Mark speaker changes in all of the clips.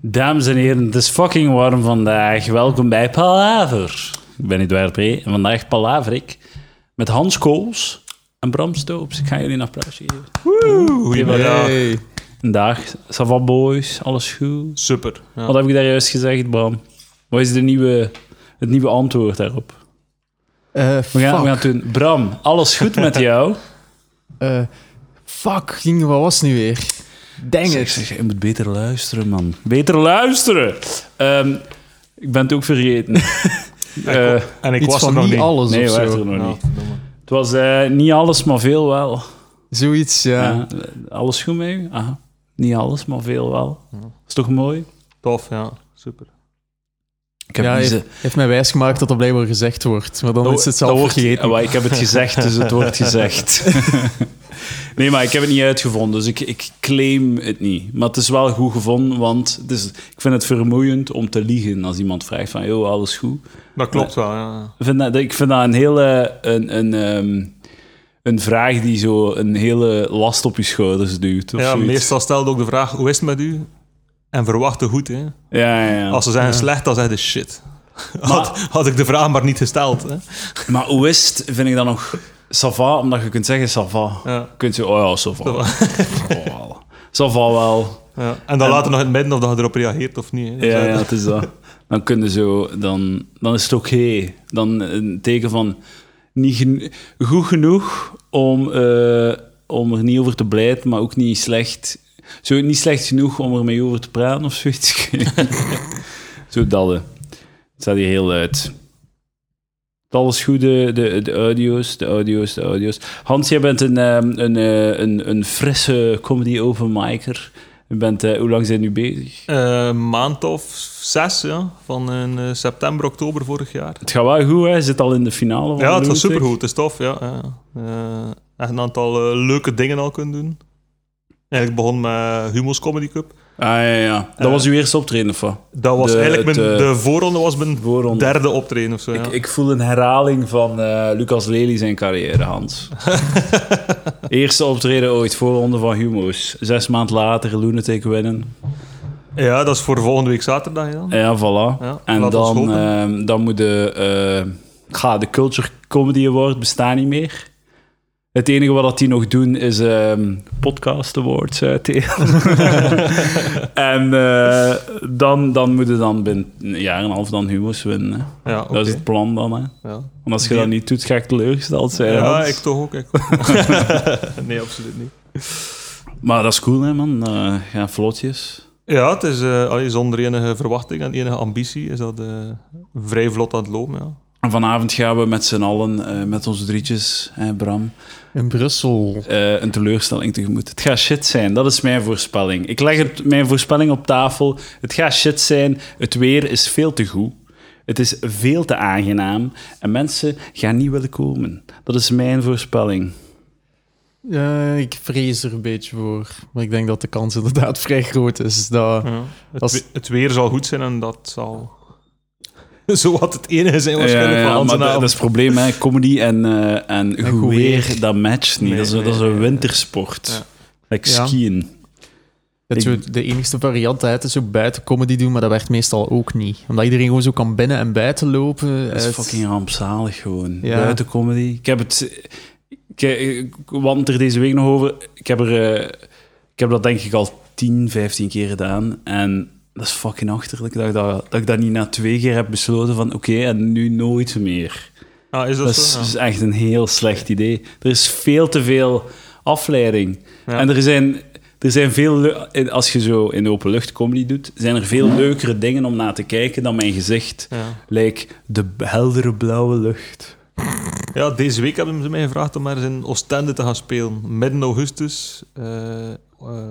Speaker 1: Dames en heren, het is fucking warm vandaag. Welkom bij Palaver. Ik ben Edouard P. en vandaag palaver ik met Hans Kools en Bram Stoops. Ik ga jullie een applausje geven. Goedemiddag.
Speaker 2: Hey.
Speaker 1: Dag, Sava Boys, alles goed?
Speaker 2: Super. Ja.
Speaker 1: Wat heb ik daar juist gezegd, Bram? Wat is de nieuwe, het nieuwe antwoord daarop?
Speaker 3: Eh
Speaker 1: We gaan, we gaan
Speaker 3: fuck.
Speaker 1: het doen. Bram, alles goed met jou?
Speaker 3: Eh fucking, wat was het nu weer? Denk
Speaker 1: Zeg,
Speaker 3: het.
Speaker 1: zeg, je moet beter luisteren, man. Beter luisteren! Ehm, ik ben het ook vergeten. Eh,
Speaker 2: en ik
Speaker 3: Iets
Speaker 2: was er
Speaker 3: van
Speaker 2: nog
Speaker 3: niet
Speaker 2: niet.
Speaker 3: alles
Speaker 1: nee,
Speaker 3: of
Speaker 1: we
Speaker 3: zo. Nou.
Speaker 1: waren er nog niet.
Speaker 2: verdomme.
Speaker 1: Het was eh, niet alles, maar veel wel.
Speaker 3: Zoiets, ja.
Speaker 1: Ja, alles goed mee? Aha. Niet alles, maar veel wel. Is toch mooi?
Speaker 2: Tof, ja. Super.
Speaker 1: Ik heb
Speaker 3: ja,
Speaker 1: niet
Speaker 3: heeft,
Speaker 1: ze-
Speaker 3: heeft mij wijsgemaakt dat dat blijkbaar gezegd wordt. Maar dan
Speaker 1: Dat-
Speaker 3: is
Speaker 1: dat
Speaker 3: het zelf
Speaker 1: wordt-
Speaker 3: vergeten.
Speaker 1: eh, wel, ik heb het gezegd, dus het wordt gezegd. nee, maar ik heb het niet uitgevonden, dus ik, ik claim het niet. Maar het is wel goed gevonden, want het is, ik vind het vermoeiend om te liegen als iemand vraagt van, joh, alles goed.
Speaker 2: Dat klopt wel, ja.
Speaker 1: Ik vind dat, ik vind dat een hele... Een, een, ehm, een vraag die zo een hele last op je schouders duwt. Of
Speaker 2: Ja,
Speaker 1: zoiets.
Speaker 2: meestal stelde ook de vraag, hoe is het met u? En verwachtte goed, hè.
Speaker 1: Ja, ja, ja.
Speaker 2: Als ze zeggen slecht, dan zeggen ze shit. Had,
Speaker 1: Maar-
Speaker 2: had ik de vraag maar niet gesteld, hè.
Speaker 1: Maar hoe is het, vind ik dan nog sava, omdat je kunt zeggen sava.
Speaker 2: Ja.
Speaker 1: Kunt je, oh ja, sava.
Speaker 2: Ça va.
Speaker 1: Sava wel. Sava wel.
Speaker 2: Ja. En dan later nog in het midden of dat je erop reageert of niet. hè. Dus,
Speaker 1: Ja,
Speaker 2: eh,
Speaker 1: ja, het is dat. Dan kun je zo, dan, dan is het oké. Dan een teken van niet geno- goed genoeg om, eh, om er niet over te blijten, maar ook niet slecht. Zo niet slecht genoeg om er mee over te praten of zoiets. Ik weet niet. zo dat. hè. Het staat hier heel uit. Alles goed, de, de, de audio's, de audio's, de audio's. Hans, jij bent een, ehm, een, eh, een, een frisse comedy openmiker. Je bent, eh, hoe lang zijn jullie bezig?
Speaker 2: eh, maand of zes, ja. Van in, eh, september, oktober vorig jaar.
Speaker 1: Het gaat wel goed, hè? Hij zit al in de finale van
Speaker 2: Ja,
Speaker 1: de
Speaker 2: het was
Speaker 1: Lunatic.
Speaker 2: supergoed. Het is tof, ja. ja. Eh, echt een aantal eh, leuke dingen al kunnen doen. Eigenlijk begon met Humo's Comedy Cup.
Speaker 1: Ah, ja, ja. Dat
Speaker 2: Eh,
Speaker 1: was uw eerste optreden, of wat?
Speaker 2: Dat was
Speaker 1: De-
Speaker 2: eigenlijk
Speaker 1: het,
Speaker 2: mijn,
Speaker 1: eh,
Speaker 2: de voorronde was mijn
Speaker 1: Voorronde.
Speaker 2: derde optreden of zo. ja.
Speaker 1: Ik, ik voel een herhaling van eh, Lucas Lely zijn carrière, Hans. eerste optreden ooit, voorronde van Humo's. Zes maanden later, Lunatic winnen.
Speaker 2: Ja, dat is voor volgende week zaterdag. Ja.
Speaker 1: Eh, Ja, voilà.
Speaker 2: Ja,
Speaker 1: en
Speaker 2: laat ons
Speaker 1: dan,
Speaker 2: hopen.
Speaker 1: ehm, dan moet de... eh, ga, de Culture Comedy Award bestaat niet meer. Het enige wat dat die nog doen is ehm, podcast awards uitdelen. en eh, dan, dan moeten dan binnen een jaar en een half dan humo's winnen. hè.
Speaker 2: Ja,
Speaker 1: Dat
Speaker 2: Ah, oké.
Speaker 1: is het plan dan. Hè.
Speaker 2: ja.
Speaker 1: Want als je dat niet doet, ga ik teleurgesteld zijn.
Speaker 2: ja
Speaker 1: Hans.
Speaker 2: ik toch ook. Ik nee, absoluut niet.
Speaker 1: Maar dat is cool, hè, man. Eh, ja, vlotjes.
Speaker 2: Ja, het is eh, allee, zonder enige verwachting en enige ambitie is dat eh, vrij vlot aan het lopen. Ja.
Speaker 1: En vanavond gaan we met z'n allen, eh, met onze drietjes, hè, Bram,
Speaker 3: In Brussel.
Speaker 1: eh, een teleurstelling tegemoet. Het gaat shit zijn, dat is mijn voorspelling. Ik leg het, mijn voorspelling op tafel. Het gaat shit zijn, het weer is veel te goed. Het is veel te aangenaam en mensen gaan niet willen komen. Dat is mijn voorspelling.
Speaker 3: Ja, ik vrees er een beetje voor. Maar ik denk dat de kans inderdaad vrij groot is. Dat...
Speaker 1: Mhm.
Speaker 2: Ja. Het,
Speaker 3: Als-
Speaker 2: we- het weer zal goed zijn en dat zal zowat het enige zijn
Speaker 1: Ja,
Speaker 2: waarschijnlijk
Speaker 1: ja,
Speaker 2: van onze
Speaker 1: maar dat, dat
Speaker 2: naam.
Speaker 1: is het probleem, hè. comedy en, eh en goed
Speaker 3: goed
Speaker 1: weer,
Speaker 3: weer.
Speaker 1: dat matcht niet.
Speaker 2: Nee,
Speaker 1: dat, is, dat is
Speaker 2: nee,
Speaker 1: een
Speaker 2: nee.
Speaker 1: wintersport.
Speaker 2: Ja.
Speaker 1: Like
Speaker 3: Ja.
Speaker 1: skiën.
Speaker 3: Dat
Speaker 1: Ik-
Speaker 3: zo de enigste variant hè, het is ook buiten comedy doen, maar dat werkt meestal ook niet. Omdat iedereen gewoon zo kan binnen en buiten lopen.
Speaker 1: Dat is
Speaker 3: Het-
Speaker 1: fucking rampzalig gewoon.
Speaker 3: Ja.
Speaker 1: Buiten comedy. Ik heb het... Ik, ik want er deze week nog over. Ik heb, er, eh, ik heb dat denk ik al 10, 15 keer gedaan. En dat is fucking achterlijk dat ik dat, dat, ik dat niet na twee keer heb besloten van oké, en nu nooit meer.
Speaker 2: Ah, is dat,
Speaker 1: Dat is,
Speaker 2: zo? Ja.
Speaker 1: is echt een heel slecht idee. Er is veel te veel afleiding.
Speaker 2: Ja.
Speaker 1: En er zijn, er zijn veel... leu- in- Als je zo in de openlucht comedy doet, zijn er veel leukere dingen om naar te kijken dan mijn gezicht.
Speaker 2: Ja.
Speaker 1: Like de b- heldere blauwe lucht.
Speaker 2: Ja, deze week hebben ze mij gevraagd om maar eens in Oostende te gaan spelen. Midden augustus, eh, eh,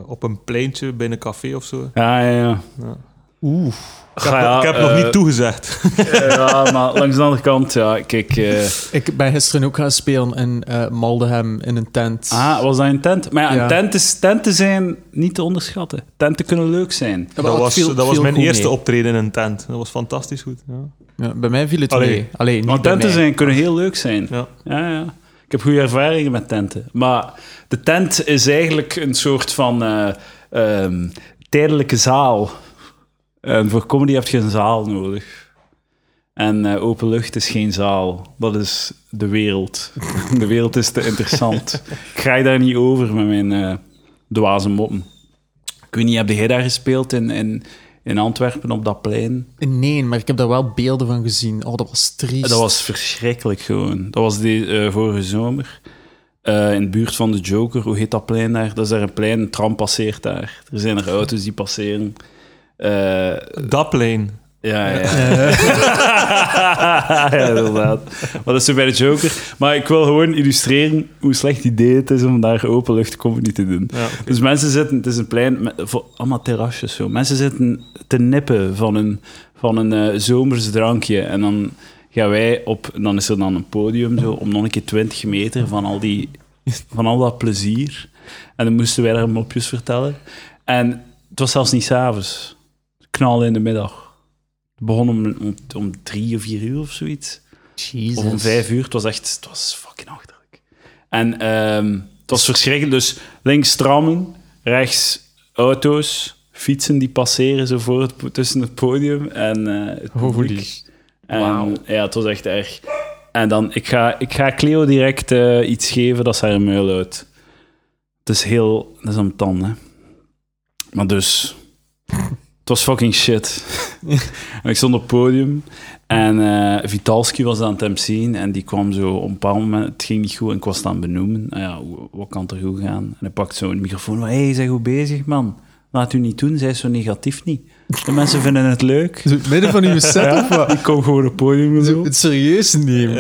Speaker 2: op een pleintje bij een café of zo.
Speaker 1: Ja, ja, ja.
Speaker 2: Ja.
Speaker 1: Oeh.
Speaker 2: Ik heb, ik heb nog niet toegezegd.
Speaker 1: Ah, eh, Ja, maar langs de andere kant, ja, kijk... eh,
Speaker 3: Ik ben gisteren ook gaan spelen in eh Maldenham in een tent.
Speaker 1: ah, was dat een tent? Maar ja,
Speaker 3: Ja.
Speaker 1: Een tent is, tenten zijn niet te onderschatten. Tenten kunnen leuk zijn.
Speaker 3: Ja,
Speaker 2: Dat
Speaker 3: maar het
Speaker 2: was,
Speaker 3: viel-
Speaker 2: dat was
Speaker 3: viel
Speaker 2: mijn
Speaker 3: goed
Speaker 2: eerste
Speaker 3: mee.
Speaker 2: optreden in een tent. Dat was fantastisch goed. Ja.
Speaker 3: Ja, bij mij viel het
Speaker 2: Allee.
Speaker 3: mee. Allee, niet
Speaker 1: Want
Speaker 3: bij
Speaker 1: tenten
Speaker 3: mij.
Speaker 1: zijn, kunnen heel leuk zijn.
Speaker 2: Ja.
Speaker 1: Ja, ja. Ik heb goede ervaringen met tenten. Maar de tent is eigenlijk een soort van eh, ehm, tijdelijke zaal. En voor comedy heb je een zaal nodig. En eh, open lucht is geen zaal. Dat is de wereld. De wereld is te interessant. Ik ga je daar niet over met mijn eh dwaze moppen. Ik weet niet, heb jij daar gespeeld in, in, in Antwerpen op dat plein?
Speaker 3: Nee, maar ik heb daar wel beelden van gezien. Oh, dat was triest.
Speaker 1: Dat was verschrikkelijk gewoon. Dat was die, eh, vorige zomer. Eh, in de buurt van de Joker, hoe heet dat plein daar? Dat is daar een plein, een tram passeert daar. Er zijn er auto's die passeren. Eh,
Speaker 2: Dat plein.
Speaker 1: ja, ja. ja, inderdaad. Maar dat is zo bij de Joker. Maar ik wil gewoon illustreren hoe slecht idee het is om daar openluchtcomedy te doen.
Speaker 2: Ja, oké.
Speaker 1: Dus mensen zitten, het is een plein, met, voor, allemaal terrasjes zo. Mensen zitten te nippen van een, van een eh, zomers drankje. En dan gaan wij op, dan is er dan een podium zo, om nog een keer 20 meter van al, die, van al dat plezier. En dan moesten wij daar mopjes vertellen. En het was zelfs niet s'avonds. Knal in de middag. Het begon om, om, om drie of vier uur of zoiets.
Speaker 3: Jezus.
Speaker 1: Of om vijf uur. Het was echt het was fucking achterlijk. En ehm, het was verschrikkelijk. Dus links trammen, rechts auto's, fietsen die passeren zo voor het, po- tussen het podium en eh het
Speaker 3: Holy.
Speaker 1: publiek. En, Ja, het was echt erg. En dan, ik ga, ik ga Cleo direct eh, iets geven dat ze haar muil uit. Het is heel... Dat is een tand, hè. Maar dus... Het was fucking shit. en ik stond op het podium en eh, Vitalski was aan het MC'en en die kwam zo op een bepaald moment... Het ging niet goed en ik was het aan het benoemen. Nou ja, hoe- wat kan er goed gaan? En hij pakt zo'n microfoon. Hé, hey, zeg goed bezig, man. Laat u niet doen, zij zo negatief niet. De mensen vinden het leuk.
Speaker 3: Zo, Midden van uw set of wat?
Speaker 1: Ik kom gewoon op het podium en zo.
Speaker 3: Zo, Het serieus nemen.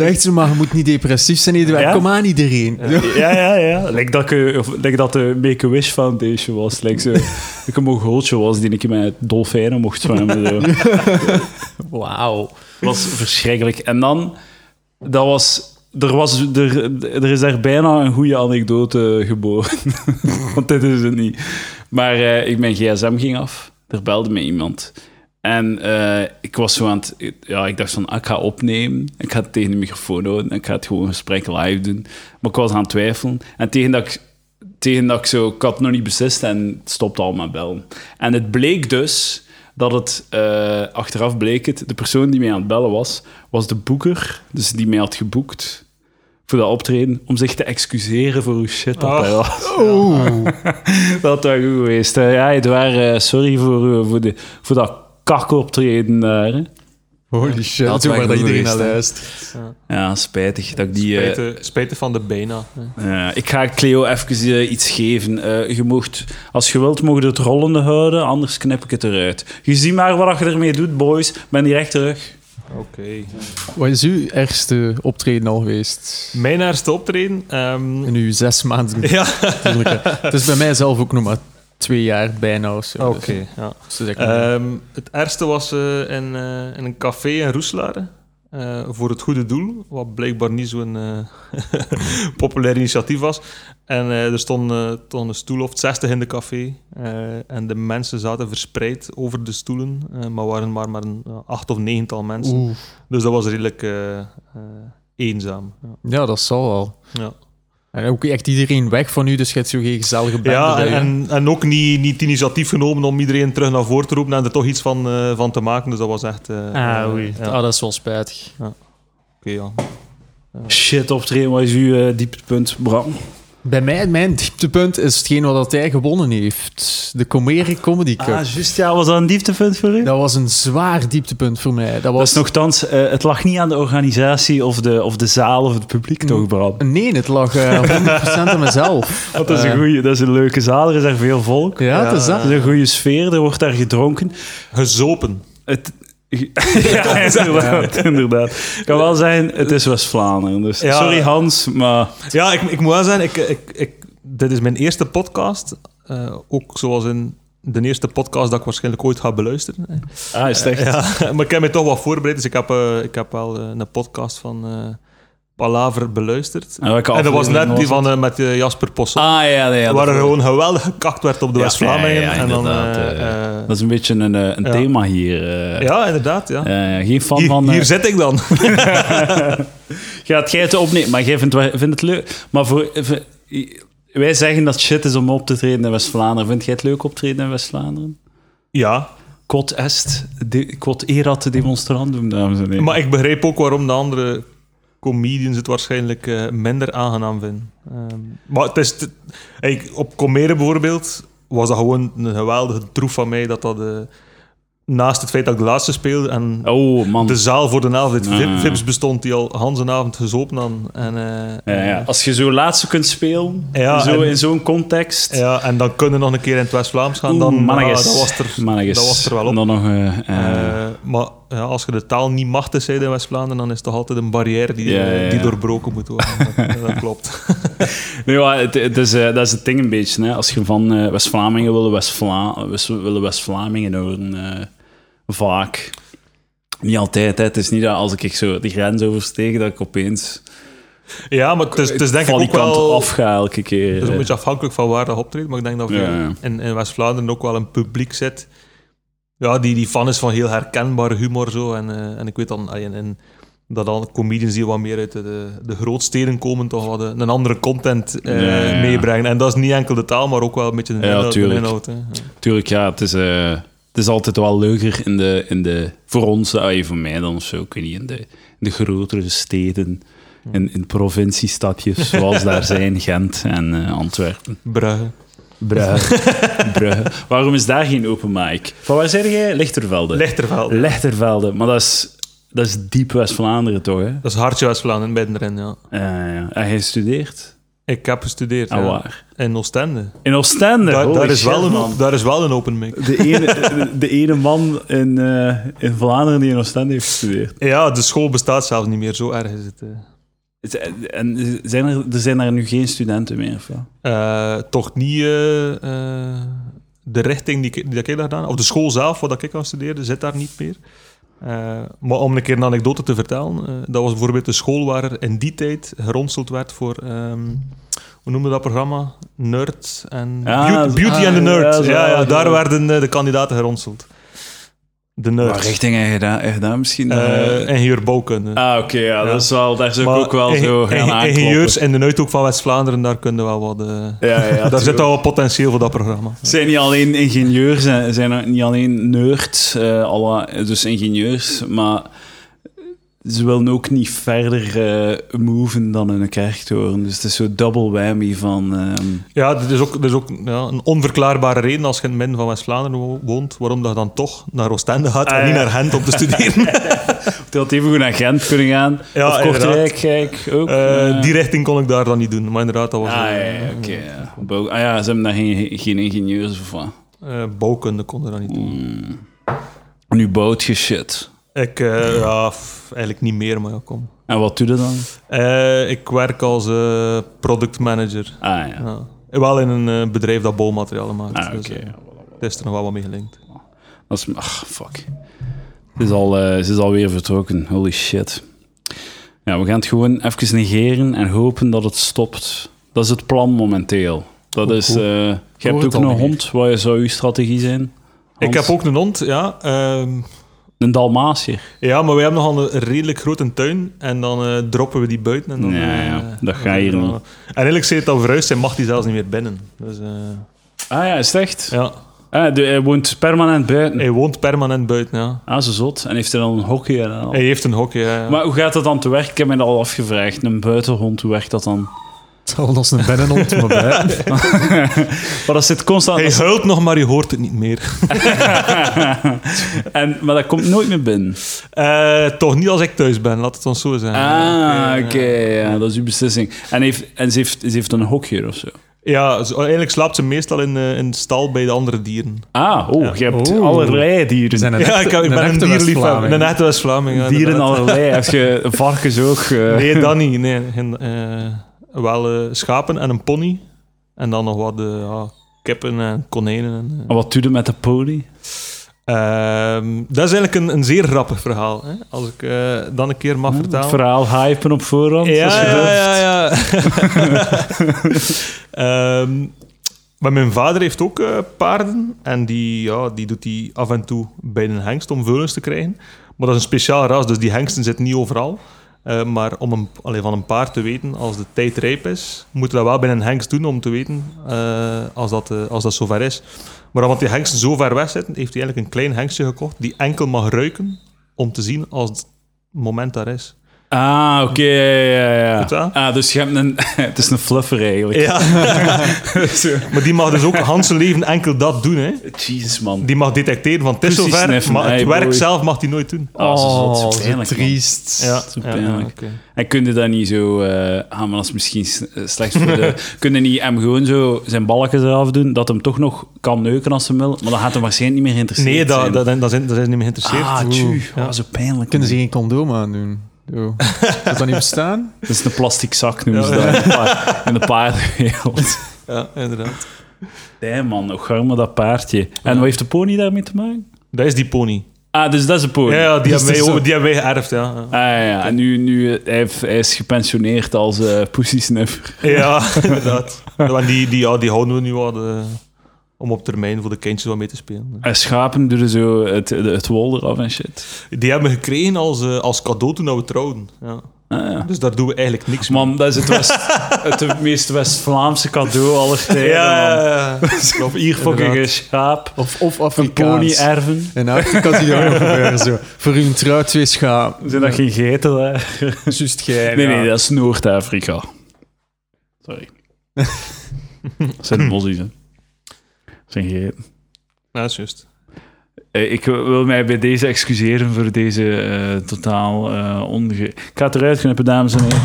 Speaker 3: Echt zo, maar je moet niet depressief zijn, Eduard.
Speaker 1: Ja.
Speaker 3: Kom aan, iedereen. Zo.
Speaker 1: Ja, ja, ja. Lijkt dat, ik, eh, of, lijkt dat de Make-A-Wish Foundation was. Lijkt zo, ik een mongooltje was die ik met dolfijnen mocht zwemmen. Zo.
Speaker 3: Wauw.
Speaker 1: was verschrikkelijk. En dan, dat was, er, was, er, er is daar bijna een goede anekdote geboren. Want dit is het niet. Maar eh, ik, mijn gsm ging af. Er belde me iemand. En eh, ik was zo aan het... Ja, ik dacht van, ah, ik ga opnemen. Ik ga het tegen de microfoon houden. En ik ga het gewoon een gesprek live doen. Maar ik was aan het twijfelen. En tegen dat ik... Tegen dat ik zo... Ik had het nog niet beslist en het stopte al met bellen. En het bleek dus dat het... eh, achteraf bleek het... De persoon die mij aan het bellen was, was de boeker. Dus die mij had geboekt voor dat optreden. Om zich te excuseren voor hoe shit dat hij was.
Speaker 3: Oeh.
Speaker 1: Dat was goed geweest. hè. ja, Edouard, eh, sorry voor, eh, voor, de, voor dat kakoptreden daar. hè.
Speaker 3: Holy shit.
Speaker 4: Dat
Speaker 3: zo
Speaker 4: was
Speaker 3: waar dat
Speaker 4: goed
Speaker 3: iedereen naar
Speaker 4: geweest, hè.
Speaker 3: luistert.
Speaker 1: Ja, spijtig dat ik die... eh,
Speaker 2: Spijten, spijten van de bijna.
Speaker 1: eh, ik ga Cleo even eh, iets geven. Eh, je moogt, als je wilt, mogen het rollende houden, anders knip ik het eruit. Je ziet maar wat je ermee doet, boys. Ik Ben direct terug.
Speaker 2: Oké.
Speaker 3: Wat is uw ergste optreden al geweest?
Speaker 2: Mijn eerste optreden. ehm,
Speaker 3: In uw zes maanden
Speaker 2: ja,
Speaker 3: natuurlijk. hè. Het is bij mij zelf ook nog maar twee jaar bijna of zo.
Speaker 2: oké.
Speaker 3: dus-
Speaker 2: ja.
Speaker 3: dus dat is echt nog-
Speaker 2: Ehm, het ergste was eh, in, eh, in een café in Roeselare. eh, voor het goede doel, wat blijkbaar niet zo'n eh, populair initiatief was. En eh, er stond, eh, stond een stoel of 60 in de café. eh, en de mensen zaten verspreid over de stoelen, eh, maar waren maar, maar een eh, acht of negental mensen.
Speaker 3: Oeh.
Speaker 2: Dus dat was redelijk eh, eh, eenzaam. Ja.
Speaker 3: Ja, dat zal wel.
Speaker 2: Ja.
Speaker 3: En ook echt iedereen weg van u, dus je hebt zo geen gezellige bende
Speaker 2: Ja,
Speaker 3: bij
Speaker 2: en,
Speaker 3: u.
Speaker 2: en, en ook niet, niet het initiatief genomen om iedereen terug naar voren te roepen en er toch iets van, eh, van te maken. Dus dat was echt... eh, eh,
Speaker 3: Ah, oei.
Speaker 2: ja.
Speaker 3: Ah, dat is wel spijtig.
Speaker 2: Oké, ja.
Speaker 1: Shit, optreden, wat is uw eh, dieptepunt, Bram?
Speaker 3: Bij mij, mijn dieptepunt is hetgeen wat dat hij gewonnen heeft. De Comere Comedy
Speaker 2: Ah,
Speaker 3: Cup.
Speaker 1: Ah, juist. Ja, was dat een dieptepunt voor u?
Speaker 3: dat was een zwaar dieptepunt voor mij. Dat
Speaker 1: Dat
Speaker 3: was
Speaker 1: is nogthans, eh, het lag niet aan de organisatie of de, of de zaal of het publiek,
Speaker 3: Mm.
Speaker 1: toch, Bram?
Speaker 3: Nee, het lag eh, 100% aan mezelf.
Speaker 1: Dat is, een
Speaker 3: Eh,
Speaker 1: goeie, dat is een leuke zaal, er is daar veel volk.
Speaker 3: Ja, het is dat.
Speaker 1: Dat is een goede sfeer, er wordt daar gedronken.
Speaker 2: Gezopen.
Speaker 1: Het, ja, inderdaad, inderdaad. Ik kan wel zijn, het is West-Vlaanderen. Dus
Speaker 2: Ja.
Speaker 1: sorry Hans, maar
Speaker 2: Ja, ik, ik moet wel zeggen, ik, ik, ik, dit is mijn eerste podcast. Eh, ook zoals in de eerste podcast dat ik waarschijnlijk ooit ga beluisteren.
Speaker 1: ah, is het echt.
Speaker 2: Ja, maar ik heb me toch wat voorbereid, dus ik heb, eh, ik heb wel eh, een podcast van eh, Palaver beluisterd.
Speaker 1: En welke
Speaker 2: en dat was net
Speaker 1: aflevering
Speaker 2: die van eh, met eh, Jasper Possel.
Speaker 1: Ah ja, nee, ja,
Speaker 2: waar er
Speaker 1: dat,
Speaker 2: gewoon geweldig gekakt werd op de
Speaker 1: Ja,
Speaker 2: West-Vlamingen.
Speaker 1: ja, ja,
Speaker 2: en dan,
Speaker 1: inderdaad,
Speaker 2: eh,
Speaker 1: eh,
Speaker 2: eh,
Speaker 1: dat is een beetje een, eh, een
Speaker 2: Ja.
Speaker 1: thema hier. eh.
Speaker 2: ja, inderdaad. Ja.
Speaker 1: Eh, geen fan
Speaker 2: Hier,
Speaker 1: van... eh,
Speaker 2: hier zit ik dan.
Speaker 1: gaat jij het opnemen, maar jij vindt, wel- vindt het leuk. Maar voor, v- wij zeggen dat shit is om op te treden in West-Vlaanderen. Vind jij het leuk optreden in West-Vlaanderen?
Speaker 2: ja.
Speaker 1: Quod est, de, quod erat demonstrandum, dames en heren.
Speaker 2: Maar ik begreep ook waarom de andere comedians het waarschijnlijk eh, minder aangenaam vinden. Ehm, maar het is... te- hey, op Comere bijvoorbeeld was dat gewoon een geweldige troef van mij dat dat... eh, naast het feit dat ik de laatste speelde en
Speaker 1: oh, man.
Speaker 2: de zaal voor de helft uit
Speaker 1: Ah.
Speaker 2: vip- vips bestond die al Hans een avond gezopen hadden. En, eh,
Speaker 1: Ja, ja. Als je zo laatste kunt spelen,
Speaker 2: Ja,
Speaker 1: zo
Speaker 2: en-
Speaker 1: in zo'n context...
Speaker 2: ja, en dan kunnen we nog een keer in het West-Vlaams gaan.
Speaker 1: Oeh,
Speaker 2: dan, ah,
Speaker 1: mannetjes.
Speaker 2: dat, was er,
Speaker 1: Mannetjes.
Speaker 2: dat was er wel op.
Speaker 1: En dan nog... eh, eh,
Speaker 2: Eh, maar ja, als je de taal niet machtig bent in West-Vlaanderen, dan is het toch altijd een barrière die,
Speaker 1: Ja, ja, ja.
Speaker 2: die doorbroken moet worden. dat, dat klopt.
Speaker 1: Nee, maar het, het is, eh, dat is het ding een beetje. Hè. Als je van eh, West-Vlamingen willen West-Vla- West willen West-Vlamingen horen, eh, vaak. Niet altijd, hè. Het is niet dat als ik zo de grens oversteek, dat ik opeens
Speaker 2: Ja, maar het is, het is denk ik
Speaker 1: van die
Speaker 2: ook
Speaker 1: kant
Speaker 2: wel...
Speaker 1: af ga elke keer.
Speaker 2: Het is een
Speaker 1: eh.
Speaker 2: beetje afhankelijk van waar dat optreedt, maar ik denk dat we
Speaker 1: Ja, ja.
Speaker 2: in, in West-Vlaanderen ook wel een publiek zit ja, die, die fan is van heel herkenbare humor. Zo. En, eh, en ik weet dan, allee, en, en dat al comedians die wat meer uit de, de, de grootsteden komen, toch wat een, een andere content eh,
Speaker 1: Ja, ja, ja.
Speaker 2: meebrengen. En dat is niet enkel de taal, maar ook wel een beetje de
Speaker 1: Ja,
Speaker 2: inhoud. de
Speaker 1: tuurlijk.
Speaker 2: inhoud, hè. Ja.
Speaker 1: Tuurlijk, ja, het is, eh, het is altijd wel leuker in de, in de, voor ons, eh, allee, voor mij dan of zo, ik weet niet, in de, in de grotere steden, in, in provinciestadjes zoals daar zijn, Gent en eh, Antwerpen.
Speaker 2: Brugge.
Speaker 1: Brugge. Brugge. Waarom is daar geen open mic? Van waar zeg jij? Lichtervelde.
Speaker 2: Lechterveld.
Speaker 1: Lichtervelde. Maar dat is, dat is diep West-Vlaanderen toch, hè?
Speaker 2: dat is hartje West-Vlaanderen, bij erin, ja.
Speaker 1: Eh, ja. En jij studeert?
Speaker 2: Ik heb gestudeerd
Speaker 1: Ah,
Speaker 2: ja,
Speaker 1: waar?
Speaker 2: in Oostende.
Speaker 1: In Oostende.
Speaker 2: Daar,
Speaker 1: Holy
Speaker 2: daar, is
Speaker 1: shit,
Speaker 2: wel een,
Speaker 1: man.
Speaker 2: op- daar is wel een open mic.
Speaker 1: De ene, de ene man in, eh, in Vlaanderen die in Oostende heeft gestudeerd.
Speaker 2: Ja, de school bestaat zelfs niet meer, zo erg is het. eh.
Speaker 1: Z- En zijn er, er zijn daar nu geen studenten meer? Of wel?
Speaker 2: Eh, toch niet eh, eh, de richting die, ik- die dat ik had gedaan. Of de school zelf, wat ik aan studeerde, zit daar niet meer. Eh, maar om een keer een anekdote te vertellen. eh, dat was bijvoorbeeld de school waar er in die tijd geronseld werd voor... ehm, hoe noemde dat programma? Nerd en...
Speaker 1: Ah,
Speaker 2: Beauty, Beauty
Speaker 1: ah,
Speaker 2: and the Nerd.
Speaker 1: ja,
Speaker 2: Ja,
Speaker 1: zo,
Speaker 2: ja,
Speaker 1: ja.
Speaker 2: daar werden eh, de kandidaten geronseld. De
Speaker 1: Waar
Speaker 2: nerds.
Speaker 1: richting heb je daar, heb je daar misschien?
Speaker 2: Eh,
Speaker 1: eh,
Speaker 2: ingenieur bouwkunde.
Speaker 1: ah, oké, ja, dat is wel, daar zou ik
Speaker 2: Maar
Speaker 1: ook wel
Speaker 2: in-
Speaker 1: zo
Speaker 2: in-
Speaker 1: gaan aankloppen.
Speaker 2: Ingenieurs in de uithoek van West-Vlaanderen, daar kunnen wel wat... eh,
Speaker 1: Ja, ja,
Speaker 2: daar zit
Speaker 1: tuurlijk.
Speaker 2: al wat potentieel voor dat programma.
Speaker 1: Het zijn niet alleen ingenieurs, hè. zijn er niet alleen nerds, eh, alle, dus ingenieurs, maar ze willen ook niet verder eh moven dan hun kerktoren. Dus het is zo double whammy van... ehm,
Speaker 2: Ja, er is ook, er is ook ja, een onverklaarbare reden als je in het midden van West-Vlaanderen wo- woont, waarom dat je dan toch naar Oostende gaat
Speaker 1: Ah,
Speaker 2: en niet
Speaker 1: ja.
Speaker 2: naar Gent om te studeren.
Speaker 1: het had even goed naar Gent kunnen gaan,
Speaker 2: Ja,
Speaker 1: of Kortrijk, kijk, ook.
Speaker 2: Eh,
Speaker 1: maar-
Speaker 2: die richting kon ik daar dan niet doen, maar inderdaad, dat was
Speaker 1: Ah
Speaker 2: eh,
Speaker 1: ja, ja, oké. ja. Bouw- Ah ja, ze hebben daar geen, geen ingenieurs of wat.
Speaker 2: eh, bouwkunde kon er dan niet doen.
Speaker 1: Hmm. Nu bouwt je shit.
Speaker 2: Ik, eh, ja, f- eigenlijk niet meer, maar ja, kom.
Speaker 1: En wat doe je dan?
Speaker 2: Eh, ik werk als eh product manager.
Speaker 1: Ah ja.
Speaker 2: Ja. Wel in een eh, bedrijf dat bouwmaterialen maakt.
Speaker 1: Ah, oké.
Speaker 2: dus, eh, het is er nog wel wat mee gelinkt.
Speaker 1: Dat is... Ach, fuck. Ze is, al, eh, ze is alweer vertrokken. Holy shit. Ja, we gaan het gewoon even negeren en hopen dat het stopt. Dat is het plan momenteel. Dat
Speaker 3: Hoe-
Speaker 1: is...
Speaker 3: hoe-
Speaker 1: eh, je
Speaker 3: het
Speaker 1: hebt ook
Speaker 3: al
Speaker 1: een
Speaker 3: negeer?
Speaker 1: hond. Wat je- zou je strategie zijn?
Speaker 2: Ik
Speaker 1: Hans?
Speaker 2: heb ook een hond, ja. ehm,
Speaker 1: Een Dalmatier.
Speaker 2: Ja, maar wij hebben nogal een redelijk grote tuin. En dan eh, droppen we die buiten. En dan,
Speaker 1: Nee,
Speaker 2: eh,
Speaker 1: ja, dat
Speaker 2: dan
Speaker 1: ga je
Speaker 2: doen we
Speaker 1: hier
Speaker 2: dat. En eigenlijk zit het al verhuisd zijn, mag die zelfs niet meer binnen. Dus, eh,
Speaker 1: Ah ja, is het echt?
Speaker 2: ja.
Speaker 1: Ah, de- hij woont permanent buiten.
Speaker 2: Hij woont permanent buiten, ja.
Speaker 1: Ah, zo zot. En heeft hij dan een hokje en al?
Speaker 2: Hij heeft een hokje, ja. ja.
Speaker 1: Maar hoe gaat dat dan te werk? Ik heb me dat al afgevraagd. Een buitenhond, hoe werkt dat dan?
Speaker 3: Hetzelfde als een bennenhond, maar bij.
Speaker 1: Maar Ah, dat zit constant...
Speaker 2: hij huilt nog, maar je hoort het niet meer.
Speaker 1: en, maar dat komt nooit meer binnen.
Speaker 2: Eh, toch niet als ik thuis ben, laat het ons zo zijn.
Speaker 1: Ah, oké, ja, dat is uw beslissing. En, heeft, en ze, heeft, ze heeft een hokje of zo.
Speaker 2: Ja, zo- eigenlijk slaapt ze meestal in, eh, in de stal bij de andere dieren.
Speaker 1: Ah, oh, je hebt
Speaker 3: Oh.
Speaker 1: allerlei dieren.
Speaker 3: We zijn een
Speaker 2: ja,
Speaker 3: echte-
Speaker 2: ik, heb- ik
Speaker 3: een
Speaker 2: ben een
Speaker 3: echte
Speaker 2: dierliefhebber.
Speaker 3: West-Vlaming.
Speaker 2: Een echte West-Vlaming. ja,
Speaker 1: dieren
Speaker 2: inderdaad.
Speaker 1: allerlei. Heb je varkens ook? eh?
Speaker 2: Nee, dat niet. Nee, Geen, eh, wel eh, schapen en een pony. En dan nog wat eh, ja, kippen en konijnen. En, eh.
Speaker 1: En Wat doe je met de pony?
Speaker 2: Ehm, dat is eigenlijk een, een zeer grappig verhaal. Hè? Als ik eh, dan een keer mag
Speaker 1: Het
Speaker 2: vertalen.
Speaker 1: verhaal hypen op voorhand? als
Speaker 2: Ja,
Speaker 1: je
Speaker 2: ja,
Speaker 1: durft.
Speaker 2: ja. ja. Ehm, maar mijn vader heeft ook eh, paarden. En die, ja, die doet hij af en toe bij een hengst om veulens te krijgen. Maar dat is een speciaal ras, dus die hengsten zitten niet overal. Eh, maar om een, allee, van een paard te weten als de tijd rijp is, moeten we dat wel bij een hengst doen om te weten eh, als, dat, eh, als dat zover is. Maar omdat die hengsten zo ver weg zitten, heeft hij eigenlijk een klein hengstje gekocht die enkel mag ruiken om te zien als het moment daar is.
Speaker 1: Ah, oké, ja, ja, ja.
Speaker 2: Goed, hè?
Speaker 1: Ah, dus je hebt een... het is een fluffer eigenlijk. Zo.
Speaker 2: maar die mag dus ook Hans leven enkel dat doen. Hè.
Speaker 1: Jezus, man.
Speaker 2: Die mag detecteren van het is
Speaker 1: Pussy
Speaker 2: zover,
Speaker 1: sniffen,
Speaker 2: maar het
Speaker 1: hey,
Speaker 2: werk
Speaker 1: boy.
Speaker 2: zelf mag die nooit doen.
Speaker 1: Ah, ze is wel zo
Speaker 3: zo
Speaker 1: pijnlijk, man.
Speaker 3: triest.
Speaker 2: Ja,
Speaker 1: zo
Speaker 2: ja,
Speaker 1: pijnlijk.
Speaker 2: oké.
Speaker 1: En kun je dat niet zo... eh ah, maar dat is misschien s- eh, slecht voor de... kun je niet hem gewoon zo zijn balken eraf doen, dat hem toch nog kan neuken als ze wil, maar dan gaat hem waarschijnlijk niet meer geïnteresseerd
Speaker 2: Nee, daar
Speaker 1: zijn.
Speaker 2: dat, dat, dat zijn, dat zijn ze niet meer geïnteresseerd.
Speaker 1: Ah,
Speaker 2: Oeh.
Speaker 1: tju.
Speaker 2: Ja.
Speaker 1: Ah, zo pijnlijk.
Speaker 3: Kunnen ze
Speaker 1: man.
Speaker 3: geen condoom aandoen? Zo. Zou dat niet bestaan?
Speaker 1: Dat is een plastic zak, noemen ze
Speaker 2: Ja.
Speaker 1: dat. in de pa- In de paardenwereld.
Speaker 2: Ja, inderdaad.
Speaker 1: Nee, man. Och, arme dat paardje. En wat heeft de pony daarmee te maken?
Speaker 2: Dat is die pony.
Speaker 1: Ah, dus dat is een pony.
Speaker 2: Ja, ja, die,
Speaker 1: Dus
Speaker 2: hebben wij,
Speaker 1: dat is
Speaker 2: ook- die hebben wij geërfd, ja.
Speaker 1: Ah ja, en nu, nu eh, hij, heeft- hij is gepensioneerd als eh pussysnuffer.
Speaker 2: Ja, inderdaad. Want die, die, ja, die houden we nu al eh, om op termijn voor de kindjes wat mee te spelen.
Speaker 1: En schapen doen zo het, de- het wol eraf en shit.
Speaker 2: Die hebben we gekregen als, eh, als cadeau toen we trouwden. Ja.
Speaker 1: Ah, ja.
Speaker 2: Dus daar doen we eigenlijk niks mee.
Speaker 1: Man, dat is het, West, het meest West-Vlaamse cadeau aller tijden, man.
Speaker 2: ja,
Speaker 1: Of hier fucking een schaap,
Speaker 3: Of, of
Speaker 1: een
Speaker 3: Afrikaans.
Speaker 1: pony erven.
Speaker 3: In Afrika zie je dat ook nog gebeuren. Zo. Voor hun trouw twee schapen.
Speaker 1: Zijn dat geen geiten, hè?
Speaker 3: Juist gij.
Speaker 1: Nee,
Speaker 3: ja.
Speaker 1: nee, dat is Noord-Afrika. Sorry. Dat zijn mossies, hè. Dat zijn geiten.
Speaker 2: ja, dat is juist.
Speaker 1: Eh, Ik wil mij bij deze excuseren voor deze eh, totaal eh onge... Ik ga het eruit knippen, dames en heren.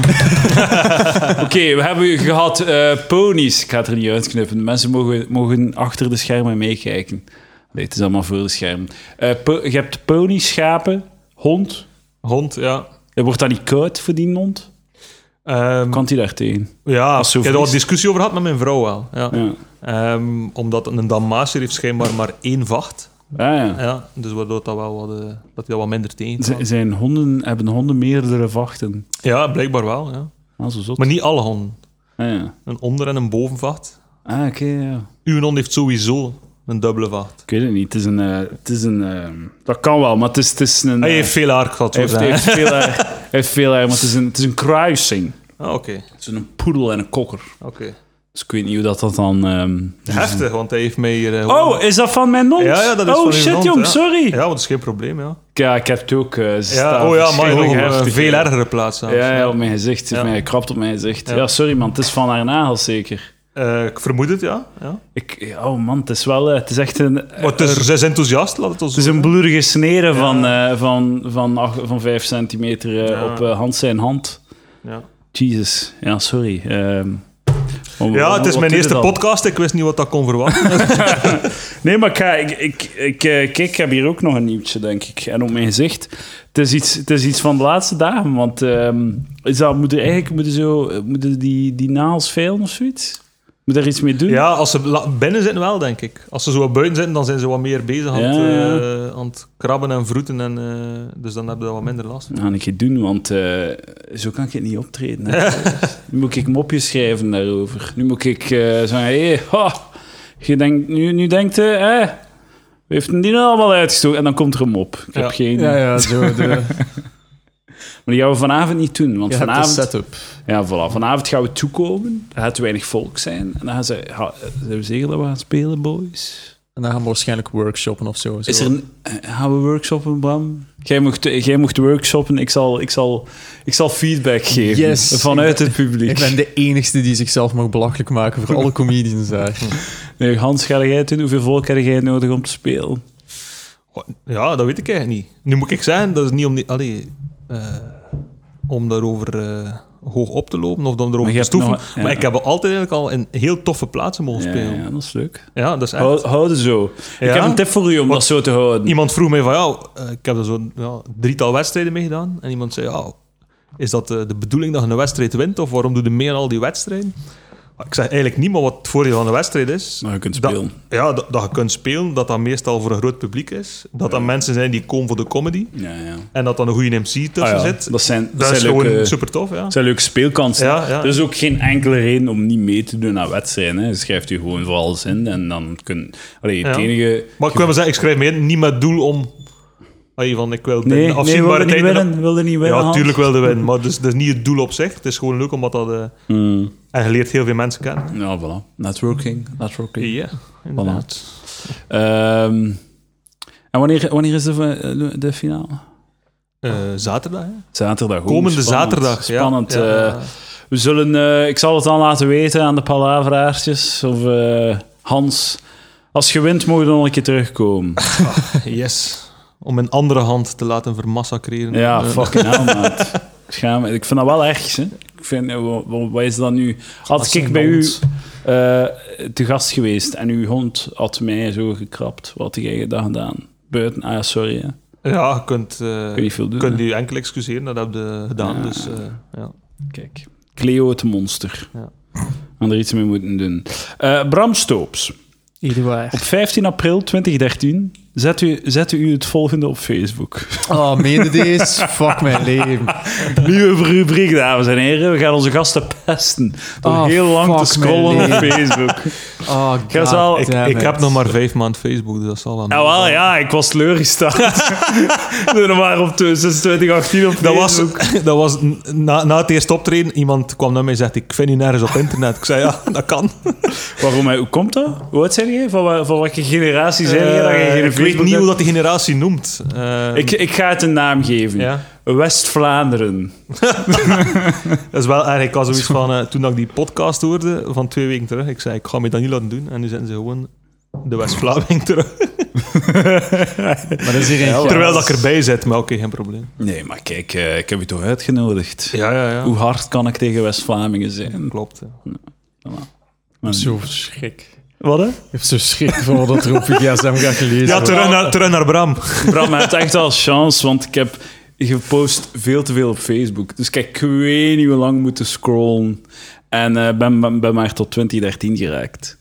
Speaker 1: Oké, we hebben gehad eh, ponies. Ik ga het er niet uitknippen. Mensen mogen, mogen achter de schermen meekijken. Nee, het is allemaal voor de schermen. Eh, po- je hebt ponies, schapen, hond.
Speaker 2: Hond, ja.
Speaker 1: Eh, Wordt dat niet koud voor die hond?
Speaker 2: Ehm,
Speaker 1: Kan die daartegen?
Speaker 2: ja,
Speaker 1: als zo
Speaker 2: ik heb er al
Speaker 1: vries-
Speaker 2: discussie over gehad met mijn vrouw wel. Ja.
Speaker 1: Ja.
Speaker 2: Ehm, omdat een Dalmatier heeft schijnbaar maar één vacht.
Speaker 1: Ah, ja.
Speaker 2: Ja, dus waardoor dat, wel wat, eh, dat hij dat wat minder tegen
Speaker 1: Z- zijn honden, hebben honden meerdere vachten?
Speaker 2: Ja, blijkbaar wel. Ja.
Speaker 1: Ah, zo zot.
Speaker 2: Maar niet alle honden.
Speaker 1: Ah, ja.
Speaker 2: Een onder- en een bovenvacht.
Speaker 1: ah oké, ja.
Speaker 2: Uw hond heeft sowieso een dubbele vacht.
Speaker 1: Ik weet het niet. Het is een. eh, het is een ehm, dat kan wel, maar het is, het is een.
Speaker 2: Hij
Speaker 1: eh,
Speaker 2: heeft veel haar gehad,
Speaker 1: hij
Speaker 2: zo
Speaker 1: heeft,
Speaker 2: zijn.
Speaker 1: heeft veel haar. Hij heeft veel haar, maar het is een, het is een kruising.
Speaker 2: Ah, oké.
Speaker 1: Het is een poedel en een kokker.
Speaker 2: oké.
Speaker 1: Dus ik weet niet hoe dat, dat dan. ehm,
Speaker 2: Heftig, want hij heeft mij hier... eh,
Speaker 1: Oh, is dat van mijn hond?
Speaker 2: Ja, ja, dat is
Speaker 1: oh,
Speaker 2: van uw
Speaker 1: shit,
Speaker 2: hond,
Speaker 1: jong,
Speaker 2: ja.
Speaker 1: sorry.
Speaker 2: Ja,
Speaker 1: Ja.
Speaker 2: want dat is geen probleem, ja.
Speaker 1: ik heb het ook. eh, ze
Speaker 2: ja
Speaker 1: staan
Speaker 2: oh ja, maar nog
Speaker 1: verschrikkelijk
Speaker 2: op een
Speaker 1: heftig,
Speaker 2: veel
Speaker 1: ja.
Speaker 2: ergere plaats zelfs.
Speaker 1: Ja, ja, op mijn gezicht. Ze heeft
Speaker 2: Ja.
Speaker 1: mij gekrapt op mijn gezicht.
Speaker 2: Ja.
Speaker 1: Ja. sorry man, het is van haar nagels zeker.
Speaker 2: Eh, ik vermoed het, ja. ja.
Speaker 1: Ik, ja, oh man, het is wel. eh, het is echt een.
Speaker 2: Maar het is, ze is enthousiast, laat het ons
Speaker 1: Het is een
Speaker 2: zeggen.
Speaker 1: bloedige snere van, eh, van, van, acht- van 5 centimeter eh,
Speaker 2: Ja.
Speaker 1: op eh, hand zijn hand.
Speaker 2: Ja,
Speaker 1: Jesus, ja, sorry. Ehm, om-
Speaker 2: ja
Speaker 1: om-
Speaker 2: het is
Speaker 1: wat
Speaker 2: mijn
Speaker 1: doe je
Speaker 2: eerste
Speaker 1: dan?
Speaker 2: podcast, ik wist niet wat dat kon verwachten.
Speaker 1: Nee, maar ik, ga- ik, ik, ik, eh, kijk, ik heb hier ook nog een nieuwtje, denk ik. En op mijn gezicht. Het is iets, het is iets van de laatste dagen. Want ehm, is dat, moeten eigenlijk moeten zo, moeten die, die naals veilen of zoiets? Moet daar iets mee doen?
Speaker 2: ja, als ze la- binnen zitten wel, denk ik. Als ze zo wat buiten zitten, dan zijn ze wat meer bezig aan, het,
Speaker 1: Ja, ja.
Speaker 2: eh, aan het krabben en vroeten. En, eh, dus dan hebben ze wat minder last.
Speaker 1: Dat ga ik het doen, want eh, zo kan ik het niet optreden. hè. nu moet ik mopjes schrijven daarover. Nu moet ik eh, zeggen, hé, ha, je denkt, nu, nu denkt hij, hè, we heeft hem die nou allemaal uitgestoken? En dan komt er een mop. Ik
Speaker 2: Ja.
Speaker 1: heb geen...
Speaker 3: Ja, ja, zo. De,
Speaker 1: Maar die gaan we vanavond niet doen, want
Speaker 3: je hebt de
Speaker 1: vanavond...
Speaker 3: setup.
Speaker 1: Ja, voilà. Vanavond gaan we toekomen. Er gaat weinig volk zijn. En dan gaan ze... Ga, zijn we zeker dat we gaan spelen, boys?
Speaker 3: En dan gaan we waarschijnlijk workshoppen of zo.
Speaker 1: Is
Speaker 3: zo.
Speaker 1: er een, eh, gaan we workshoppen, Bram? Jij mocht, jij mocht workshoppen. Ik zal, ik, zal, ik zal feedback geven
Speaker 3: Yes.
Speaker 1: vanuit het publiek.
Speaker 3: Ik ben de enigste die zichzelf mag belachelijk maken voor alle comedians daar.
Speaker 1: Nee, Hans, ga jij het doen? Hoeveel volk heb jij nodig om te spelen?
Speaker 2: Oh, Ja, dat weet ik eigenlijk niet. Nu moet ik zeggen, dat is niet om, die, allee, eh, om daarover eh, hoog op te lopen of om
Speaker 1: Maar
Speaker 2: daarover
Speaker 1: je
Speaker 2: te
Speaker 1: hebt
Speaker 2: stoeven.
Speaker 1: nog- ja.
Speaker 2: Maar ik heb altijd eigenlijk al in heel toffe plaatsen mogen
Speaker 1: Ja,
Speaker 2: spelen. Ja,
Speaker 1: ja, Oh, dat is leuk.
Speaker 2: dat is echt.
Speaker 1: Hou, houden zo. Ik
Speaker 2: Ja?
Speaker 1: heb een tip voor u om
Speaker 2: Wat-
Speaker 1: dat zo te houden.
Speaker 2: Iemand vroeg mij van, ja, eh, ik heb er zo'n ja, drietal wedstrijden mee gedaan. En iemand zei, ja, is dat eh, de bedoeling dat je een wedstrijd wint? Of waarom doe je meer aan al die wedstrijden? Maar Ik zeg eigenlijk niet meer wat het voordeel van een wedstrijd is.
Speaker 1: Maar je kunt
Speaker 2: Dat-
Speaker 1: spelen.
Speaker 2: ja, dat, dat je kunt spelen, dat dat meestal voor een groot publiek is. Dat dat mensen zijn die komen voor de comedy.
Speaker 1: Ja, ja.
Speaker 2: En dat dan een goede MC tussen
Speaker 1: Ah, ja.
Speaker 2: zit.
Speaker 1: Dat zijn, dat
Speaker 2: Dat is
Speaker 1: zijn
Speaker 2: gewoon
Speaker 1: leuke,
Speaker 2: super tof, ja.
Speaker 1: dat zijn leuke speelkansen.
Speaker 2: Ja, ja.
Speaker 1: Er is ook geen enkele reden om niet mee te doen aan wedstrijden. Hè. Je Schrijft u gewoon voor alles in en dan kun... Allee, het
Speaker 2: Ja.
Speaker 1: enige...
Speaker 2: Maar ik wil maar zeggen, ik schrijf me in, niet met doel om Hey, van ik wil
Speaker 1: Nee,
Speaker 2: de
Speaker 1: nee wilde niet
Speaker 2: afzienbaarheid
Speaker 1: winnen. Wilde niet winnen,
Speaker 2: Ja,
Speaker 1: Hans.
Speaker 2: natuurlijk wilde winnen, maar dus, dat is, dat is niet het doel op zich. Het is gewoon leuk omdat dat... eh,
Speaker 1: Hmm.
Speaker 2: en je leert heel veel mensen kennen.
Speaker 1: Ja, voilà. Networking. Networking.
Speaker 2: Ja, inderdaad.
Speaker 1: Ehm, en wanneer, wanneer is de, de finale?
Speaker 2: Eh, zaterdag, hè?
Speaker 1: Zaterdag. oeh,
Speaker 2: Komende
Speaker 1: spannend.
Speaker 2: zaterdag. ja.
Speaker 1: Spannend.
Speaker 2: Ja,
Speaker 1: eh,
Speaker 2: ja.
Speaker 1: we zullen, eh, ik zal het dan laten weten aan de palaveraartjes. Of eh, Hans, als je wint, mogen we nog een keer terugkomen.
Speaker 2: Yes. Om een andere hand te laten vermassacreren.
Speaker 1: Ja,
Speaker 2: Eh,
Speaker 1: fucking hell, maat. Ik Schaam, me. ik vind dat wel erg. Hè? Ik vind, eh, wa- wa- wat is dat nu? Had ik bij u
Speaker 2: hond.
Speaker 1: eh, te gast geweest en uw hond had mij zo gekrapt, wat had jij dan gedaan? Buiten, ah sorry, hè.
Speaker 2: Ja, je kunt, eh
Speaker 1: kun je veel doen.
Speaker 2: kunt
Speaker 1: hè.
Speaker 2: u enkel excuseren, dat heb je gedaan.
Speaker 1: Ja.
Speaker 2: Dus, eh, ja.
Speaker 1: Kijk, Cleo het monster.
Speaker 2: Ja.
Speaker 1: Aan er iets mee moeten doen. Eh, Bram Stoops, op
Speaker 3: Eduard.
Speaker 1: 15 april 2013 zet u, zet u het volgende op Facebook.
Speaker 3: Oh, meen deze? Fuck mijn leven.
Speaker 1: Nieuwe rubriek, dames en heren. We gaan onze gasten pesten. Door
Speaker 3: Ah,
Speaker 1: heel lang te
Speaker 3: fuck mijn
Speaker 1: scrollen op
Speaker 3: leven.
Speaker 1: Facebook.
Speaker 3: Oh, God
Speaker 1: ga zal-
Speaker 2: Ik,
Speaker 3: damn
Speaker 2: ik
Speaker 3: it.
Speaker 2: heb nog maar vijf maanden Facebook, dus dat zal wel.
Speaker 1: Nou wel, ja, ik was teleurgesteld. Toen maar op 2018 op
Speaker 2: Dat was, dat was n- na, na het eerste optreden. Iemand kwam naar mij en zegt: Ik vind u nergens op internet. Ik zei: Ja, dat kan.
Speaker 1: Waarom? Hoe komt dat? Hoe oud zijn jij? Van, wa- van welke generatie zijn jij? dat je
Speaker 2: Eh,
Speaker 1: geen
Speaker 2: ik weet
Speaker 1: Facebook
Speaker 2: niet hoe
Speaker 1: hebt?
Speaker 2: dat die generatie noemt. Eh,
Speaker 1: ik, ik ga het een naam geven.
Speaker 2: ja.
Speaker 1: West-Vlaanderen.
Speaker 2: Dat is wel erg. Ik had zoiets van, eh, toen ik die podcast hoorde van twee weken terug, ik zei, ik ga me dat niet laten doen. En nu zijn ze gewoon de West-Vlaming terug.
Speaker 3: Maar dat is hier een
Speaker 2: Terwijl dat ik erbij zit, maar oké, geen probleem.
Speaker 1: Nee, maar kijk, eh, ik heb u toch uitgenodigd?
Speaker 2: Ja, ja, ja.
Speaker 1: Hoe hard kan ik tegen West-Vlamingen zijn?
Speaker 2: Klopt. ja.
Speaker 1: Maar-
Speaker 3: Zo schrik.
Speaker 2: Wat hè?
Speaker 3: Ik heb zo schrik voor dat er op GSM gaat gelezen
Speaker 2: Ja,
Speaker 3: worden.
Speaker 2: terug naar, terug naar Bram.
Speaker 1: Bram, je hebt echt wel chance, want ik heb gepost veel te veel op Facebook. Dus kijk, ik weet niet hoe lang moeten scrollen. En eh, ben, ben, ben maar tot 2013 geraakt.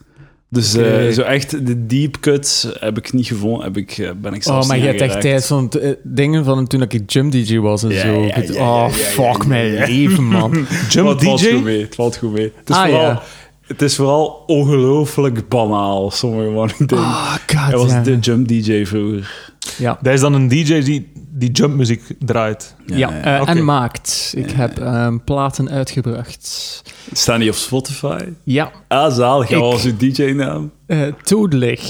Speaker 1: Dus eh,
Speaker 3: Oké.
Speaker 1: zo echt de deep cuts heb ik niet gevonden. Heb ik, eh, ben ik zelfs
Speaker 3: Oh, maar je
Speaker 1: niet
Speaker 3: hebt echt
Speaker 1: aangeraakt.
Speaker 3: tijd van eh, dingen van toen ik gym DJ was en
Speaker 1: Ja,
Speaker 3: zo.
Speaker 1: ja, ja, ja,
Speaker 3: oh,
Speaker 1: ja, ja,
Speaker 3: fuck
Speaker 1: ja,
Speaker 3: mijn
Speaker 1: ja.
Speaker 3: leven, man.
Speaker 1: Maar
Speaker 2: Jump
Speaker 1: het valt goed
Speaker 2: DJ?
Speaker 1: mee. Het valt goed mee. Het is
Speaker 3: Ah,
Speaker 1: vooral,
Speaker 3: ja.
Speaker 1: het is vooral ongelooflijk banaal, sommige morning dingen.
Speaker 3: Oh, god.
Speaker 1: Hij was
Speaker 3: ja.
Speaker 1: de jump DJ vroeger.
Speaker 3: Ja,
Speaker 2: Dat is dan een DJ die, die jumpmuziek draait.
Speaker 3: ja.
Speaker 1: eh,
Speaker 3: eh,
Speaker 2: Oké.
Speaker 3: en maakt. Ik
Speaker 1: Ja.
Speaker 3: heb ehm, platen uitgebracht.
Speaker 1: Staan die op Spotify?
Speaker 3: Ja,
Speaker 1: Ah, zalig.
Speaker 3: Ik-
Speaker 1: Wat was uw DJ-naam?
Speaker 3: eh dodelijk.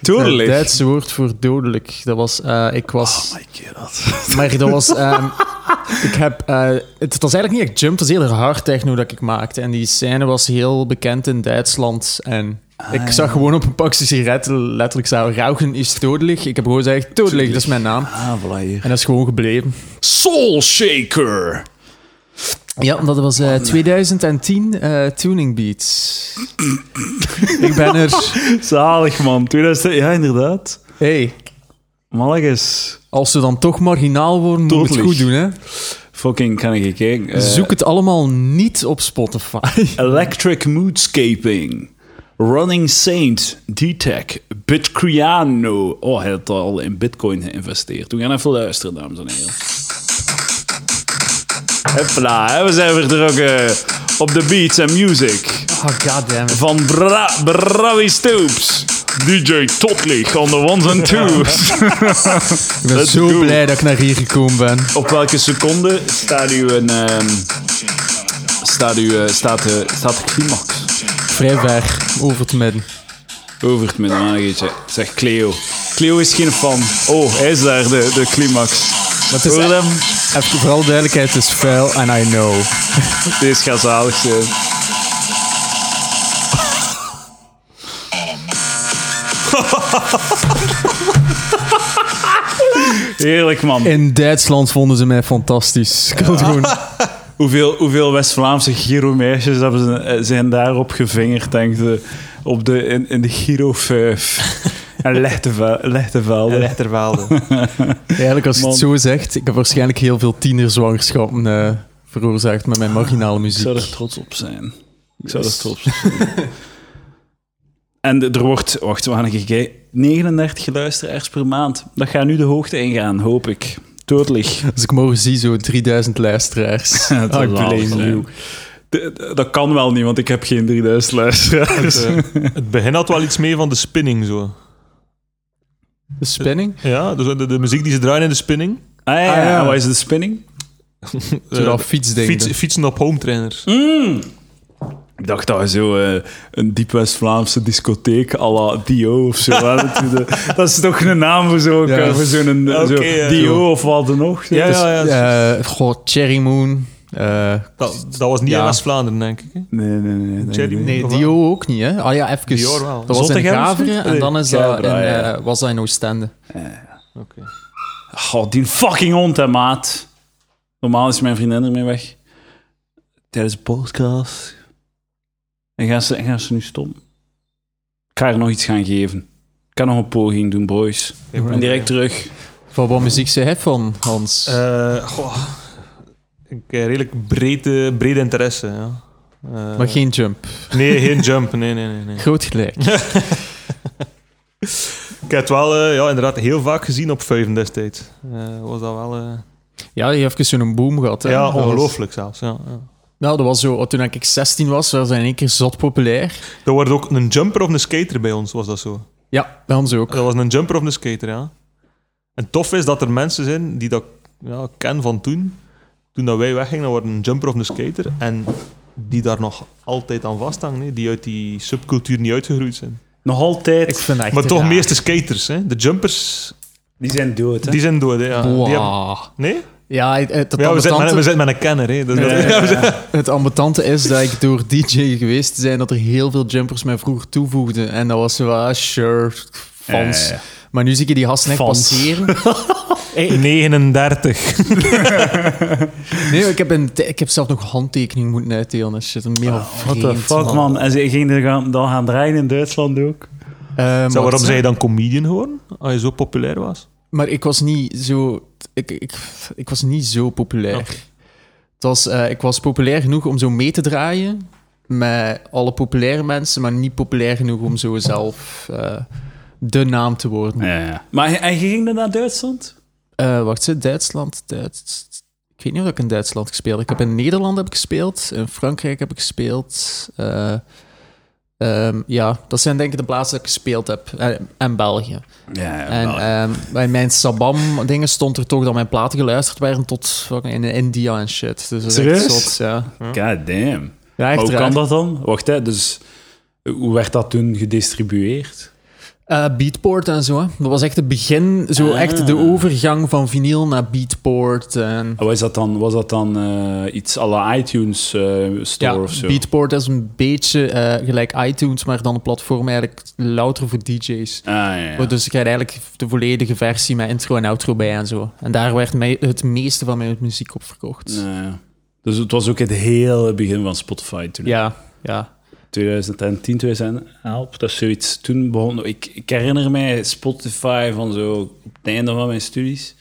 Speaker 1: Dodelijk?
Speaker 3: Het Duitse woord voor dodelijk. Dat was, eh, ik was...
Speaker 1: Oh my god.
Speaker 3: Maar dat was... ehm, ik heb... eh, het, het was eigenlijk niet echt jump, het was heel hard techno dat ik maakte. En die scène was heel bekend in Duitsland. En ik
Speaker 1: Ah, ja.
Speaker 3: zag gewoon op een pakje sigaretten letterlijk staan... Rauchen is dodelijk. Ik heb gewoon gezegd, dodelijk, dat is mijn naam.
Speaker 1: Ah, voilà hier.
Speaker 3: En dat is gewoon gebleven.
Speaker 1: Soul Shaker.
Speaker 3: Ja, dat was
Speaker 1: Oh,
Speaker 3: eh, 2010 eh, Tuning Beats. ik ben er...
Speaker 1: Zalig, man. 2000, ja, inderdaad.
Speaker 3: Hey,
Speaker 1: Malagas.
Speaker 3: als ze dan toch marginaal worden, moet je het
Speaker 1: Dodelijk.
Speaker 3: goed doen, hè?
Speaker 1: Fucking, kan ik kijken. Eh,
Speaker 3: Zoek het allemaal niet op Spotify.
Speaker 1: Electric Moodscaping. Running Saint. D-Tech. Bitcriano. Oh, hij had al in bitcoin geïnvesteerd. We gaan even luisteren, dames en heren. Hopla, hè, we zijn weer drukken op de beats en music.
Speaker 3: Oh, goddammit.
Speaker 1: van Bra Brawi Stoops. DJ Totlich on the ones and twos.
Speaker 3: Ik ben
Speaker 1: Let's
Speaker 3: zo
Speaker 1: go.
Speaker 3: blij dat ik naar hier gekomen ben.
Speaker 1: Op welke seconde staat u een... ehm, staat, u, eh, staat, de, staat de climax?
Speaker 3: Vrij ver over het midden.
Speaker 1: Over het midden, maar een beetje. Zeg Cleo. Cleo is geen fan. Oh, hij is daar, de, de climax.
Speaker 3: Dat is
Speaker 1: Hoor
Speaker 3: echt,
Speaker 1: hem?
Speaker 3: even vooral duidelijkheid, het is vuil en I know.
Speaker 1: Deze gaat zalig zijn. Heerlijk, man.
Speaker 3: In Duitsland vonden ze mij fantastisch. Ik kan het gewoon...
Speaker 1: Hoeveel, hoeveel West-Vlaamse Giro-meisjes hebben ze, eh, zijn daarop gevingerd, denk je, op de, in, in de Giro 5. En Lechteve- Lechtevelde.
Speaker 2: Rechterwaalde.
Speaker 3: Eigenlijk, als je het
Speaker 1: Man.
Speaker 3: zo zegt, ik heb waarschijnlijk heel veel tienerzwangerschappen eh, veroorzaakt met mijn marginale
Speaker 1: Ik zou
Speaker 3: muziek.
Speaker 1: er trots op zijn. Ik zou
Speaker 3: Yes.
Speaker 1: er trots op zijn. en er wordt, wacht, we gaan even kijken. 39 luisteraars per maand. Dat gaat nu de hoogte ingaan, hoop ik. Totelig.
Speaker 3: Als Dus ik morgen zie, zo 3000 luisteraars.
Speaker 1: Dat
Speaker 3: Ah, ik
Speaker 1: zal
Speaker 3: blame
Speaker 1: zijn.
Speaker 3: you.
Speaker 1: D- d- Dat kan wel niet, want ik heb geen
Speaker 3: Ah,
Speaker 2: Dus,
Speaker 1: 3000 luisteraars.
Speaker 2: het, eh, het begin had wel iets mee van de spinning zo.
Speaker 3: De spinning?
Speaker 2: Ja, dus de, de muziek die ze draaien in de spinning.
Speaker 1: Ah ja,
Speaker 3: Ah, ja.
Speaker 1: en wat is de spinning?
Speaker 3: Zo dat
Speaker 2: Eh,
Speaker 3: fietsding.
Speaker 2: fiets, fietsen op home trainers.
Speaker 1: Ik dacht dat we zo eh, een diep West-Vlaamse discotheek à la Dio of zo. hè. Dat je de- dat is toch een naam voor zo'n
Speaker 3: Ja.
Speaker 1: voor zo'n
Speaker 2: Oké,
Speaker 1: zo,
Speaker 2: ja.
Speaker 1: Dio of wat dan ook.
Speaker 2: Ja,
Speaker 1: Dus-
Speaker 2: ja, ja.
Speaker 3: Eh, goh, Cherry Moon. eh,
Speaker 2: Dat, dat was niet
Speaker 3: Ja.
Speaker 2: in West-Vlaanderen, denk ik. hè.
Speaker 1: Nee, nee, nee. nee,
Speaker 2: Jerry
Speaker 1: nee.
Speaker 3: nee,
Speaker 2: Of wel?
Speaker 3: Dio ook niet, hè? Ah ja, even.
Speaker 2: Dior wel.
Speaker 3: Dat was in
Speaker 1: Zottegem of
Speaker 3: Gaveren
Speaker 1: zoiets?
Speaker 3: en dan is
Speaker 1: Nee,
Speaker 3: dat in,
Speaker 1: Gavra, ja.
Speaker 3: eh, was dat in Oostende.
Speaker 2: Oké.
Speaker 1: God, die fucking hond, hè, maat. Normaal is mijn vriendin ermee weg. Tijdens de podcast. En gaan ze, en gaan ze nu stom. Ik ga er nog iets gaan geven. Ik kan nog een poging doen, boys. Ik ben direct terug.
Speaker 3: Van wat muziek ze heeft van Hans.
Speaker 2: Eh, goh. Ik heb redelijk breed, eh, breed interesse, ja. Eh,
Speaker 3: maar geen jump.
Speaker 2: Nee, geen jump. Nee, nee, nee. nee.
Speaker 3: Groot gelijk.
Speaker 2: Ik heb het wel eh, ja, inderdaad heel vaak gezien op Vuiven destijds. Eh, was dat wel... eh,
Speaker 3: Ja, die heeft even zo'n boom gehad. Hè?
Speaker 2: ja,
Speaker 3: Dat was-
Speaker 2: ongelooflijk zelfs. Ja, ja.
Speaker 3: nou, dat was zo, toen ik 16 was, was hij in één keer zot populair.
Speaker 2: Er wordt ook een jumper of een skater bij ons, was dat zo.
Speaker 3: Ja, bij ons ook.
Speaker 2: Dat was een jumper of een skater, ja. En tof is dat er mensen zijn die dat ja, ken van toen. Toen dat wij weggingen, dan waren een jumper of een skater. En die daar nog altijd aan vasthangen, hè, die uit die subcultuur niet uitgegroeid zijn.
Speaker 1: Nog altijd.
Speaker 3: Ik vind dat echt
Speaker 2: maar toch
Speaker 3: raar.
Speaker 2: meeste skaters, hè. De jumpers,
Speaker 1: die zijn dood, hè?
Speaker 2: die zijn dood, hè. Ja. Die
Speaker 3: Wow.
Speaker 2: hebben- nee?
Speaker 3: Ja, het, het,
Speaker 2: Ja, we zitten met,
Speaker 3: ambetante-
Speaker 2: we zitten met een kenner, hè. Dus dat-
Speaker 1: Ja, ja, ja.
Speaker 3: het ambetante is dat ik door DJ geweest te zijn dat er heel veel jumpers mij vroeger toevoegden. En dat was zo, ah, sure, fans.
Speaker 1: Ja, ja, ja.
Speaker 3: Maar nu zie ik die gasten echt
Speaker 1: Fans.
Speaker 3: passeren.
Speaker 2: 39.
Speaker 3: Nee, ik heb, een, ik heb zelf nog handtekening moeten uitdelen. Dat is shit, een mega
Speaker 1: Ah, What
Speaker 3: vreemd,
Speaker 1: the fuck, man. En ze gingen er gaan, dan gaan draaien in Duitsland ook.
Speaker 3: Eh, maar,
Speaker 2: Zou waarom zij je dan comedian geworden? Als je zo populair was?
Speaker 3: maar ik was niet zo... Ik, ik, ik was niet zo populair.
Speaker 2: Oké.
Speaker 3: Het was, eh, ik was populair genoeg om zo mee te draaien met alle populaire mensen, maar niet populair genoeg om zo zelf eh, de naam te worden.
Speaker 1: Ja, ja. Maar hij- hij ging er naar Duitsland?
Speaker 3: Eh, wacht, zit Duitsland? Duits... Ik weet niet of ik in Duitsland gespeeld heb. Ik heb in Nederland heb ik gespeeld, in Frankrijk heb ik gespeeld. eh, ehm, ja, dat zijn denk ik de plaatsen dat ik gespeeld heb. Eh, en België.
Speaker 1: Ja,
Speaker 3: En ehm, bij mijn Sabam-dingen stond er toch dat mijn platen geluisterd werden tot fucking in India en shit. Dus dat is echt
Speaker 1: Serieus?
Speaker 3: zot, ja.
Speaker 1: God damn.
Speaker 3: ja
Speaker 1: Maar
Speaker 3: echt
Speaker 1: hoe
Speaker 3: raar.
Speaker 1: kan dat dan? Wacht, hè. Dus hoe werd dat toen gedistribueerd?
Speaker 3: Eh, Beatport en zo. hè. Dat was echt het begin, zo
Speaker 1: Ah.
Speaker 3: echt de overgang van vinyl naar Beatport. En,
Speaker 1: Was dat dan, was dat dan eh, iets à la iTunes eh, Store
Speaker 3: ja,
Speaker 1: of zo?
Speaker 3: Beatport is een beetje eh, gelijk iTunes, maar dan een platform eigenlijk louter voor DJ's.
Speaker 1: Ah, ja, ja.
Speaker 3: Dus je krijgt eigenlijk de volledige versie met intro en outro bij en zo. En daar werd mij het meeste van mijn muziek op verkocht.
Speaker 1: Ja, ja. Dus het was ook het hele begin van Spotify toen.
Speaker 3: Ja, ja.
Speaker 1: 2010, 2011, dat is zoiets. Toen begon... Ik, ik herinner mij Spotify van zo op het einde van mijn studies.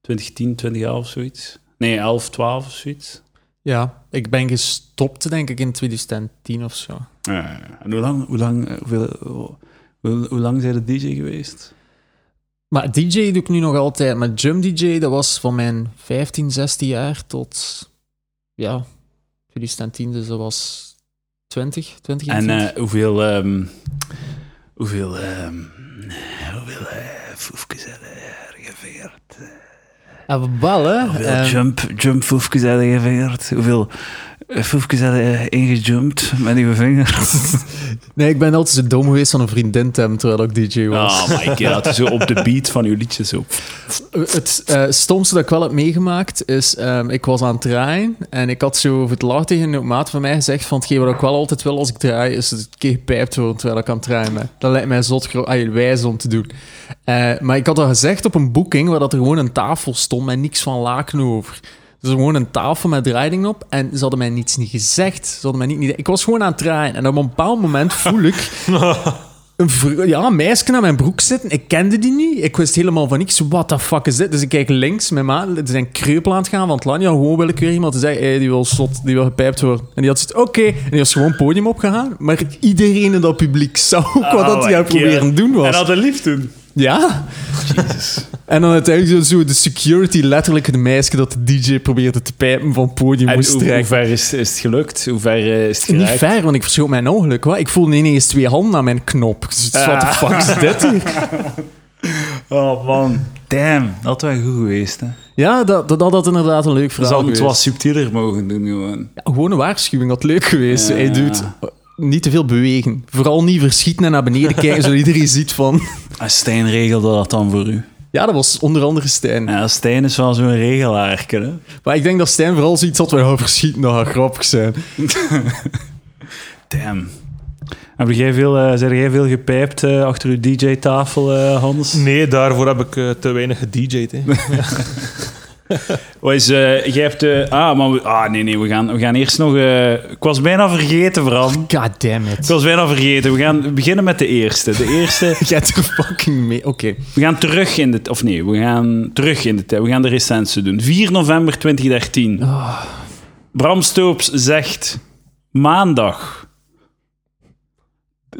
Speaker 1: 2010, 2011, zoiets. Nee, 11, 12 of zoiets.
Speaker 3: Ja, ik ben gestopt denk ik in 2010 of zo.
Speaker 1: Ja, ja, ja. En hoe lang, hoe lang, eh, hoeveel, hoe, hoe, hoe lang zijn de DJ geweest?
Speaker 3: Maar DJ doe ik nu nog altijd. Maar Jump DJ, dat was van mijn 15, 16 jaar tot ja, 2010, dus dat was 20, 20
Speaker 1: En
Speaker 3: 20.
Speaker 1: eh, hoeveel, ehm, hoeveel, ehm, hoeveel eh foefjes hebben er geveerd? eh,
Speaker 3: En Ah, wel, hè?
Speaker 1: Hoeveel
Speaker 3: Eh,
Speaker 1: jump, jump foefjes hebben er geveerd? Hoeveel eh, foefjes hebben er ingejumpt met uw vingers?
Speaker 3: nee, ik ben altijd zo dom geweest van een vriendin te hebben terwijl ik DJ was.
Speaker 1: Oh my god, zo op de beat van uw liedjes zo.
Speaker 3: Het eh, stomste dat ik wel heb meegemaakt is, ehm, ik was aan het draaien en ik had zo voor het laat tegen een maat van mij gezegd van hetgeen wat ik wel altijd wil als ik draai, is dat ik een keer gepijpt worden terwijl ik aan het draaien ben. Dat lijkt mij zot gro- ay, wijs om te doen. Eh, maar ik had dat gezegd op een boeking waar dat er gewoon een tafel stond met niks van laken over. Dus gewoon een tafel met draaidingen op en ze hadden mij niets niet gezegd. Ze hadden mij niet, niet, ik was gewoon aan het draaien en op een bepaald moment voel ik een vrou- ja, een meisje aan mijn broek zitten. Ik kende die niet. Ik wist helemaal van niks. What the fuck is dit? Dus ik kijk links. Mijn maat, ze zijn kreupel aan het gaan van het land. Ja, gewoon wil ik weer iemand die zei, hey, die wil zot, die wil gepijpt worden. En die had zoiets, oké. En die was gewoon het podium opgegaan. Maar iedereen in dat publiek zag ook
Speaker 1: Oh
Speaker 3: wat dat hij aan het proberen doen was.
Speaker 1: hadden lief toen.
Speaker 3: Ja. en dan uiteindelijk zo, zo de security, letterlijk het meisje dat de DJ probeerde te pijpen van het podium
Speaker 1: En
Speaker 3: moest
Speaker 1: hoe, hoe
Speaker 3: trekken.
Speaker 1: ver is, is het gelukt? Hoe ver eh, is het
Speaker 3: Niet
Speaker 1: geraakt?
Speaker 3: fair, want ik
Speaker 1: Ah.
Speaker 3: verschoot mijn ongeluk. Wat? Ik voelde ineens twee handen aan mijn knop. Dus, what the fuck is dit hier?
Speaker 1: Oh man, damn. Dat was goed geweest, hè.
Speaker 3: Ja, dat, dat, dat had inderdaad een leuk
Speaker 1: Ze
Speaker 3: verhaal
Speaker 1: hadden het wat
Speaker 3: geweest.
Speaker 1: subtieler mogen doen, gewoon.
Speaker 3: Ja, gewoon een waarschuwing had leuk geweest.
Speaker 1: Ja.
Speaker 3: Hey, dude, niet te veel bewegen. Vooral niet verschieten en naar beneden kijken, zodat iedereen ziet van...
Speaker 1: En Stijn regelde dat dan voor u.
Speaker 3: Ja, dat was onder andere Stijn.
Speaker 1: Ja, Stijn is wel zo'n regelaar, hè.
Speaker 3: Maar ik denk dat Stijn vooral ziet dat we nou verschieten, dat gaat grappig zijn.
Speaker 1: Damn. Heb jij veel, eh, zijn jij veel gepijpt eh, achter uw DJ-tafel, eh, Hans?
Speaker 2: Nee, daarvoor heb ik eh, te weinig gedj'd. hè.
Speaker 1: Wat is, eh, jij hebt... eh, ah, maar we- ah, nee, nee, we gaan, we gaan eerst nog... eh, ik was bijna vergeten, Bram.
Speaker 3: God damn
Speaker 1: Ik
Speaker 3: it.
Speaker 1: was bijna vergeten. We gaan beginnen met de eerste. De eerste...
Speaker 3: Jij hebt er fucking mee. Oké.
Speaker 1: We gaan terug in de... Of nee, we gaan terug in de tijd. We gaan de recensie doen. 4 november 2013. Bram Stoops zegt... Maandag.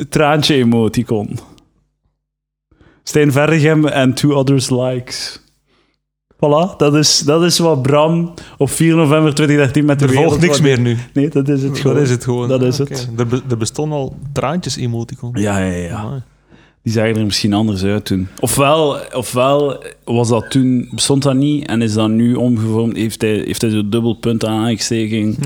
Speaker 1: Traantje emoticon. Stijn Vergem en Two Others Likes. Voilà, dat is, dat is wat Bram op 4 november 2013 met de
Speaker 2: Er volgt
Speaker 1: wereld
Speaker 2: niks
Speaker 1: waardeert.
Speaker 2: meer nu.
Speaker 1: Nee, dat is het
Speaker 2: Dat
Speaker 1: gewoon.
Speaker 2: is het gewoon.
Speaker 1: Dat is
Speaker 2: Ah, oké.
Speaker 1: het.
Speaker 2: Er, be- er bestonden al traantjes-emoticons.
Speaker 1: Ja, ja, ja.
Speaker 2: Amai.
Speaker 1: Die zagen er misschien anders uit toen. Ofwel, ofwel was dat toen, bestond dat niet en is dat nu omgevormd. Heeft hij, heeft hij zo'n dubbel punt aanhalingstekens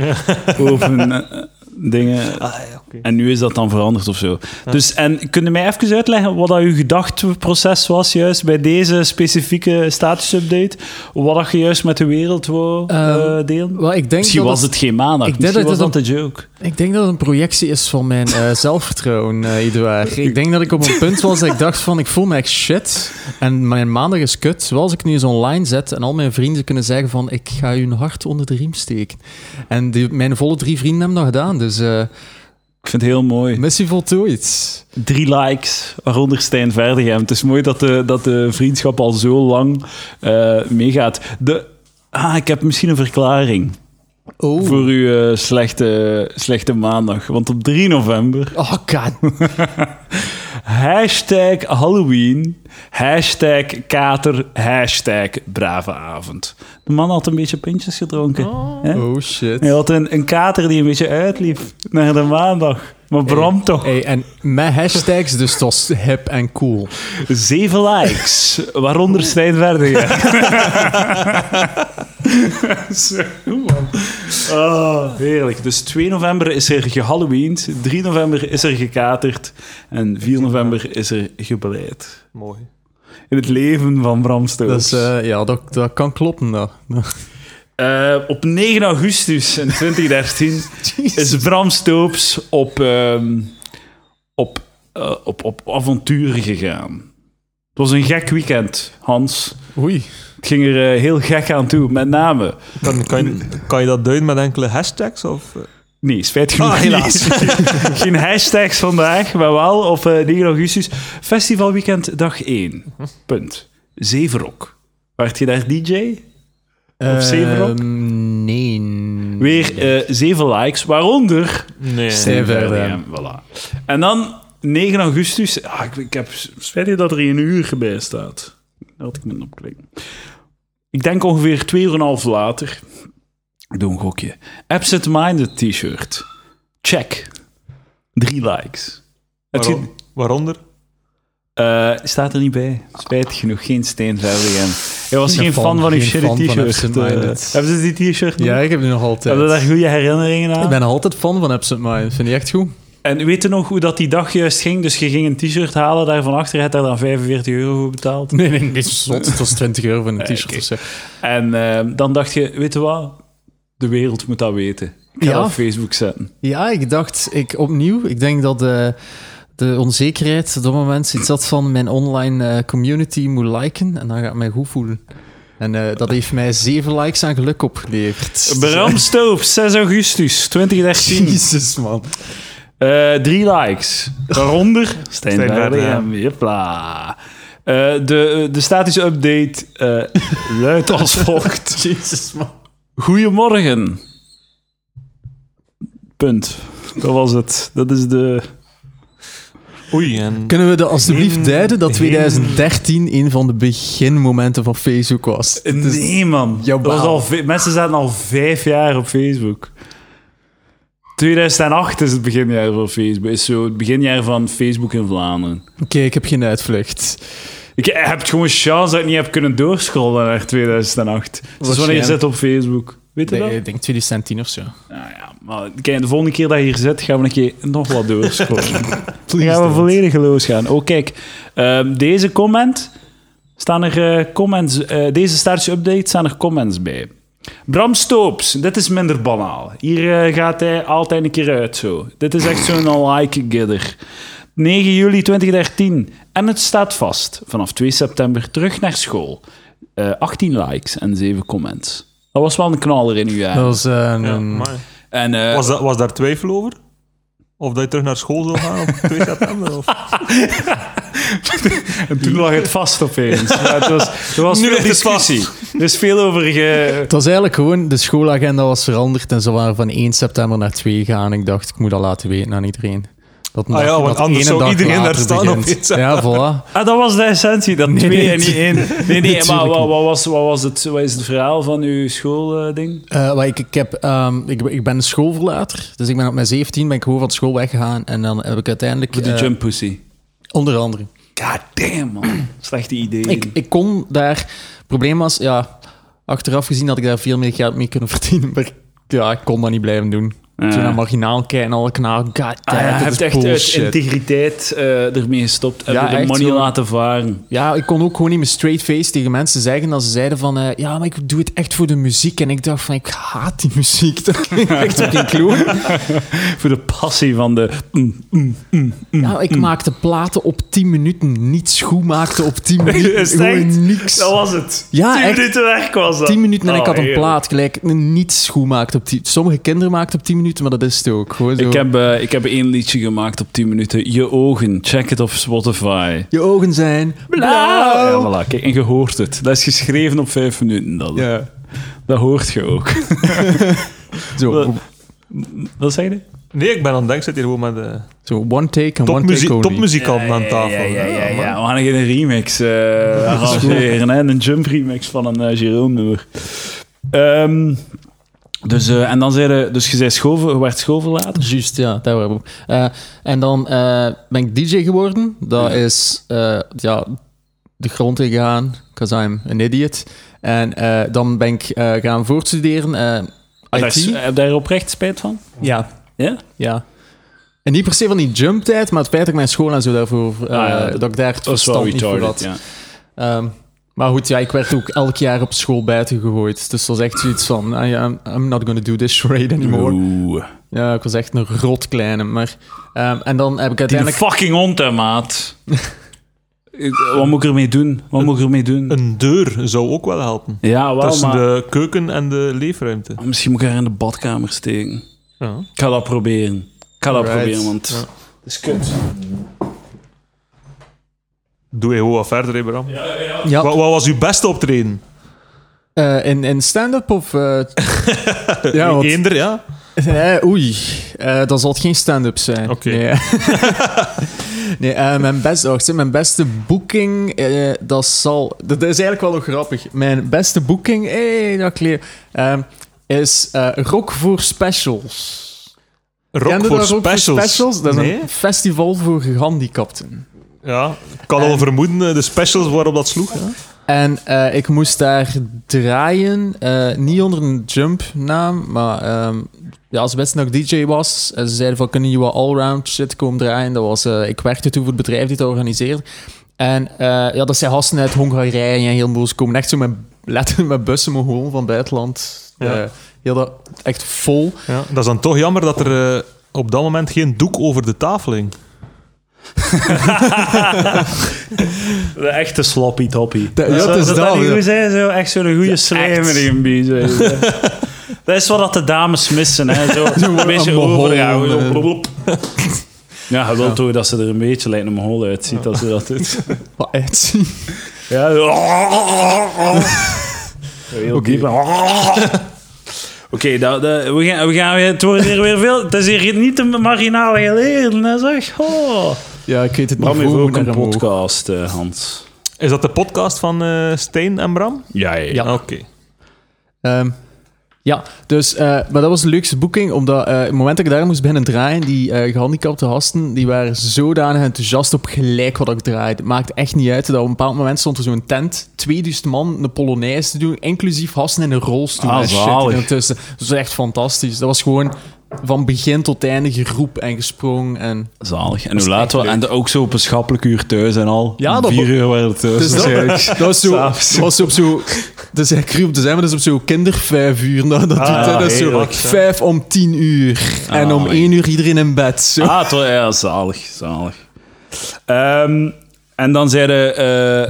Speaker 1: boven eh, dingen.
Speaker 2: Ah, ja, oké.
Speaker 1: En nu is dat dan veranderd of zo. Dus, en kun je mij even uitleggen wat dat uw gedachteproces was juist bij deze specifieke status-update? Wat dat je juist met de wereld wou eh,
Speaker 3: Ehm,
Speaker 1: delen?
Speaker 3: Wel, ik denk
Speaker 1: Misschien
Speaker 3: dat
Speaker 1: was het geen maandag.
Speaker 3: ik denk
Speaker 1: Misschien
Speaker 3: dat
Speaker 1: was
Speaker 3: het
Speaker 1: dat de joke.
Speaker 3: Ik denk dat het een projectie is van mijn eh, zelfvertrouwen, eh Eduard. Ik denk dat ik op een punt was dat ik dacht van, ik voel me echt shit. En mijn maandag is kut. Zoals ik nu eens online zet en al mijn vrienden kunnen zeggen van, ik ga je een hart onder de riem steken. En die, mijn volle drie vrienden hebben dat gedaan. Dus eh
Speaker 1: Ik vind het heel mooi.
Speaker 3: missie voltooid.
Speaker 1: drie likes, waaronder Stijn Verdegem. Het is mooi dat de, dat de vriendschap al zo lang eh, meegaat. De, ah, ik heb misschien een verklaring
Speaker 3: Oh.
Speaker 1: voor uw eh, slechte, slechte maandag. Want op 3 november,
Speaker 3: Oh god.
Speaker 1: hashtag Halloween, hashtag kater, hashtag brave avond. De man had een beetje pintjes gedronken. hè?
Speaker 3: Oh shit.
Speaker 1: Hij had een, een kater die een beetje uitliep naar de maandag. Maar Bram toch?
Speaker 3: Hey, en met hashtags, dus dat was hip en cool.
Speaker 1: Zeven likes, waaronder Stijn Verdegem. Zo, man. Oh, heerlijk. Dus 2 november is er gehalloweend, 3 november is er gekaterd en 4 november is er gebeleid.
Speaker 2: Mooi.
Speaker 1: In het leven van Bram Stoops.
Speaker 3: Dus eh, ja, dat, dat kan kloppen. Dat.
Speaker 1: Eh, op 9 augustus in 2013 is Bram Stoops op, ehm, op, eh, op, op avontuur gegaan. Het was een gek weekend, Hans.
Speaker 3: Oei.
Speaker 1: Het ging er eh, heel gek aan toe, met name.
Speaker 2: Kan, kan, je, kan je dat duiden met enkele hashtags? Of, eh?
Speaker 1: Nee, spijt genoeg.
Speaker 2: Ah,
Speaker 1: niet.
Speaker 2: helaas.
Speaker 1: Geen hashtags vandaag, maar wel op eh, 9 augustus. Festivalweekend dag 1. Punt. Zeverok. Werd je daar DJ? Of zevenrok?
Speaker 3: Ehm, Nee. Mm.
Speaker 1: Weer eh, zeven likes, waaronder
Speaker 2: Nee.
Speaker 1: Stijn
Speaker 3: Verdem.
Speaker 1: Verdem, eh, Voilà. En dan 9 augustus. Ah, ik, ik heb spijt dat er een uur bij staat. Dat had ik moeten opklikken. Ik denk ongeveer 2,5 uur en een half later. Ik doe een gokje. Absent Minded t-shirt. Check. Drie likes. Het
Speaker 2: Waarom-
Speaker 1: ge-
Speaker 2: waaronder?
Speaker 1: eh, staat er niet bij. Spijtig genoeg, geen Steen Verdegem. Hij was
Speaker 3: Geen
Speaker 1: geen
Speaker 3: fan,
Speaker 1: fan, van uw
Speaker 3: geen fan
Speaker 1: shitty
Speaker 3: van
Speaker 1: t-shirt.
Speaker 3: Absent
Speaker 1: Eh,
Speaker 3: Minded.
Speaker 1: hebben ze die t-shirt nog?
Speaker 3: Ja, ik heb die nog altijd.
Speaker 1: Hebben ze daar goede herinneringen aan?
Speaker 3: Ik ben altijd fan van Absent Mind. Vind je echt goed?
Speaker 1: En weet je nog hoe dat die dag juist ging? Dus je ging een t-shirt halen daarvan achter, je had daar dan 45 euro voor betaald.
Speaker 3: Nee, nee, dit is zot. Het was 20 euro voor een
Speaker 1: Nee,
Speaker 3: t-shirt
Speaker 1: oké.
Speaker 3: of zo.
Speaker 1: En ehm, dan dacht je, weet je wat? De wereld moet dat weten. Ik ga
Speaker 3: Ja.
Speaker 1: dat op Facebook zetten.
Speaker 3: Ja, ik dacht, ik opnieuw, ik denk dat de, de onzekerheid op dat moment iets had van mijn online eh, community moet liken en dan ga ik mij goed voelen. En eh, dat heeft mij zeven likes aan geluk opgeleverd.
Speaker 1: Bram Stoop, 6 augustus 2013.
Speaker 3: Jezus, man.
Speaker 1: Eh, drie likes. Waaronder Stijn
Speaker 2: Stijn
Speaker 1: Verdegem.
Speaker 2: Verdegem.
Speaker 1: Jepla. Eh, de, de statische update eh luidt als volgt.
Speaker 3: Jezus, man.
Speaker 1: Goedemorgen. Punt. Dat was het. Dat is de...
Speaker 2: Oei, en...
Speaker 3: Kunnen we er alsjeblieft
Speaker 2: Heen-
Speaker 3: duiden dat
Speaker 2: heen-
Speaker 3: 2013 een van de beginmomenten van Facebook was? Het is-
Speaker 1: Nee, man.
Speaker 3: Jouw
Speaker 1: Dat was
Speaker 3: baal.
Speaker 1: al ve- mensen zaten al vijf jaar op Facebook. 2008 is het beginjaar van Facebook. Is zo het beginjaar van Facebook in Vlaanderen.
Speaker 3: Oké, ik heb geen uitvlucht.
Speaker 1: Ik Ik heb gewoon chance dat ik niet heb kunnen doorscrollen naar 2008. Dus wanneer je
Speaker 3: Waarschijnlijk.
Speaker 1: zit op Facebook. Weet je
Speaker 3: Nee,
Speaker 1: dat?
Speaker 3: ik denk 2010 of zo.
Speaker 1: Nou ja, maar kijk, de volgende keer dat je hier zit, gaan we een keer nog wat doorscrollen. Dan
Speaker 3: Please
Speaker 1: gaan we
Speaker 3: don't.
Speaker 1: volledig losgaan. Oh, kijk. ehm, deze comment... Staan er eh, comments... eh, deze staartje update staan er comments bij. Bram Stoops. Dit is minder banaal. Hier eh, gaat hij altijd een keer uit zo. Dit is echt zo'n like-gidder. 9 juli 2013. En het staat vast. Vanaf 2 september terug naar school. Eh, 18 likes en 7 comments. Dat was wel een knaller in uw jaar.
Speaker 3: Dat was, eh, een-
Speaker 2: Ja, amai.
Speaker 1: En, eh,
Speaker 2: was, dat, was daar twijfel over? Of dat je terug naar school zou gaan op 2 september? Of?
Speaker 1: En toen lag het vast opeens. Maar het was, er was
Speaker 2: Nu
Speaker 1: veel
Speaker 2: ligt het
Speaker 1: discussie. Er is veel over ge...
Speaker 3: het was eigenlijk gewoon, de schoolagenda was veranderd en ze waren van 1 september naar 2 gegaan. Ik dacht, ik moet dat laten weten aan iedereen. Dat een
Speaker 2: Ah ja,
Speaker 3: dag-
Speaker 2: want
Speaker 3: dat
Speaker 2: anders
Speaker 3: ene
Speaker 2: zou
Speaker 3: dag
Speaker 2: iedereen
Speaker 3: later
Speaker 2: daar staan op
Speaker 3: begint.
Speaker 2: 1
Speaker 3: Ja, voilà.
Speaker 1: Ah, dat was de essentie, dat
Speaker 3: Nee,
Speaker 1: twee
Speaker 3: nee,
Speaker 1: en niet
Speaker 3: tu-
Speaker 1: één. Nee, nee, maar
Speaker 3: natuurlijk
Speaker 1: wat,
Speaker 3: niet.
Speaker 1: wat, was, wat, was het, wat is het verhaal van uw schoolding?
Speaker 3: Eh, maar ik, ik, heb, ehm, ik, ik ben een schoolverlater, dus ik ben op mijn 17 ben ik gewoon van school weggegaan en dan heb ik uiteindelijk...
Speaker 1: Voor de
Speaker 3: eh,
Speaker 1: jump pussy.
Speaker 3: onder andere.
Speaker 1: God damn, man. Slechte idee.
Speaker 3: Ik, ik kon daar... Het probleem was, ja, achteraf gezien had ik daar veel meer geld mee kunnen verdienen, maar ja, ik kon dat niet blijven doen. Toen naar marginaal kijken, alle knagen, god damn,
Speaker 1: Ah, ja, je
Speaker 3: dit
Speaker 1: hebt echt uit
Speaker 3: nou, is bullshit.
Speaker 1: integriteit eh, ermee gestopt. Heb
Speaker 3: Ja,
Speaker 1: je de
Speaker 3: echt
Speaker 1: money
Speaker 3: wel.
Speaker 1: laten varen.
Speaker 3: Ja, ik kon ook gewoon niet mijn straight face tegen mensen zeggen dat ze zeiden van, eh, ja, maar ik doe het echt voor de muziek. En ik dacht van, ik haat die muziek. Dat klinkt echt op geen kloon.
Speaker 1: Voor de passie van de...
Speaker 3: Ja,
Speaker 1: Mm.
Speaker 3: ik maakte platen op 10 minuten. Niets goed maakte op 10 minuten.
Speaker 1: Is het echt?
Speaker 3: Gewoon niks.
Speaker 1: was het.
Speaker 3: Ja, echt.
Speaker 1: minuten werk was Oh, dat.
Speaker 3: 10 minuten en ik
Speaker 1: Oh,
Speaker 3: had een
Speaker 1: heerlijk.
Speaker 3: plaat gelijk niets goed maakte op 10 Sommige kinderen maakten op 10 minuten, maar dat is het ook. Gewoon zo.
Speaker 1: Ik heb, eh, ik heb één liedje gemaakt op 10 minuten. Je ogen, check het op Spotify.
Speaker 3: Je ogen zijn blauw.
Speaker 1: Ja, voilà. Kijk, en je hoort het. Dat is geschreven op 5 minuten. Dat,
Speaker 3: Ja,
Speaker 1: dat hoort je ook.
Speaker 3: zo.
Speaker 1: Wat zei je?
Speaker 2: Nee, ik ben aan het denken, zit hier gewoon met de
Speaker 3: zo one take en one
Speaker 2: topmuzie-
Speaker 3: take only.
Speaker 2: topmuzikanten aan tafel. man.
Speaker 1: We gaan een remix eh arrangeren. hè. Een jump remix van een eh, Jerome nummer. Ehm, dus, eh, en dan zei je, dus je, zei schoven, je werd schoolverlaten.
Speaker 3: Juist, ja, daar waren we. Eh, en dan eh, ben ik DJ geworden. Dat is eh, ja, de grond in gegaan, because I'm an idiot. En eh, dan ben ik eh, gaan voortstuderen. eh,
Speaker 1: Daar-
Speaker 3: IT.
Speaker 1: Heb je daar oprecht spijt van?
Speaker 3: ja.
Speaker 1: Ja?
Speaker 3: ja. En niet per se van die jumptijd, maar het feit dat ik mijn school en zo daarvoor... eh,
Speaker 1: ja,
Speaker 3: dat ik daar het verstand niet voor had.
Speaker 1: ja.
Speaker 3: Ehm, maar goed, ja, ik werd ook elk jaar op school buiten gegooid. Dus dat was echt zoiets van... I am- I'm not gonna do this charade anymore.
Speaker 1: Oeh.
Speaker 3: Ja, ik was echt een rot kleine. Maar, ehm, en dan heb ik
Speaker 1: Die
Speaker 3: uiteindelijk...
Speaker 1: fucking hond, hè, maat. Ik- Wat moet ik ermee doen? Wat moet ik ermee doen?
Speaker 2: Een deur zou ook wel helpen.
Speaker 1: Ja, wel,
Speaker 2: Tussen
Speaker 1: maar...
Speaker 2: de keuken en de leefruimte.
Speaker 1: Misschien moet ik haar in de badkamer steken.
Speaker 2: Ja.
Speaker 1: Ik ga dat proberen. Ik ga dat
Speaker 3: Alright.
Speaker 1: proberen, want...
Speaker 2: Ja.
Speaker 1: Het is kut.
Speaker 2: Doe je gewoon wat verder, hè, Bram.
Speaker 3: Ja,
Speaker 2: Wat, wat was uw beste optreden?
Speaker 3: eh, in, in stand-up of... eh, ja, want-
Speaker 2: Eender, ja?
Speaker 3: Eh, oei, Eh, dat zal het geen stand-up zijn.
Speaker 2: Oké.
Speaker 3: Nee, nee eh, mijn, best, wacht, hè, mijn beste boeking, eh, dat zal... Dat is eigenlijk wel nog grappig. Mijn beste boeking, hé, hey, dat kleer, ehm, is eh Rock voor Specials.
Speaker 2: Rock
Speaker 3: Kende
Speaker 2: voor
Speaker 3: dat Rock voor
Speaker 2: specials.
Speaker 3: Dat is
Speaker 2: nee?
Speaker 3: een festival voor gehandicapten.
Speaker 2: Ja, ik kan al
Speaker 3: En-
Speaker 2: vermoeden eh, de specials waarop dat sloeg. Ja.
Speaker 3: En eh, ik moest daar draaien, eh, niet onder een jump-naam, maar ehm, ja, als best nog DJ was. En ze zeiden van, kunnen jullie wat allround shit komen draaien? Dat was, eh, ik werkte toen voor het bedrijf die dat organiseerde. En eh, ja, dat zijn gasten uit Hongarije en heel boos komen echt zo met, letterlijk met bussen Mongolen van buitenland.
Speaker 2: Ja.
Speaker 3: Ja. heel dat echt vol.
Speaker 2: Ja, dat is dan toch jammer dat er eh, op dat moment geen doek over de tafel hing.
Speaker 1: De echte sloppy toppy.
Speaker 3: ja, het is Eh, dat, ja.
Speaker 1: nieuw zijn, zo, echt zo'n goede slijm
Speaker 3: echt.
Speaker 1: in een bies, weet je. Dat is wat dat de dames missen, hè. Zo, een beetje
Speaker 3: een
Speaker 1: overgaan. zo,
Speaker 3: Mongool, eh.
Speaker 1: blop, blop. Ja, je wilt toch dat ze er een beetje lijkt een hol uitziet als ze dat doet.
Speaker 3: Wat uitzien.
Speaker 1: Ja, zo. Heel
Speaker 3: Oké.
Speaker 1: diep. Oké, dat- dat- we, gaan, we gaan weer, het wordt hier weer veel. Het is hier niet de marginale geleden, hè, zeg. Oh.
Speaker 3: Ja, ik weet het
Speaker 1: Bram
Speaker 3: niet.
Speaker 1: heeft
Speaker 3: hoe
Speaker 1: ook een
Speaker 3: naar omhoog.
Speaker 1: podcast, eh, Hans.
Speaker 2: Is dat de podcast van eh Steen en Bram?
Speaker 1: Ja,
Speaker 3: Ja.
Speaker 2: Oké.
Speaker 3: Ehm, Ja, dus, eh, maar dat was de leukste boeking, omdat eh, het moment dat ik daar moest beginnen draaien, die eh, gehandicapte gasten, die waren zodanig enthousiast op gelijk wat ik draaide. Het maakt echt niet uit dat op een bepaald moment stond er zo'n tent, 2000 man, een polonaise te doen, inclusief gasten in een rolstoel
Speaker 1: Ah,
Speaker 3: en shit
Speaker 1: zalig.
Speaker 3: ertussen. Dat was echt fantastisch. Dat was gewoon van begin tot einde geroep en gesprong en...
Speaker 1: Zalig. En hoe
Speaker 3: is
Speaker 1: laat
Speaker 3: echt
Speaker 1: we...
Speaker 3: leuk.
Speaker 1: En ook zo op een schappelijk uur thuis en al.
Speaker 3: Ja,
Speaker 1: Om
Speaker 3: dat-
Speaker 1: Vier uur waren we thuis.
Speaker 3: Dus dat,
Speaker 1: waarschijnlijk.
Speaker 3: dat was zo, dat was zo op zo... Dus ik roep dus, hè, maar dat is op zo kindervijfuur. Nou, dat, doet, hè, dat is zo
Speaker 2: heerlijk, hè.
Speaker 3: vijf om tien uur. en
Speaker 1: Ah,
Speaker 3: om
Speaker 1: mijn-
Speaker 3: één uur iedereen in bed. Zo.
Speaker 1: Ah, het was- ja, zalig, zalig. Ehm, en dan zeiden... eh,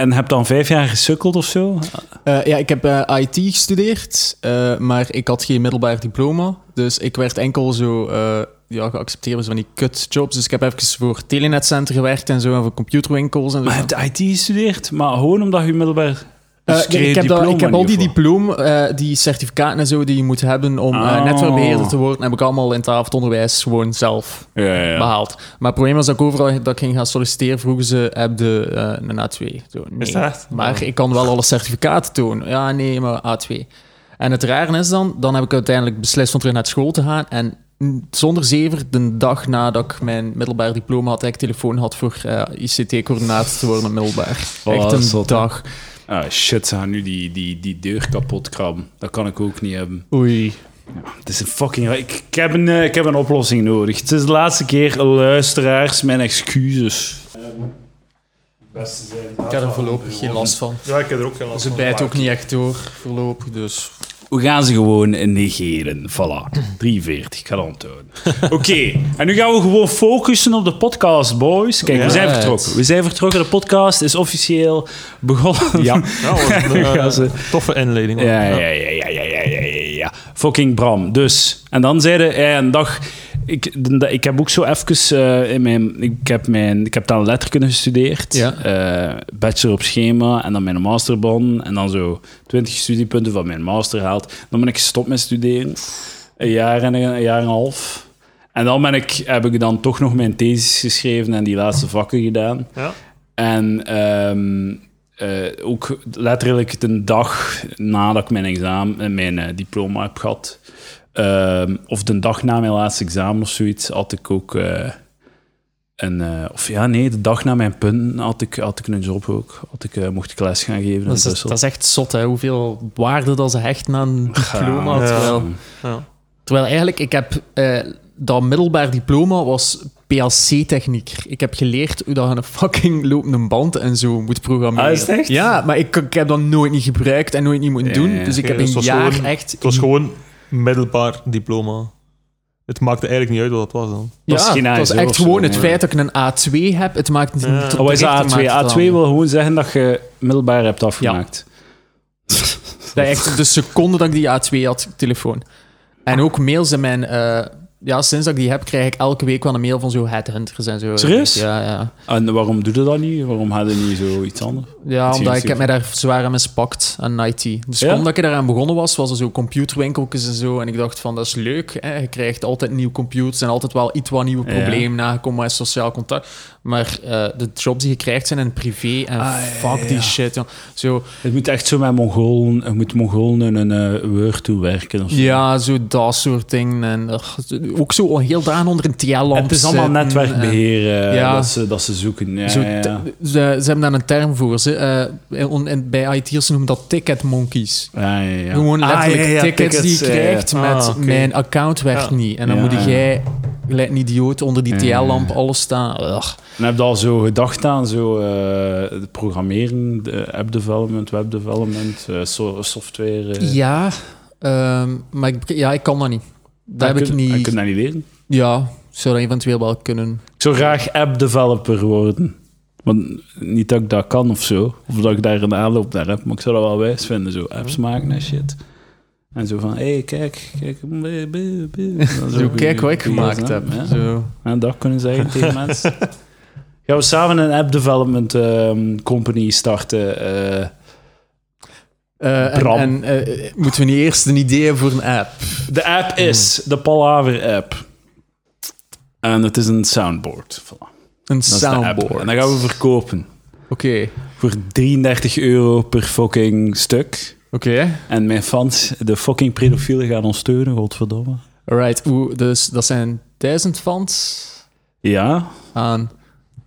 Speaker 1: en heb dan vijf jaar gesukkeld of zo?
Speaker 3: Eh, ja, ik heb eh, IT gestudeerd, eh, maar ik had geen middelbaar diploma. Dus ik werd enkel zo eh, ja, geaccepteerd als van die kutjobs. Dus ik heb even voor Telenetcenter gewerkt en zo, en voor computerwinkels en zo.
Speaker 1: Maar je hebt IT gestudeerd, maar gewoon omdat je middelbaar...
Speaker 3: Eh,
Speaker 1: dus
Speaker 3: nee,
Speaker 1: kreeg
Speaker 3: ik,
Speaker 1: je
Speaker 3: heb dat-
Speaker 1: diploma
Speaker 3: ik heb
Speaker 1: niet,
Speaker 3: al die
Speaker 1: of wat?
Speaker 3: diploma, eh, die certificaten en zo die je moet hebben om eh,
Speaker 1: Ah.
Speaker 3: netwerkbeheerder te worden, heb ik allemaal in het avondonderwijs gewoon zelf
Speaker 1: Ja, ja, ja.
Speaker 3: behaald. Maar het probleem was dat ik overal dat ik ging gaan solliciteren, vroegen ze, heb je eh, een A2? Zo, nee.
Speaker 2: Is dat echt?
Speaker 3: Maar ik kan wel alle certificaten tonen. Ja, nee, maar A2. En het rare is dan, dan heb ik uiteindelijk beslist om terug naar school te gaan. En mm, zonder zever, de dag nadat ik mijn middelbaar diploma had, dat ik telefoon had voor eh, ICT-coördinator te worden op middelbaar.
Speaker 1: Oh,
Speaker 3: Echt een
Speaker 1: zot, hè?
Speaker 3: dag.
Speaker 1: Ah, shit, ze gaan nu die, die, die deur kapot krabben. Dat kan ik ook niet hebben.
Speaker 3: Oei.
Speaker 1: Het is een fucking... Ik, ik, heb een, eh, ik heb een oplossing nodig. Het is de laatste keer, luisteraars, mijn excuses.
Speaker 3: Ik heb er voorlopig geen last van.
Speaker 2: Ja, ik heb er ook geen last
Speaker 3: Ze bijt ook niet echt door, voorlopig, dus...
Speaker 1: We gaan ze gewoon negeren. Voilà. 43, ik ga dat onthouden. Oké, en nu gaan we gewoon focussen op de podcast, boys. Kijk, we zijn
Speaker 3: Right.
Speaker 1: vertrokken. We zijn vertrokken. De podcast is officieel begonnen. Ja.
Speaker 2: Ja, wat een, eh,
Speaker 1: Ja, ze-
Speaker 2: toffe inleiding. hoor.
Speaker 1: Ja, ja, ja, ja, ja, ja, ja, ja, ja. Fucking Bram. Dus, en dan zeiden hij een dag... Ik, ik heb ook zo even... eh, in mijn, ik, heb mijn, ik heb dan letterkunde gestudeerd.
Speaker 3: Ja.
Speaker 1: Eh, bachelor op schema en dan mijn masterband. En dan zo 20 studiepunten van mijn master haalt. Dan ben ik gestopt met studeren. Een jaar en een, een jaar en een half. En dan ben ik, heb ik dan toch nog mijn thesis geschreven en die laatste vakken gedaan.
Speaker 2: Ja.
Speaker 1: En ehm, eh, ook letterlijk de dag nadat ik mijn, examen, eh, mijn eh, diploma heb gehad, ehm, of de dag na mijn laatste examen of zoiets, had ik ook eh, een. eh, of ja, nee, de dag na mijn punten had ik, had ik een job ook. Had ik, eh, mocht ik les gaan geven
Speaker 3: Dat
Speaker 1: in
Speaker 3: is,
Speaker 1: Brussel.
Speaker 3: dat is echt zot, hè? hoeveel waarde dat ze hecht aan een diploma.
Speaker 1: Ja.
Speaker 3: Terwijl,
Speaker 2: Ja.
Speaker 3: terwijl eigenlijk, ik heb eh, dat middelbaar diploma was PLC-techniek. Ik heb geleerd hoe dat je een fucking lopende band en zo moet programmeren.
Speaker 1: Ah, is het echt?
Speaker 3: Ja, maar ik, ik heb dat nooit niet gebruikt en nooit niet moeten
Speaker 1: Ja,
Speaker 3: doen.
Speaker 1: ja.
Speaker 3: Dus ik
Speaker 2: Oké,
Speaker 3: heb
Speaker 2: dus
Speaker 3: een
Speaker 2: het was
Speaker 3: jaar
Speaker 2: gewoon-
Speaker 3: echt...
Speaker 1: Mm.
Speaker 2: Het was gewoon middelbaar diploma. Het maakte eigenlijk niet uit wat dat was dan.
Speaker 1: dat is
Speaker 3: ja,
Speaker 1: geen
Speaker 3: het was
Speaker 1: ISO of
Speaker 3: echt
Speaker 1: zo,
Speaker 3: gewoon het
Speaker 1: nee.
Speaker 3: feit dat ik een A2 heb. Het maakt niet
Speaker 2: Ja.
Speaker 3: tot
Speaker 1: Oh, wat is dat A2?
Speaker 3: rechter maakt het
Speaker 1: A2
Speaker 3: allemaal.
Speaker 1: wil gewoon zeggen dat je middelbaar hebt afgemaakt.
Speaker 3: Dat echt de seconde dat ik die A2 had, telefoon. En ook mails in mijn... eh, ja, sinds dat ik die heb, krijg ik elke week wel een mail van zo headhunters en zo.
Speaker 1: Serieus?
Speaker 3: Ja, ja.
Speaker 1: En waarom doe je dat niet? Waarom had je niet zoiets anders?
Speaker 3: Ja,
Speaker 1: Het is
Speaker 3: omdat ik
Speaker 1: hier-
Speaker 3: heb mij daar zwaar aan mispakt, aan IT. Dus
Speaker 1: Ja?
Speaker 3: omdat ik daaraan begonnen was, was er zo computerwinkeltjes en zo. En ik dacht van, dat is leuk. Hè? Je krijgt altijd nieuwe computers en altijd wel iets wat nieuwe
Speaker 1: Ja.
Speaker 3: problemen nagekomen met sociaal contact. Maar eh, de jobs die je krijgt zijn in privé en
Speaker 1: Ah,
Speaker 3: fuck
Speaker 1: ja, ja,
Speaker 3: die
Speaker 1: ja.
Speaker 3: shit. jong. Zo,
Speaker 1: Het moet echt zo met Mongolen, het moet Mongolen een eh, Word toewerken of zo.
Speaker 3: Ja, zo dat soort dingen. En, ugh, ook zo al heel dagen onder een TL-lamp
Speaker 1: het is allemaal
Speaker 3: zitten.
Speaker 1: netwerkbeheer eh,
Speaker 3: ja.
Speaker 1: dat, ze, dat ze zoeken. Ja,
Speaker 3: En zo
Speaker 1: ja, ja.
Speaker 3: te- ze, ze hebben daar een term voor. Ze, eh, in- on- in- bij IT'ers noemen dat ticket monkeys.
Speaker 1: Ja, ja, ja.
Speaker 3: Gewoon
Speaker 1: Ah,
Speaker 3: letterlijk
Speaker 1: ja, ja,
Speaker 3: tickets, die je
Speaker 1: ja, ja.
Speaker 3: krijgt
Speaker 2: Ah,
Speaker 3: met
Speaker 2: oké.
Speaker 3: mijn account werkt
Speaker 2: Ja.
Speaker 3: niet. En dan
Speaker 1: Ja.
Speaker 3: moet jij, gelijk een idioot, onder die
Speaker 1: Ja.
Speaker 3: TL-lamp alles staan. Ugh.
Speaker 1: En heb je al zo gedacht aan zo, eh, het programmeren, de app development, web development, eh, so- software? eh.
Speaker 3: Ja, ehm, maar ik, ja, ik kan dat niet. Dat heb
Speaker 1: En
Speaker 3: ik
Speaker 1: kun- en kun je
Speaker 3: niet.
Speaker 1: dat niet leren?
Speaker 3: Ja, ik zou dat eventueel wel kunnen.
Speaker 1: Ik zou graag app developer worden. Want niet dat ik dat kan of zo. Of dat ik daar een aanloop naar heb. Maar ik zou dat wel wijs vinden. Zo apps maken en shit. En zo van, hé, hey, kijk, kijk. bleh, bleh, bleh. Dat is
Speaker 3: Zo,
Speaker 1: ook
Speaker 3: kijk
Speaker 1: een-
Speaker 3: wat ik
Speaker 1: een-
Speaker 3: gemaakt
Speaker 1: ja.
Speaker 3: heb. Zo.
Speaker 1: En dat kunnen zeggen tegen mensen. Gaan we samen een app development ehm, company starten? eh,
Speaker 3: Eh, en
Speaker 1: Bram.
Speaker 3: en, eh, moeten we niet eerst een idee hebben voor een app?
Speaker 1: de app is de Palaver app. En het is een soundboard. Voilà. Dat
Speaker 3: Een
Speaker 1: is de app.
Speaker 3: soundboard.
Speaker 1: En dat gaan we verkopen.
Speaker 3: Oké.
Speaker 1: Voor 33 euro per fucking stuk.
Speaker 3: Oké.
Speaker 1: En mijn fans, de fucking pedofielen, gaan ons steunen, godverdomme.
Speaker 3: Alright, oeh, dus dat zijn 1000 fans
Speaker 1: Ja,
Speaker 3: aan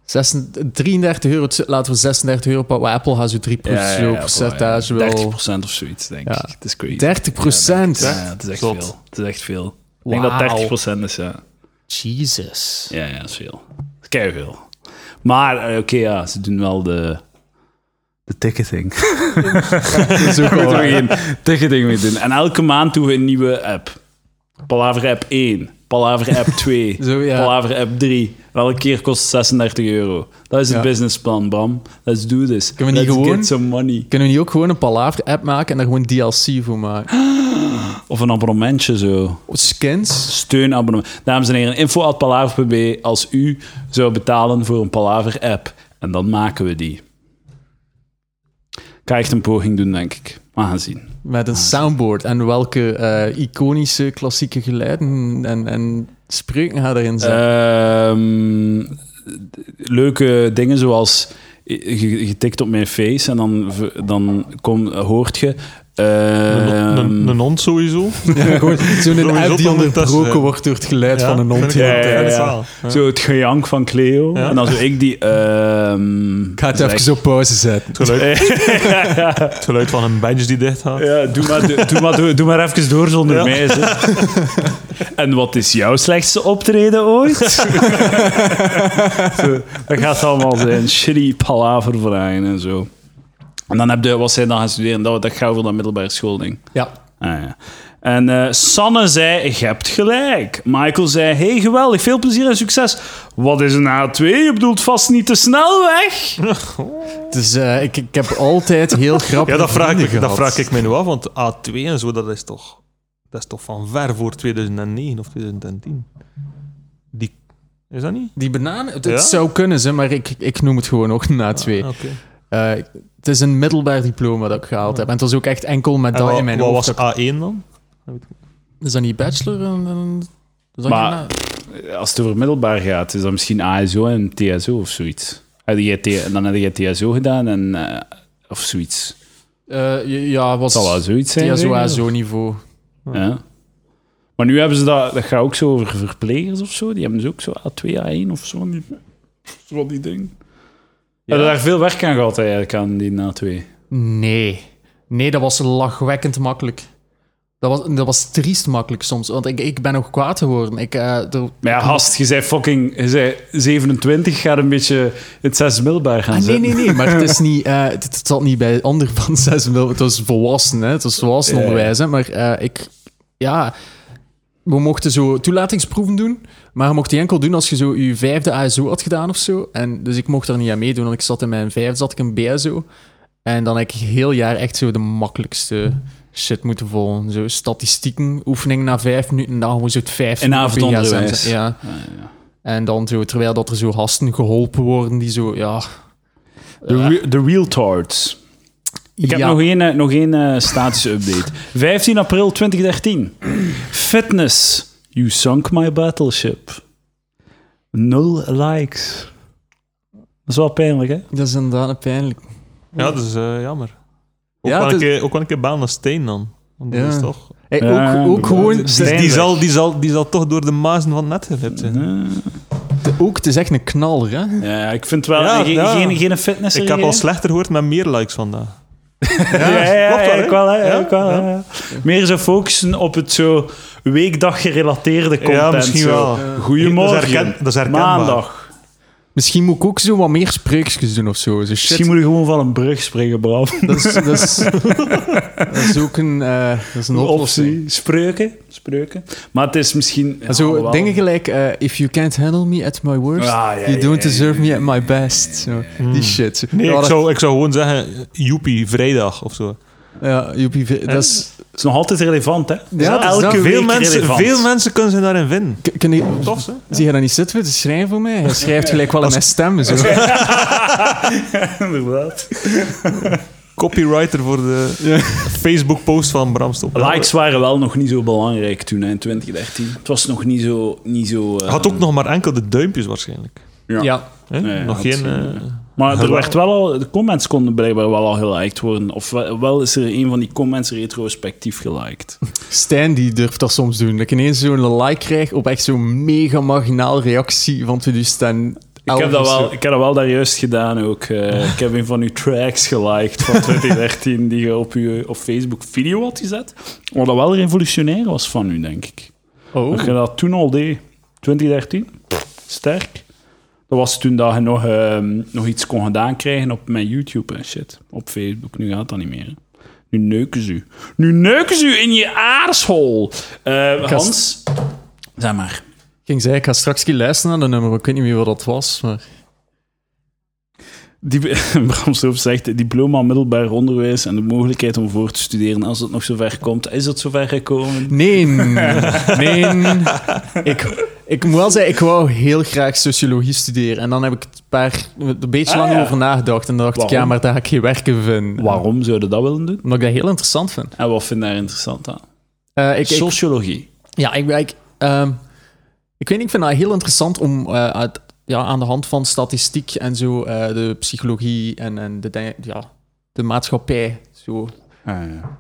Speaker 3: 36, 33 euro. Laten we 36 euro pakken. maar Apple gaat zo 3%
Speaker 1: ja, ja, ja,
Speaker 3: percentage
Speaker 1: voilà, ja.
Speaker 3: wel.
Speaker 1: 30% of zoiets, denk
Speaker 3: Ja.
Speaker 1: ik. Het is crazy.
Speaker 3: 30 procent?
Speaker 1: Ja, het is echt
Speaker 2: Zot.
Speaker 1: veel. Het is echt veel. Ik
Speaker 3: Wauw.
Speaker 1: denk dat 30% is, ja.
Speaker 3: Jesus.
Speaker 1: Ja, ja, dat is veel. Dat is veel. Maar, eh, oké, ja, ze doen wel de... De ticketing. Zo moeten we geen ticketing mee doen. En elke maand doen we een nieuwe app. Palaver app 1, Palaver app 2,
Speaker 3: Zo, ja.
Speaker 1: Palaver app 3. En elke keer kost het 36 euro. Dat is het
Speaker 3: Ja.
Speaker 1: businessplan, Bam. Let's do this.
Speaker 3: Kunnen we niet
Speaker 1: Let's
Speaker 3: gewoon-
Speaker 1: get some money.
Speaker 3: Kunnen we niet ook gewoon een Palaver-app maken en daar gewoon DLC voor maken?
Speaker 1: Of een abonnementje zo.
Speaker 3: Skins?
Speaker 1: steunabonnement. Dames en heren, info.palaver.be als u zou betalen voor een Palaver-app. En dan maken we die. Ik ga echt een poging doen, denk ik. We gaan zien.
Speaker 3: Met een soundboard. En welke eh, iconische klassieke geluiden en, en spreuken gaan erin zijn?
Speaker 1: Ehm, d- leuke dingen zoals je- je je tikt op mijn face en dan, v- dan kom, hoort je... ehm,
Speaker 2: Een een hond sowieso.
Speaker 3: Ja, gewoon Zo'n
Speaker 2: Sowieso
Speaker 3: app die
Speaker 2: dan moet dat
Speaker 3: onderbroken
Speaker 2: zijn.
Speaker 3: wordt door het geluid
Speaker 2: Ja,
Speaker 3: van een hond.
Speaker 2: vind ik wel
Speaker 1: Ja,
Speaker 2: een
Speaker 1: ja,
Speaker 2: fijn
Speaker 1: ja.
Speaker 2: verhaal. Ja.
Speaker 1: Zo het gejank van Cleo.
Speaker 2: Ja.
Speaker 1: En dan zo ik die... ehm,
Speaker 3: Ik ga het even op pauze zetten.
Speaker 2: Het geluid, het geluid van een badge die dicht gaat.
Speaker 1: Ja, doe maar, doe, doe maar, doe, doe maar even door zonder mij. Zeg. En wat is jouw slechtste optreden ooit? Zo, dat gaat allemaal zijn. Shitty palaver vragen en zo. En dan heb je, wat zij dan gaan studeren, dat, dat gaat over dat middelbare schoolding.
Speaker 3: Ja.
Speaker 1: Ah, ja. En eh, Sanne zei, je hebt gelijk. Michael zei, hey, geweldig, veel plezier en succes. Wat is een H2? Je bedoelt vast niet de snelweg?
Speaker 3: Dus eh, ik, ik heb altijd heel grappig.
Speaker 2: Ja, dat vraag, ik, dat vraag ik mij nu af, want A2 en zo, dat is toch, dat is toch van ver voor 2009 of 2010. Die, is dat niet?
Speaker 3: Die bananen, het, het
Speaker 2: Ja?
Speaker 3: zou kunnen, ze, maar ik, ik noem het gewoon nog na twee.
Speaker 2: Ah, oké.
Speaker 3: Eh, het is een middelbaar diploma dat ik gehaald heb. En het was ook echt enkel met
Speaker 2: En
Speaker 3: dat
Speaker 2: wa-
Speaker 3: in mijn
Speaker 2: wat
Speaker 3: hoofd.
Speaker 2: was A1 dan?
Speaker 3: Is dat niet bachelor? En- en- is dat
Speaker 1: Maar-
Speaker 3: geen-
Speaker 1: Als het over middelbaar gaat, is dat misschien ASO en TSO of zoiets. Heb jij T- Dan heb je TSO gedaan en, eh, of zoiets.
Speaker 3: Eh, ja, ja, was
Speaker 1: Het zal wel zoiets zijn.
Speaker 3: ja, zo
Speaker 1: denk ik.
Speaker 3: zo niveau.
Speaker 1: Ja. Maar nu hebben ze dat, dat gaat ook zo over verplegers of zo. Die hebben ze ook zo A2, A1 of zo. Die, zo die ding. Ja. Hebben daar veel werk aan gehad eigenlijk aan die A2.
Speaker 3: Nee. Nee, dat was lachwekkend makkelijk. Dat was, dat was triest makkelijk soms, want ik, ik ben nog kwaad geworden. Ik, eh, er-
Speaker 1: Maar ja, gast, je zei fucking je zei 27, gaat een beetje het zes middelbaar gaan
Speaker 3: Ah, nee,
Speaker 1: zitten.
Speaker 3: nee, nee, maar het is niet, eh, het, het zat niet bij onder van 6 mil. Het was volwassen, hè? het was volwassen
Speaker 1: Ja, ja.
Speaker 3: onderwijs. Hè? Maar eh, ik, ja, we mochten zo toelatingsproeven doen, maar je mocht die enkel doen als je zo je vijfde ASO had gedaan of zo. En, dus ik mocht daar niet aan meedoen, want ik zat in mijn vijfde, zat ik in BSO. En dan heb ik heel jaar echt zo de makkelijkste shit moeten volgen. Zo statistieken, oefening na vijf minuten, dan gewoon zo het vijfde.
Speaker 1: In
Speaker 3: op
Speaker 1: avondonderwijs.
Speaker 3: BSM, Ja.
Speaker 1: Ah, ja.
Speaker 3: En dan zo, terwijl dat er zo hasten geholpen worden, die zo, ja...
Speaker 1: De, re- de real tards. Ik heb
Speaker 3: ja.
Speaker 1: nog één, eh, nog één eh, statische update. 15 april 2013. Fitness. You sunk my battleship. Nul likes. Dat is wel pijnlijk, hè?
Speaker 3: Dat is inderdaad een pijnlijk.
Speaker 2: Ja, dat is eh, jammer. Ook,
Speaker 3: Ja,
Speaker 2: wel
Speaker 3: het
Speaker 2: een
Speaker 3: is-
Speaker 2: keer, ook wel een keer baan naar Steen dan. Want dat
Speaker 3: Ja.
Speaker 2: is toch...
Speaker 3: Hey,
Speaker 1: Ja,
Speaker 3: ook, ook
Speaker 1: ja,
Speaker 3: gewoon,
Speaker 1: dat
Speaker 3: het
Speaker 1: is-
Speaker 3: is,
Speaker 2: Dus die
Speaker 1: Steenweg.
Speaker 2: zal, die, zal, die zal toch door de mazen van het net gewipt zijn.
Speaker 3: ook, het is echt een knaller, hè?
Speaker 1: Ja, ik vind wel... eh,
Speaker 2: Ja,
Speaker 1: ge-
Speaker 2: ja.
Speaker 1: Geen, geen fitness
Speaker 2: Ik heb al slechter gehoord met meer likes vandaag.
Speaker 1: Ja, ja, ja,
Speaker 2: klopt wel,
Speaker 1: ik wel, hè?
Speaker 2: Ja,
Speaker 1: ik wel, hè. Meer zo focussen op het zo weekdag-gerelateerde content.
Speaker 2: misschien
Speaker 1: zo.
Speaker 2: wel.
Speaker 1: Goedemorgen.
Speaker 2: Dat is herken- dat is herkenbaar.
Speaker 1: Maandag.
Speaker 3: Misschien moet ik ook zo wat meer spreukjes doen of zo. Zo shit.
Speaker 1: Misschien moet je gewoon van een brug springen, Bram.
Speaker 3: Dat, is, dat, is, dat is ook een, eh, dat is een oplossing.
Speaker 1: Optie. Spreuken. Spreuken. Maar het is misschien... Oh,
Speaker 3: En Zo
Speaker 1: ja,
Speaker 3: dingen gelijk, eh, if you can't handle me at my worst,
Speaker 1: Ah, ja,
Speaker 3: you
Speaker 1: ja,
Speaker 3: don't
Speaker 1: ja, Hmm.
Speaker 3: deserve me at my best. Zo, Die shit. Zo.
Speaker 2: Nee,
Speaker 3: ja,
Speaker 2: ik
Speaker 3: dat-
Speaker 2: zou, ik zou gewoon zeggen, joepie, vrijdag of zo.
Speaker 3: ja, joepie, dat is...
Speaker 1: Het is nog altijd relevant, hè?
Speaker 3: Ja, dat is dat.
Speaker 1: Elke week
Speaker 2: Veel mensen,
Speaker 1: relevant.
Speaker 2: veel mensen kunnen ze daarin vinden.
Speaker 3: K- Kun je,
Speaker 2: Tof, hè?
Speaker 3: zie je dat niet zitten te schrijven voor mij? Hij schrijft gelijk wel in mijn stem. Zo.
Speaker 1: Inderdaad.
Speaker 2: Copywriter voor de Facebook-post van Bram Stoppel.
Speaker 1: Likes waren wel nog niet zo belangrijk toen, hè, in 2013. Het was nog niet zo... Niet zo eh,
Speaker 2: Had ook nog maar enkel de duimpjes waarschijnlijk.
Speaker 1: Ja.
Speaker 3: Ja.
Speaker 2: Hè?
Speaker 1: Nee,
Speaker 2: nog
Speaker 1: had
Speaker 2: geen...
Speaker 1: geen,
Speaker 2: eh,
Speaker 1: Maar er
Speaker 2: Wel.
Speaker 1: werd wel al, de comments konden blijkbaar wel al geliked worden. Of wel wel is er een van die comments retrospectief geliked.
Speaker 3: Stijn die durft dat soms doen. Dat ik ineens zo'n like krijg op echt zo'n mega marginaal reactie. Want we dus staan...
Speaker 1: Ik heb, dat wel, ik heb dat wel daar juist gedaan ook. eh, ik heb een van uw tracks geliked van 2013 die je op uw op Facebook video had gezet. Wat dat wel revolutionair was van u, denk ik.
Speaker 3: Oh.
Speaker 1: Dat je dat toen al deed, 2013, Pff, sterk. Dat was toen dat je nog, ehm, nog iets kon gedaan krijgen op mijn YouTube en shit. Op Facebook, nu gaat dat niet meer. hè. Nu neuken ze u. Nu neuken ze u in je aarshol. Eh,
Speaker 3: ga-
Speaker 1: Hans, zeg maar.
Speaker 3: Ik ging zeggen, ik ga straks een keer luisteren naar de nummer. Ik weet niet meer wat dat was, maar...
Speaker 1: Die, Bram Stoof zegt, diploma middelbaar onderwijs en de mogelijkheid om voor te studeren als het nog zover komt. Is het zover gekomen?
Speaker 3: Nee, nee. Ik, ik moet wel zeggen, ik wou heel graag sociologie studeren. En dan heb ik het paar, een beetje
Speaker 1: Ah,
Speaker 3: lang
Speaker 1: ja.
Speaker 3: over nagedacht. En dan dacht ik, ja,
Speaker 1: Waarom?
Speaker 3: maar daar ga ik geen werken vinden.
Speaker 1: Waarom zouden dat willen doen?
Speaker 3: Omdat ik dat heel interessant vind.
Speaker 1: En wat vind je daar interessant aan?
Speaker 3: Eh, ik, ik-
Speaker 1: Sociologie.
Speaker 3: ja, ik, ik, ehm, ik weet niet, ik vind dat heel interessant om eh, uit- ja, aan de hand van statistiek en zo eh, de psychologie en, en de, dingen- ja, de maatschappij zo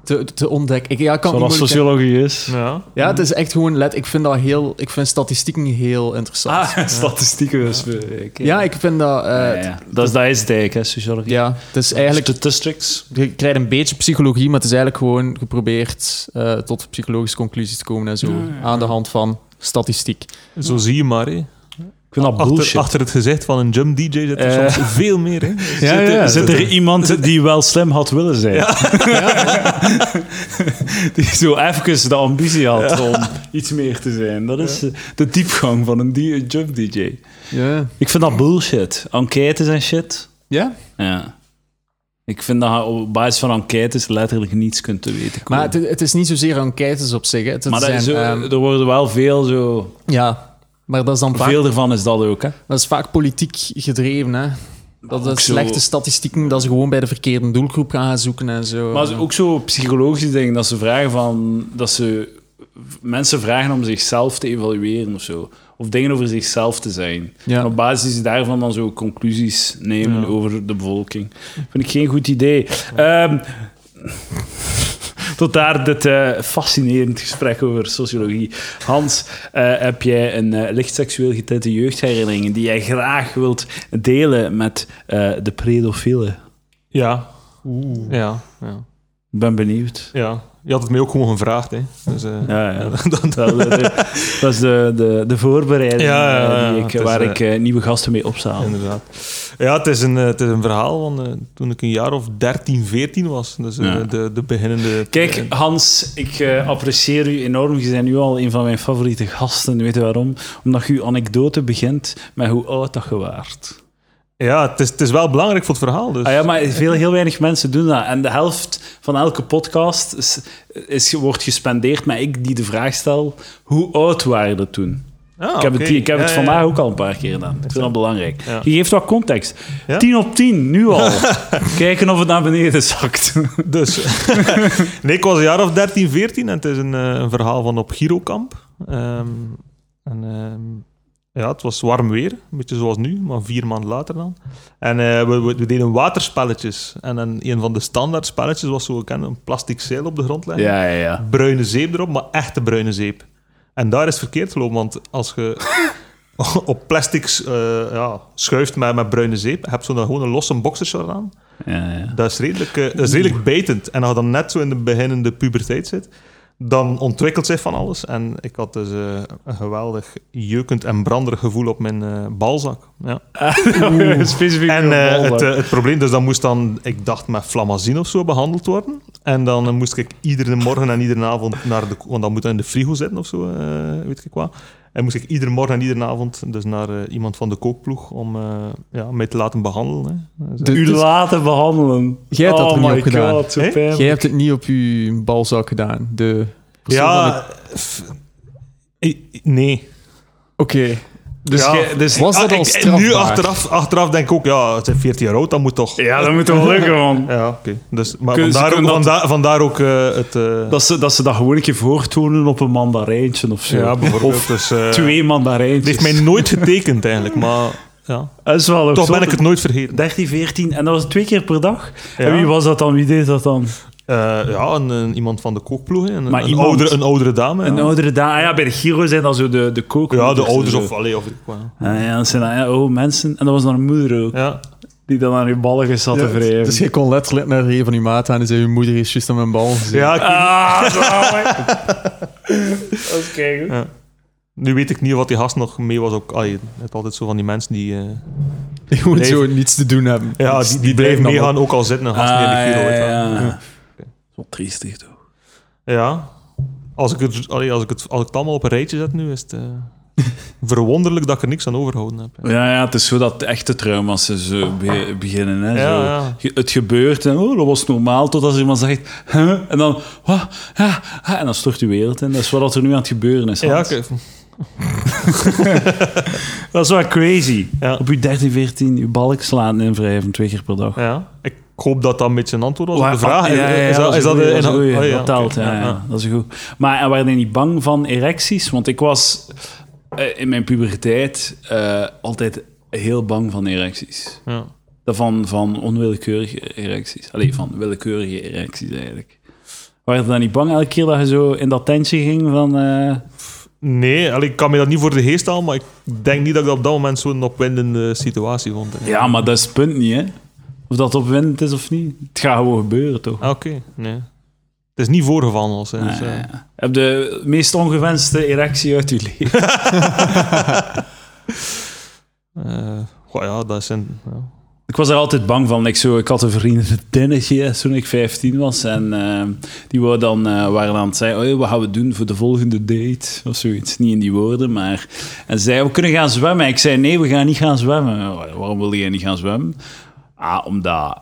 Speaker 3: te, te ontdekken. Ik, ja, ik Ah, kan het
Speaker 1: Zoals
Speaker 3: niet moeilijk-
Speaker 1: sociologie is.
Speaker 2: Ja.
Speaker 3: ja, het is echt gewoon let. Ik vind dat heel, ik vind statistieken heel interessant.
Speaker 1: Ah, statistieken. dus, eh, oké.
Speaker 3: Ja, ik vind dat. eh,
Speaker 1: Ja, ja. Dat is dat is dijk, hè, sociologie.
Speaker 3: Ja, het is eigenlijk.
Speaker 1: statistics.
Speaker 3: Je krijgt een beetje psychologie, maar het is eigenlijk gewoon geprobeerd eh, tot psychologische conclusies te komen en zo.
Speaker 1: Ah,
Speaker 3: Aan de hand van statistiek.
Speaker 2: Zo zie je maar, hè.
Speaker 1: Ik vind dat bullshit.
Speaker 2: Achter, achter het gezicht van een jump DJ zit er
Speaker 1: Eh.
Speaker 2: soms veel meer, hè.
Speaker 3: Ja,
Speaker 1: zit, er-
Speaker 3: ja,
Speaker 1: zit er iemand die wel slim had willen zijn? die zo even de ambitie had om iets meer te zijn. Dat is eh, de diepgang van een di- jump DJ.
Speaker 3: Ja.
Speaker 1: Ik vind dat bullshit. Enquêtes en shit.
Speaker 3: ja?
Speaker 1: Ja. Ik vind dat je op basis van enquêtes letterlijk niets kunt te weten komen.
Speaker 3: Maar het, het is niet zozeer enquêtes op zich. hè. Het
Speaker 1: Maar dat
Speaker 3: zijn,
Speaker 1: is eh, zo-
Speaker 3: ehm,
Speaker 1: er worden wel veel zo...
Speaker 3: ja, maar dat is dan vaak,
Speaker 1: Veel ervan is dat ook, hè.
Speaker 3: dat is vaak politiek gedreven. Hè? Dat
Speaker 1: Ook
Speaker 3: dat
Speaker 1: zo-
Speaker 3: slechte statistieken, dat ze gewoon bij de verkeerde doelgroep gaan gaan zoeken en zo. Eh,
Speaker 1: Maar ze- ook zo psychologisch denk ik dat ze vragen van dat ze v- mensen vragen om zichzelf te evalueren of zo. Of dingen over zichzelf te zijn.
Speaker 3: Ja.
Speaker 1: En op basis daarvan dan zo conclusies nemen over de bevolking. Vind ik geen goed idee. Ehm, tot daar dit eh, fascinerend gesprek over sociologie. Hans, eh, heb jij een eh, licht seksueel getinte jeugdherinnering die jij graag wilt delen met eh, de predofielen?
Speaker 2: Ja. Ja, ja,
Speaker 1: Ik ben benieuwd.
Speaker 2: ja. Je had het mij ook gewoon gevraagd, hè. Dus, eh,
Speaker 1: Ja, ja. dat, dat- dat is de, de, de voorbereiding
Speaker 2: Ja, ja, ja,
Speaker 1: eh, die
Speaker 2: ja.
Speaker 1: ik,
Speaker 2: Het is,
Speaker 1: waar
Speaker 2: eh,
Speaker 1: ik eh, nieuwe gasten mee opzaal.
Speaker 2: Inderdaad. Ja, het is een, eh, het is een verhaal van eh, toen ik een jaar of 13, 14 was. Dus eh,
Speaker 1: Ja.
Speaker 2: de, de beginnende...
Speaker 1: Kijk, Hans, ik eh, apprecieer u enorm. Je bent nu al een van mijn favoriete gasten. Weet je waarom? Omdat je uw anekdote begint met hoe oud dat je waart.
Speaker 2: Ja, het is, het is wel belangrijk voor het verhaal. Dus.
Speaker 1: Ah ja, maar veel, heel weinig mensen doen dat. En de helft van elke podcast is, is, wordt gespendeerd met ik die de vraag stel: hoe oud waren we toen?
Speaker 2: Ah,
Speaker 1: Ik heb, het,
Speaker 2: oké.
Speaker 1: hier- ik heb
Speaker 2: Ja,
Speaker 1: het
Speaker 2: ja,
Speaker 1: vandaag
Speaker 2: ja.
Speaker 1: ook al een paar keer gedaan. Ik vind dat belangrijk.
Speaker 2: Ja.
Speaker 1: Je geeft wat context.
Speaker 2: Ja?
Speaker 1: 10 op 10, nu al. Kijken of het naar beneden zakt.
Speaker 2: Dus. nee, ik was een jaar of 13, 14 en het is een, eh, een verhaal van op Girokamp. Ehm, en, ehm, ja, het was warm weer, een beetje zoals nu, maar vier maanden later dan. En eh, we, we, we deden waterspelletjes. En, dan een van de standaard spelletjes was zo kennen, een plastic zeil op de grond leggen.
Speaker 1: Ja, ja, ja.
Speaker 2: bruine zeep erop, maar echte bruine zeep. En daar is het verkeerd gelopen, want als je op plastics eh, ja, schuift met, met bruine zeep, heb je zo'n gewoon een losse boxershort aan.
Speaker 1: ja, ja.
Speaker 2: Dat is redelijk, eh, dat is redelijk bijtend. En als je dan net zo in de beginnende puberteit zit, dan ontwikkelt zich van alles. En ik had dus eh, een geweldig jeukend en branderig gevoel op mijn eh, balzak. Ja.
Speaker 1: Specifiek.
Speaker 2: En
Speaker 1: op
Speaker 2: eh,
Speaker 1: Malta.
Speaker 2: het, eh, het probleem, dus dat moest dan, ik dacht, met flamazine of zo behandeld worden. En dan eh, moest ik iedere morgen en iedere avond naar de... Want dan moet dat in de frigo zitten of zo, eh, weet ik wat. En moest ik iedere morgen en iedere avond dus naar eh, iemand van de kookploeg om eh, ja, mij te laten behandelen. Hè. Dus, eh,
Speaker 1: U
Speaker 3: Dus-
Speaker 1: laten behandelen. Oh
Speaker 3: Jij hebt dat er niet op gedaan.
Speaker 1: god, zo
Speaker 2: Hè?
Speaker 1: pijnlijk.
Speaker 3: Jij hebt het niet op je balzak gedaan. De persoon van
Speaker 2: ja...
Speaker 3: de-
Speaker 2: f- i- i- Nee.
Speaker 3: Oké. Dus,
Speaker 2: Ja,
Speaker 3: jij- dus was
Speaker 2: Ah,
Speaker 3: dat
Speaker 2: ik-
Speaker 3: al
Speaker 2: en
Speaker 3: strafbaar?
Speaker 2: Nu achteraf, achteraf denk ik ook, ja, het zijn 14 jaar oud, dat moet toch...
Speaker 1: Ja, dat moet wel lukken, man.
Speaker 2: Ja, oké. Dus, maar
Speaker 1: Kunnen- ze
Speaker 2: vandaar ook,
Speaker 1: kunnen dat-
Speaker 2: vandaar, vandaar ook eh, het... eh,
Speaker 1: Dat ze, dat ze dat gewoon een keer voortonen op een mandarijntje of zo.
Speaker 2: Ja, bijvoorbeeld.
Speaker 1: Of
Speaker 2: dus, eh,
Speaker 1: twee
Speaker 2: Het heeft
Speaker 1: mandarijntjes.
Speaker 2: mij nooit getekend eigenlijk, maar Ja.
Speaker 1: Dat is wel ook
Speaker 2: Toch
Speaker 1: zot.
Speaker 2: ben ik het nooit vergeten.
Speaker 1: 13, 14 en dat was twee keer per dag.
Speaker 2: Ja.
Speaker 1: En wie was dat dan? Wie deed dat dan?
Speaker 2: Eh, ja, een, een- iemand van de kookploeg. hè. Een,
Speaker 1: Maar
Speaker 2: een,
Speaker 1: iemand-
Speaker 2: oudere, een oudere dame.
Speaker 1: Een dus,
Speaker 2: ja.
Speaker 1: oudere dame. Ah ja, bij de Giro zijn dat zo de, de kookmoeders
Speaker 2: ja, de
Speaker 1: en
Speaker 2: ouders
Speaker 1: zo.
Speaker 2: of... Allee, of ja.
Speaker 1: Ah ja, dat zijn dan, ja, oh, mensen. En dat was dan een moeder ook,
Speaker 2: Ja.
Speaker 1: die dan aan je ballen zat te wrijven.
Speaker 3: dus je kon letterlijk naar een van je maat aan en zei: Je moeder is juist aan mijn bal. gezien."
Speaker 2: Ja, ik-
Speaker 1: Ah, zalig. dat is keigoed.
Speaker 2: nu weet ik niet wat die gast nog mee was. Ook, allee, het altijd zo van die mensen die... eh,
Speaker 3: Je moet
Speaker 2: Bleef-
Speaker 3: zo niets te doen hebben.
Speaker 2: ja,
Speaker 3: Dus
Speaker 2: die, die blijven
Speaker 3: dan
Speaker 2: meegaan, ook al zitten een gast
Speaker 1: Ah,
Speaker 2: die in de Giro. weet je wel.
Speaker 1: Wat triestig, toch?
Speaker 2: Ja. Als ik, het, allee, als, ik het, als ik het allemaal op een rijtje zet nu, is het eh, verwonderlijk dat ik er niks aan overhouden heb. hè.
Speaker 1: Ja, ja, het is zo dat de echte trauma's zo be- beginnen. Hè,
Speaker 2: Ja,
Speaker 1: zo.
Speaker 2: ja.
Speaker 1: Ge- Het gebeurt en oh, dat was normaal, totdat er iemand zegt... Huh? En dan... "Wah, ah, ah," en dan stort je wereld in. Dat is wat er nu aan het gebeuren is,
Speaker 2: Ja,
Speaker 1: Hans.
Speaker 2: oké.
Speaker 1: Dat is wel crazy.
Speaker 2: Ja.
Speaker 1: Op je 13, 14, je balk slaan en wrijven twee keer per dag.
Speaker 2: ja. Ik hoop dat dat een beetje een antwoord was op
Speaker 1: Waar-
Speaker 2: de vraag.
Speaker 1: Ja, ja, ja,
Speaker 2: is dat, is dat,
Speaker 1: een
Speaker 2: de-
Speaker 1: goeie, dat is een
Speaker 2: in-
Speaker 1: goeie.
Speaker 2: oh, ja,
Speaker 1: Dat telt,
Speaker 2: oké.
Speaker 1: ja, ja, dat is goed. Maar en waren jullie niet bang van erecties? Want ik was eh, in mijn puberteit eh, altijd heel bang van erecties.
Speaker 2: ja.
Speaker 1: Van, van onwillekeurige erecties. Allee, van willekeurige erecties eigenlijk. Waren je dan niet bang elke keer dat je zo in dat tentje ging van... eh,
Speaker 2: Nee, allee, ik kan me dat niet voor de geest halen, maar ik denk niet dat ik dat op dat moment zo'n opwindende situatie vond. hè.
Speaker 1: ja, maar dat is het punt niet, hè? Of dat opwindend is of niet. Het gaat gewoon gebeuren, toch?
Speaker 2: Ah, Oké, nee. Het is niet voorgevallen als dus, eh,
Speaker 1: Ja, ja, ja. Heb de meest ongewenste erectie uit je leven?
Speaker 2: eh, ja, dat zijn... Ja.
Speaker 1: Ik was er altijd bang van. Ik, zo, ik had een vriend, een dennetje, toen ik 15 was. En eh, die wou dan, eh, waren dan aan het zeggen, "Oh, wat gaan we doen voor de volgende date? Of zoiets. Niet in die woorden, maar... En zei, we kunnen gaan zwemmen. Ik zei, nee, we gaan niet gaan zwemmen. "Wa- Waarom wil je niet gaan zwemmen? Ah, omdat,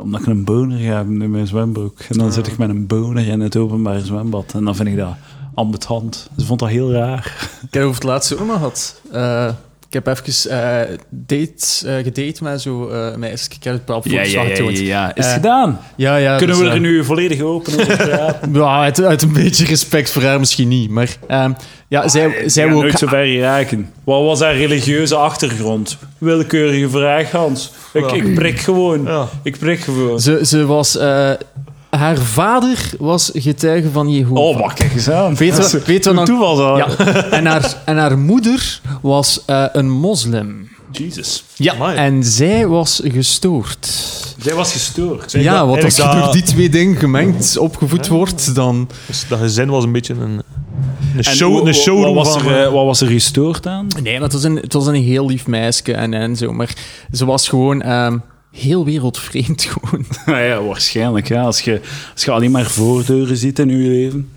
Speaker 1: omdat ik een boner ga hebben in mijn zwembroek. En dan zit ik met een boner in het openbaar zwembad. En dan vind ik dat ambetant. Ze vond dat heel raar.
Speaker 3: Ik heb over het laatste ook nog gehad. Eh, ik heb even eh date, eh, gedate met zo eh meisje. Ik heb het bepaald voor getoond.
Speaker 1: Is het
Speaker 3: Eh,
Speaker 1: gedaan?
Speaker 3: ja, ja,
Speaker 1: Kunnen
Speaker 3: dus,
Speaker 1: we er
Speaker 3: eh,
Speaker 1: nu volledig open over praten?
Speaker 3: Ja, uit, uit een beetje respect voor haar misschien niet. Maar ehm, ja, zij, zij
Speaker 1: Zij
Speaker 3: wou
Speaker 1: Ah, nooit
Speaker 3: ook...
Speaker 1: zo ver raken. Wat was haar religieuze achtergrond? Willekeurige vraag, Hans. Ik,
Speaker 2: Ja.
Speaker 1: ik prik gewoon.
Speaker 2: Ja.
Speaker 1: Ik prik gewoon.
Speaker 3: Ze, ze was... eh, haar vader was getuige van Jehovah.
Speaker 1: Oh, maar kijk eens aan.
Speaker 3: Weet je wat- weet je wat dan-
Speaker 1: Toeval zo.
Speaker 3: Ja. en, haar, en haar moeder was eh, een moslim.
Speaker 1: Jesus.
Speaker 3: Ja.
Speaker 2: Amai.
Speaker 3: En zij was gestoord.
Speaker 1: Zij was gestoord.
Speaker 3: ja,
Speaker 2: dat-
Speaker 3: want
Speaker 2: en
Speaker 3: als
Speaker 2: ik
Speaker 3: je
Speaker 2: dat-
Speaker 3: door die twee dingen gemengd opgevoed wordt, dan...
Speaker 2: Dus dat gezin was een beetje een, een,
Speaker 1: En
Speaker 2: show,
Speaker 1: hoe-
Speaker 2: een
Speaker 1: hoe-
Speaker 2: showroom
Speaker 1: wat was,
Speaker 2: van...
Speaker 1: er, eh, wat was er gestoord aan?
Speaker 3: Nee, maar het was een, het was een heel lief meisje en, en zo. Maar ze was gewoon ehm, heel wereldvreemd gewoon.
Speaker 1: Nou ja, waarschijnlijk. Ja. Als, je, als je alleen maar voordeuren ziet in je leven.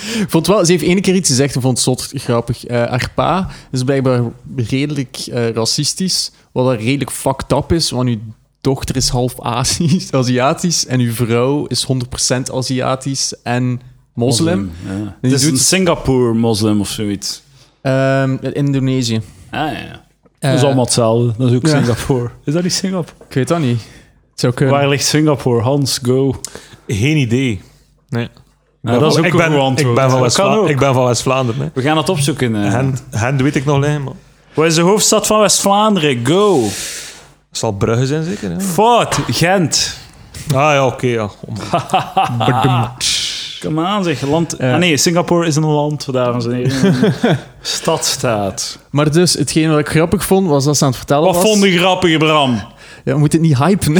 Speaker 3: Ik vond wel, ze heeft één keer iets gezegd en vond het zot grappig. Eh haar pa is blijkbaar redelijk eh, racistisch, wat dan redelijk fucked up is, want uw dochter is half Azisch, Aziatisch en uw vrouw is 100% Aziatisch en moslim.
Speaker 1: Ja.
Speaker 3: Die
Speaker 1: Het is
Speaker 3: doet-
Speaker 1: een Singapore-moslim of zoiets.
Speaker 3: Ehm, in Indonesië.
Speaker 1: Ah ja.
Speaker 3: Eh,
Speaker 1: Dat is allemaal hetzelfde. Dat is ook
Speaker 3: ja.
Speaker 1: Singapore. Is dat niet Singapore?
Speaker 3: Ik weet dat niet. Het zou kunnen.
Speaker 1: Waar ligt Singapore? Hans, go.
Speaker 2: eh, Geen idee. Nee.
Speaker 1: Nou, dat is ook
Speaker 2: ik
Speaker 1: een
Speaker 2: ben,
Speaker 1: goed antwoord.
Speaker 2: Ik ben van,
Speaker 1: Dat kan
Speaker 2: West-Vla-
Speaker 1: ook.
Speaker 2: ik ben van West-Vlaanderen. hè.
Speaker 1: We gaan het opzoeken. eh.
Speaker 2: Hen, hen weet ik nog niet, maar...
Speaker 1: Wat is de hoofdstad van West-Vlaanderen? Go.
Speaker 2: Het zal Brugge zijn, zeker? Ja.
Speaker 1: Fout. Gent.
Speaker 2: Ah ja, oké, ja. Oh, man.
Speaker 3: Ah.
Speaker 1: Come aan, zeg. Land... Ah, nee, Singapore is een land, dames en heren. Een Stadstaat.
Speaker 3: Maar dus, hetgeen wat ik grappig vond, was dat ze aan het vertellen
Speaker 1: Wat
Speaker 3: was...
Speaker 1: vond je grappige Bram?
Speaker 3: Ja, we moeten het niet hypen.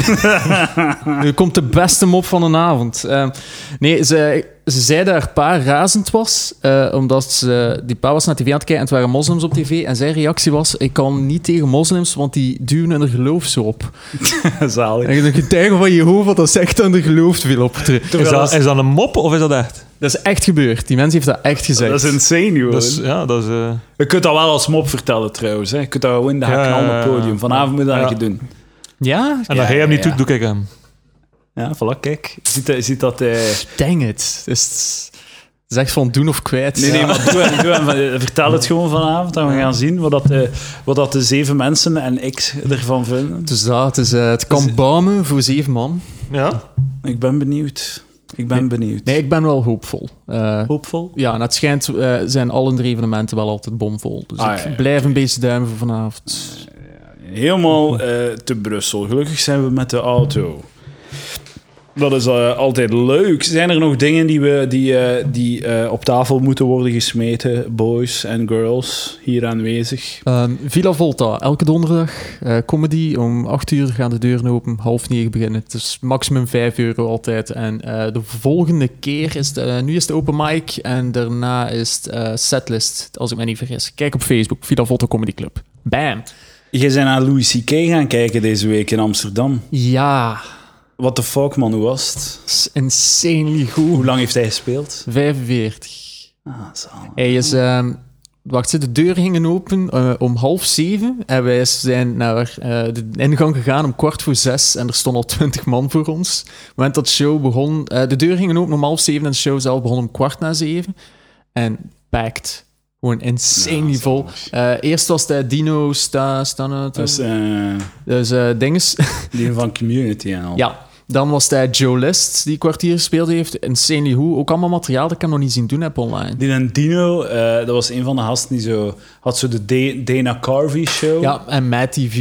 Speaker 3: nu komt de beste mop van de avond. Eh, nee, ze, ze zei dat haar pa razend was, eh, omdat ze, die pa was naar tv aan het kijken en het waren moslims op tv. En zijn reactie was, ik kan niet tegen moslims, want die duwen hun geloof zo op.
Speaker 1: Zalig.
Speaker 3: En de getuige van Jehovah, dat zegt aan de geloof veel op.
Speaker 2: Is
Speaker 1: Terwijl
Speaker 2: dat,
Speaker 1: dat,
Speaker 2: is dat een mop of is dat echt?
Speaker 3: Dat is echt gebeurd. Die mens heeft dat echt gezegd.
Speaker 1: dat is insane, joh.
Speaker 2: Dat is, ja, dat is... eh,
Speaker 1: Je kunt dat wel als mop vertellen, trouwens. Hè. Je kunt dat gewoon in de hak
Speaker 2: Ja,
Speaker 1: knallen op het
Speaker 2: ja, ja.
Speaker 1: podium. Vanavond moet dat
Speaker 2: Ja.
Speaker 1: je doen.
Speaker 3: Ja?
Speaker 2: En
Speaker 1: Ja,
Speaker 2: dat hij hem
Speaker 1: ja,
Speaker 2: niet doet,
Speaker 1: ja.
Speaker 2: doe ik hem.
Speaker 1: Ja, voilà, kijk. Je ziet, dat- je ziet dat eh, hij...
Speaker 3: Dang it. Dus het is echt van doen of kwijt.
Speaker 1: Nee, nee, maar doe, hem- doe hem van- eh, vertel het gewoon vanavond en we gaan zien wat, dat, eh, wat dat de zeven mensen en ik ervan vinden.
Speaker 3: Dus dat, het, is, eh, het kan
Speaker 1: Dus-
Speaker 3: bamen voor zeven man.
Speaker 2: Ja?
Speaker 1: Ik ben benieuwd. Ik ben benieuwd.
Speaker 3: Nee, ik ben wel hoopvol. Eh,
Speaker 1: Hoopvol?
Speaker 3: ja, en het schijnt eh, zijn alle drie evenementen wel altijd bomvol. Dus
Speaker 1: Ah,
Speaker 3: ik
Speaker 1: ja, ja.
Speaker 3: blijf een beetje duimen voor vanavond.
Speaker 1: Helemaal eh, te Brussel. Gelukkig zijn we met de auto. Dat is eh, altijd leuk. Zijn er nog dingen die, we, die, eh, die eh, op tafel moeten worden gesmeten, boys en girls, hier aanwezig?
Speaker 3: Ehm, Villa Volta, elke donderdag. eh, comedy, om 8 uur gaan de deuren open, half negen beginnen. Het is maximum 5 euro altijd. En eh, de volgende keer is het, eh, nu is de open mic en daarna is het eh, setlist, als ik me niet vergis. Kijk op Facebook, Villa Volta Comedy Club. Bam!
Speaker 1: Jij zijn naar Louis C.K. gaan kijken deze week in Amsterdam.
Speaker 3: Ja,
Speaker 1: What the fuck, man, hoe was het?
Speaker 3: is insanely
Speaker 1: Hoe
Speaker 3: goed.
Speaker 1: lang heeft hij gespeeld?
Speaker 3: 45.
Speaker 1: Ah, zalig.
Speaker 3: Hij is... ehm, Wacht, de deuren gingen open eh, om half zeven. En wij zijn naar eh, de ingang gegaan om kwart voor zes. En er stonden al twintig man voor ons. Op het moment dat de show begon... eh, de deuren gingen open om half zeven en de show zelf begon om kwart na zeven. En packed. Gewoon insanely
Speaker 1: Ja,
Speaker 3: vol.
Speaker 1: zalig.
Speaker 3: Eh, eerst was het Dino, Sta, Stanut.
Speaker 1: Dat is eh,
Speaker 3: Dus eh, dinges.
Speaker 1: die van Community en al.
Speaker 3: Ja, dan was het eh, Joe List die kwartier gespeeld heeft. Insanely hoe. Ook allemaal materiaal dat ik hem nog niet zien doen heb online.
Speaker 1: Die en Dino, eh, dat was een van de gasten die zo... Had zo de Da- Dana Carvey show.
Speaker 3: Ja, en Mad TV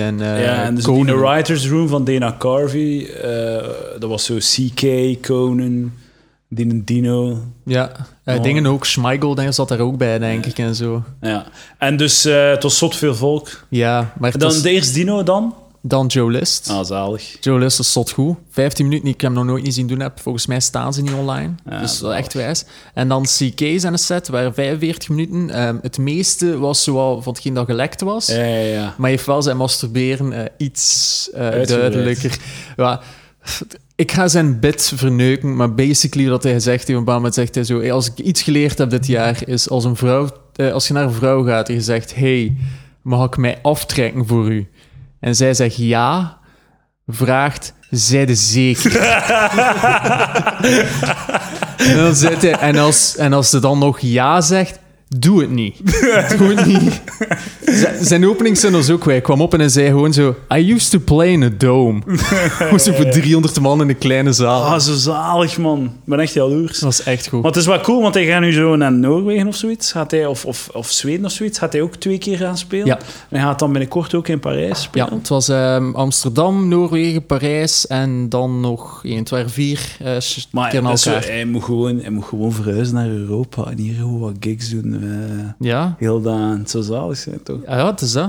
Speaker 3: en eh
Speaker 1: Oh. Ja, en dus die in
Speaker 3: Conan.
Speaker 1: de writers room van Dana Carvey, eh, dat was zo CK, Conan, Dino Dino.
Speaker 3: Ja, eh,
Speaker 1: Oh.
Speaker 3: dingen ook. Schmeigel denk, ik, zat daar ook bij, denk ik, en zo.
Speaker 1: Ja. En dus eh, het was zot veel volk.
Speaker 3: Ja, maar
Speaker 1: En
Speaker 3: het
Speaker 1: dan
Speaker 3: was-
Speaker 1: de eerste Dino dan?
Speaker 3: dan Joe List.
Speaker 1: Ah, zalig.
Speaker 3: Joe List is zot goed. 15 minuten die ik hem nog nooit niet zien doen heb. Volgens mij staan ze niet online.
Speaker 1: Ja,
Speaker 3: dus wel
Speaker 1: zalig.
Speaker 3: echt wijs. En dan CK's aan de set, waren 45 minuten. Ehm, het meeste was zoal van hetgeen dat gelekt was.
Speaker 1: Ja, ja, ja.
Speaker 3: Maar je heeft wel zijn masturberen eh, iets eh,
Speaker 1: Uitgebreid.
Speaker 3: duidelijker. Ja, ik ga zijn bit verneuken, maar basically wat hij gezegd heeft, op een bepaald moment zegt hij zo, "Hey, als ik iets geleerd heb dit jaar, is als, een vrouw, eh, als je naar een vrouw gaat en je zegt, hey, mag ik mij aftrekken voor u? En zij zegt ja, vraagt, zijde zeker. en, dan zegt hij, en, als, en als ze dan nog ja zegt, doe het niet. Doe het niet. Z- zijn openingszin was ook, hij kwam op en hij zei gewoon zo, I used to play in a dome. Gewoon zo voor 300 man in een kleine zaal.
Speaker 1: Ah, zo zalig, man. Ik ben echt jaloers.
Speaker 3: Dat was echt goed.
Speaker 1: Maar het is wel cool, want hij gaat nu zo naar Noorwegen of zoiets. Gaat hij, of, of, of Zweden of zoiets. Gaat hij ook twee keer gaan spelen.
Speaker 3: Ja.
Speaker 1: En hij gaat dan binnenkort ook in Parijs
Speaker 3: Ja,
Speaker 1: spelen.
Speaker 3: het was ehm, Amsterdam, Noorwegen, Parijs en dan nog 1, 2, 4 eh s-
Speaker 1: Maar
Speaker 3: keer na
Speaker 1: dat is zo,
Speaker 3: elkaar.
Speaker 1: hij, moet gewoon, hij moet gewoon verhuizen naar Europa. En hier gewoon wat gigs doen. eh.
Speaker 3: Ja.
Speaker 1: Heel dan, het zou zalig zijn, toch?
Speaker 3: Ah, ja, het is dat.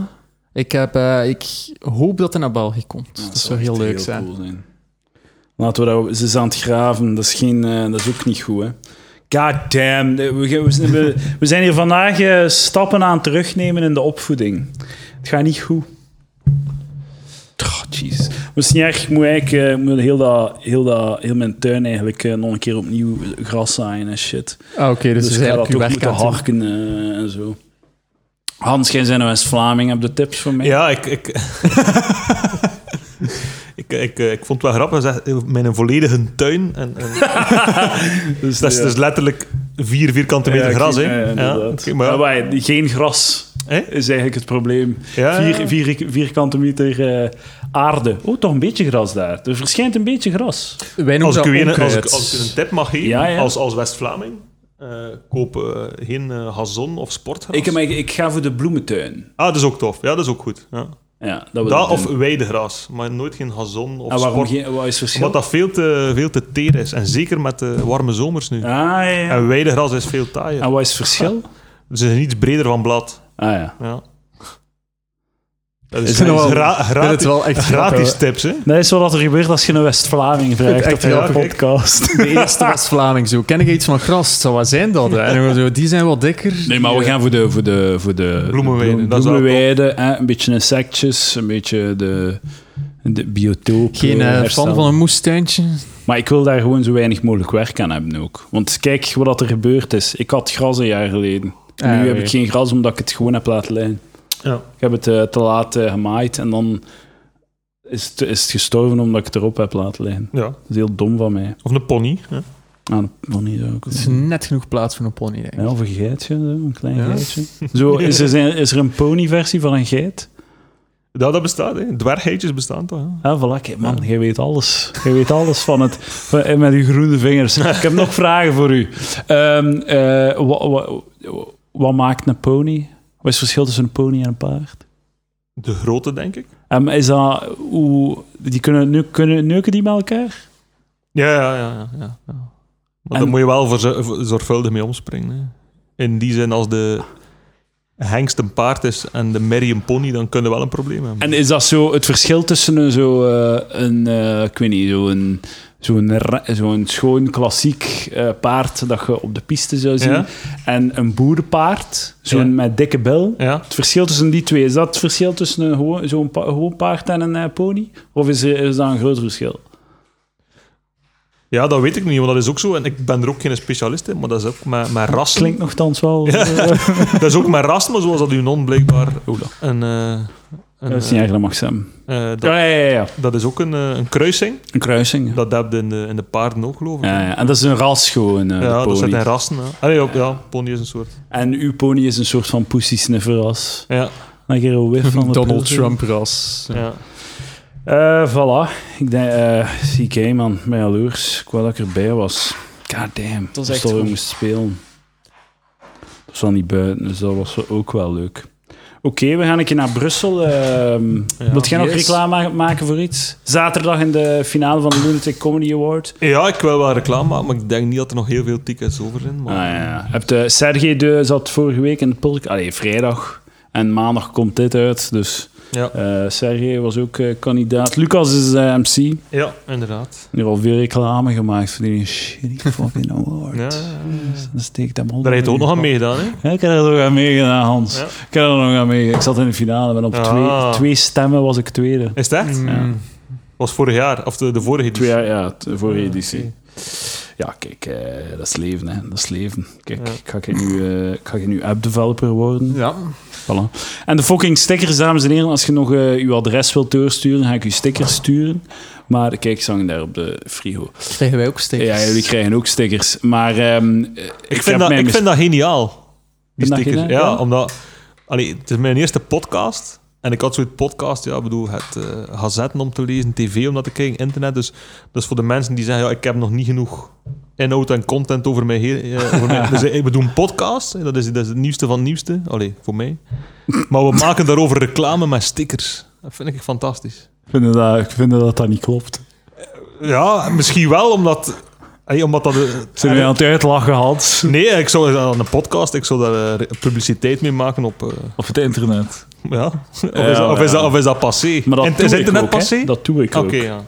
Speaker 3: Ik, heb, eh, ik hoop dat hij naar België komt. dat zou heel
Speaker 1: echt
Speaker 3: leuk zijn.
Speaker 1: cool zijn. Laten we dat... Ze is aan het graven, dat is, geen, eh, dat is ook niet goed, hè. God damn, eh, we, gaan- we, zijn- we, we zijn hier vandaag eh, stappen aan het terugnemen in de opvoeding. Het gaat niet goed. Oh, jeez. Maar het is niet erg, ik moet eigenlijk eh, ik moet heel, dat, heel, dat, heel mijn tuin eigenlijk eh, nog een keer opnieuw gras zaaien en shit.
Speaker 3: Ah, Oké, dus,
Speaker 1: Dus,
Speaker 3: dus
Speaker 1: ik ga
Speaker 3: eigenlijk
Speaker 1: dat
Speaker 3: uw
Speaker 1: ook
Speaker 3: werk
Speaker 1: moeten
Speaker 3: aan het doen.
Speaker 1: harken eh, en zo. Hans, jij zijn West-Vlaming, heb je tips voor mij?
Speaker 2: Ja, ik... ik... Ik, ik, ik vond het wel grappig, hij zegt, mijn volledige tuin. En, en,
Speaker 3: eh,
Speaker 1: Dus,
Speaker 2: dat is
Speaker 1: ja.
Speaker 2: dus letterlijk vier vierkante meter
Speaker 1: Ja,
Speaker 2: gras.
Speaker 1: oké,
Speaker 2: hè?
Speaker 1: ja, inderdaad.
Speaker 2: oké, maar ja.
Speaker 1: Maar wij- geen gras
Speaker 2: Hè?
Speaker 1: is eigenlijk het probleem.
Speaker 2: Ja,
Speaker 1: Vier,
Speaker 2: ja.
Speaker 1: vier, vierkante meter eh, aarde. Oh, toch een beetje gras daar. Er verschijnt een beetje gras.
Speaker 3: Wij
Speaker 2: Als ik,
Speaker 3: noemen dat eh,
Speaker 2: u een, als,
Speaker 3: onkruid.
Speaker 2: ik, als ik u een tip mag geven,
Speaker 1: Ja, ja.
Speaker 2: als, als West-Vlaming, eh, koop eh, geen eh, gazon of sportgras.
Speaker 1: Ik, maar ik, ik ga voor de bloementuin.
Speaker 2: Ah, dat is ook tof. Ja, dat is ook goed. Ja.
Speaker 1: Ja, dat we
Speaker 2: Dat
Speaker 1: doen.
Speaker 2: of weidegras, maar nooit geen gazon of
Speaker 1: En waarom
Speaker 2: sport.
Speaker 1: geen, wat is het verschil?
Speaker 2: Omdat dat veel te, veel te teer is. En zeker met de warme zomers nu.
Speaker 1: Ah, ja. ja.
Speaker 2: En weidegras is veel taaier.
Speaker 1: En wat is het verschil?
Speaker 2: Ze zijn iets breder van blad.
Speaker 1: Ah ja.
Speaker 2: Ja. Dat
Speaker 1: Is
Speaker 2: is,
Speaker 1: het
Speaker 2: dat is
Speaker 3: wel-
Speaker 2: gra-
Speaker 3: Ik vind het
Speaker 2: gratis,
Speaker 3: wel echt
Speaker 2: gratis
Speaker 3: grappig.
Speaker 2: tips, hè?
Speaker 1: Dat is wat er gebeurt als je een West-Vlaming vraagt
Speaker 3: Echt
Speaker 1: op jouw
Speaker 2: grappig.
Speaker 1: podcast.
Speaker 3: De eerste West-Vlaming zo. Ken ik iets van gras? Het Zou wat zijn dat? Hè? En dan zo, die zijn wat dikker.
Speaker 1: Nee, maar we
Speaker 3: Die,
Speaker 1: gaan voor de, voor de, voor de
Speaker 2: Bloemenweiden,
Speaker 1: bloem-
Speaker 2: dat is wel
Speaker 1: bloemenweiden, hè, een beetje insectjes, een beetje de, de biotoop.
Speaker 3: Geen eh, fan van een moestuintje.
Speaker 1: Maar ik wil daar gewoon zo weinig mogelijk werk aan hebben ook. Want kijk wat dat er gebeurd is. Ik had gras een jaar geleden. En
Speaker 3: Ah,
Speaker 1: nu heb
Speaker 3: oké.
Speaker 1: ik geen gras omdat ik het gewoon heb laten liggen.
Speaker 2: Ja.
Speaker 1: Ik heb het eh, te laat eh, gemaaid en dan is het, is het gestorven omdat ik het erop heb laten liggen.
Speaker 2: Ja.
Speaker 1: Dat is heel dom van mij.
Speaker 2: Of een pony. hè.
Speaker 1: Ah, dat niet ook.
Speaker 3: Het is net genoeg plaats voor een pony, denk ik.
Speaker 1: Ja, of een geitje, zo, een klein
Speaker 3: Ja.
Speaker 1: geitje. Zo, is, er, is er een ponyversie van een geit?
Speaker 2: Ja, dat bestaat, hè. Dwergheidjes bestaan toch, hè?
Speaker 1: Ja, voilà, kijk, man, jij weet alles. Jij weet alles van het, van- en met uw groene vingers. Ik heb nog vragen voor u. Ehm, eh, wa- wa- wa- wat maakt een pony? Wat is het verschil tussen een pony en een paard?
Speaker 2: De grote, denk ik.
Speaker 1: Ehm, is dat, hoe, die kunnen, nu, kunnen, neuken die met elkaar?
Speaker 2: Ja, ja, ja. ja, ja, ja. Maar
Speaker 1: En-
Speaker 2: daar moet je wel voor, zo- voor- zorgvuldig mee omspringen. Hè. In die zin, als de hengst een paard is en de merrie een pony, dan kunnen we wel een probleem hebben.
Speaker 1: En is dat zo het verschil tussen een, zo, eh, een eh, ik weet niet, zo'n zo'n ra- zo'n schoon klassiek eh, paard dat je op de piste zou zien
Speaker 2: Ja.
Speaker 1: en een boerenpaard, zo'n
Speaker 2: Ja.
Speaker 1: met dikke bil?
Speaker 2: Ja.
Speaker 1: Het verschil tussen die twee, is dat het verschil tussen een gewoon, zo'n pa- gewoon paard en een eh, pony? Of is, er, is dat een groot verschil?
Speaker 2: ja, dat weet ik niet, want dat is ook zo. En ik ben er ook geen specialist in, maar dat is ook mijn, mijn ras.
Speaker 1: Klinkt nogthans wel...
Speaker 2: Dat is ook mijn ras, maar zoals dat u non blijkbaar
Speaker 1: Oeh, dat-
Speaker 2: een... eh, een,
Speaker 1: dat is niet erg, dat mag zijn.
Speaker 2: eh, eh, dat,
Speaker 1: Ja, ja, ja, ja.
Speaker 2: dat is ook een, eh, een kruising.
Speaker 1: Een kruising.
Speaker 2: Dat heb je in de, in de paarden ook, geloof ik.
Speaker 1: Ja, ja. En dat is een ras gewoon, eh, de
Speaker 2: Ja, dat
Speaker 1: pony.
Speaker 2: zit in rassen. Ja. Ah, nee, op- ja, pony is een soort.
Speaker 1: En uw pony is een soort van pussy snifferras.
Speaker 2: Ja,
Speaker 1: Dan keer een whiff van de
Speaker 3: Donald
Speaker 1: pils.
Speaker 3: Trump-ras.
Speaker 2: ja.
Speaker 1: Eh, voilà. Ik denk, eh CK man, mijn jaloers. Ik wou dat ik erbij was. God damn.
Speaker 3: was
Speaker 1: Als
Speaker 3: echt
Speaker 1: dat we
Speaker 3: goed.
Speaker 1: moest spelen. Dat was dan niet buiten, dus dat was wel ook wel leuk. Oké, we gaan een keer naar Brussel. Ehm wilt jij nog
Speaker 3: yes.
Speaker 1: reclame ma- maken voor iets? Zaterdag in de finale van de Lunatic Comedy Award.
Speaker 2: Ja, ik wil wel reclame maken, maar ik denk niet dat er nog heel veel tickets over zijn.
Speaker 1: Ah,
Speaker 2: Maar...
Speaker 1: ja, ja. Hebt, eh, Sergej de zat vorige week in de podcast. Allee, vrijdag. En maandag komt dit uit, dus
Speaker 2: Ja.
Speaker 1: eh Sergej was ook eh, kandidaat. Lucas is eh, MC.
Speaker 2: ja, inderdaad.
Speaker 1: Nu al veel reclame gemaakt voor die shitty fucking award.
Speaker 2: Ja,
Speaker 1: Dus Dan steek dat
Speaker 2: Daar heeft ook nog aan meegedaan, hè?
Speaker 1: Ja, ik heb er nog aan meegedaan, Hans.
Speaker 2: Ja.
Speaker 1: Ik heb er nog aan meegedaan. Ik zat in de finale en op
Speaker 2: Ah.
Speaker 1: twee, twee stemmen was ik tweede.
Speaker 2: Is dat?
Speaker 1: Ja.
Speaker 2: Was vorig jaar, of de, de vorige
Speaker 1: Twee
Speaker 2: editie.
Speaker 1: jaar, ja, t- vorige editie. Ja, kijk, eh, dat is leven, hè. Dat is leven. Kijk,
Speaker 2: Ja.
Speaker 1: ik ga ik nu, eh, ik ga nu app-developer worden.
Speaker 3: Ja.
Speaker 1: Voilà. En de fucking stickers, dames en heren. Als je nog eh uw adres wilt doorsturen, ga ik u stickers sturen. Maar kijk, ze hangen daar op de frigo.
Speaker 3: Krijgen wij ook stickers.
Speaker 1: Ja, jullie krijgen ook stickers. Maar ehm, eh,
Speaker 2: Ik,
Speaker 1: heb
Speaker 2: vind dat,
Speaker 1: mij
Speaker 2: ik
Speaker 1: mis-
Speaker 2: vind dat geniaal. Die
Speaker 1: Vind dat
Speaker 2: stickers.
Speaker 1: geniaal,
Speaker 2: ja,
Speaker 1: ja?
Speaker 2: omdat... Allee, het is mijn eerste podcast. En ik had zoiets podcast, ja, ik bedoel, het eh gazetten om te lezen, tv om dat te kijken, internet. Dus dat is voor de mensen die zeggen, ja, ik heb nog niet genoeg inhoud en content over mij heen. eh, over mij. Dus eh, we doen podcast, hè, dat is, dat is het nieuwste van het nieuwste. Allee, voor mij. Maar we maken daarover reclame met stickers. Dat vind ik fantastisch.
Speaker 1: Ik vind dat ik vind dat, dat niet klopt.
Speaker 2: Ja, misschien wel, omdat... Hey, omdat dat... eh,
Speaker 1: Zijn wij aan het uitlachen, Hans?
Speaker 2: Nee, ik zou dat aan een podcast, ik zou daar eh, re- publiciteit mee maken op... eh,
Speaker 4: Op het internet.
Speaker 2: ja. Of, is dat, of, is dat, of is dat passé?
Speaker 1: Maar dat
Speaker 2: En-
Speaker 1: doe
Speaker 2: is
Speaker 1: ik
Speaker 2: internet
Speaker 1: ook, hè.
Speaker 2: passé?
Speaker 1: Dat doe ik
Speaker 2: Oké,
Speaker 1: ook. Dus
Speaker 2: ja.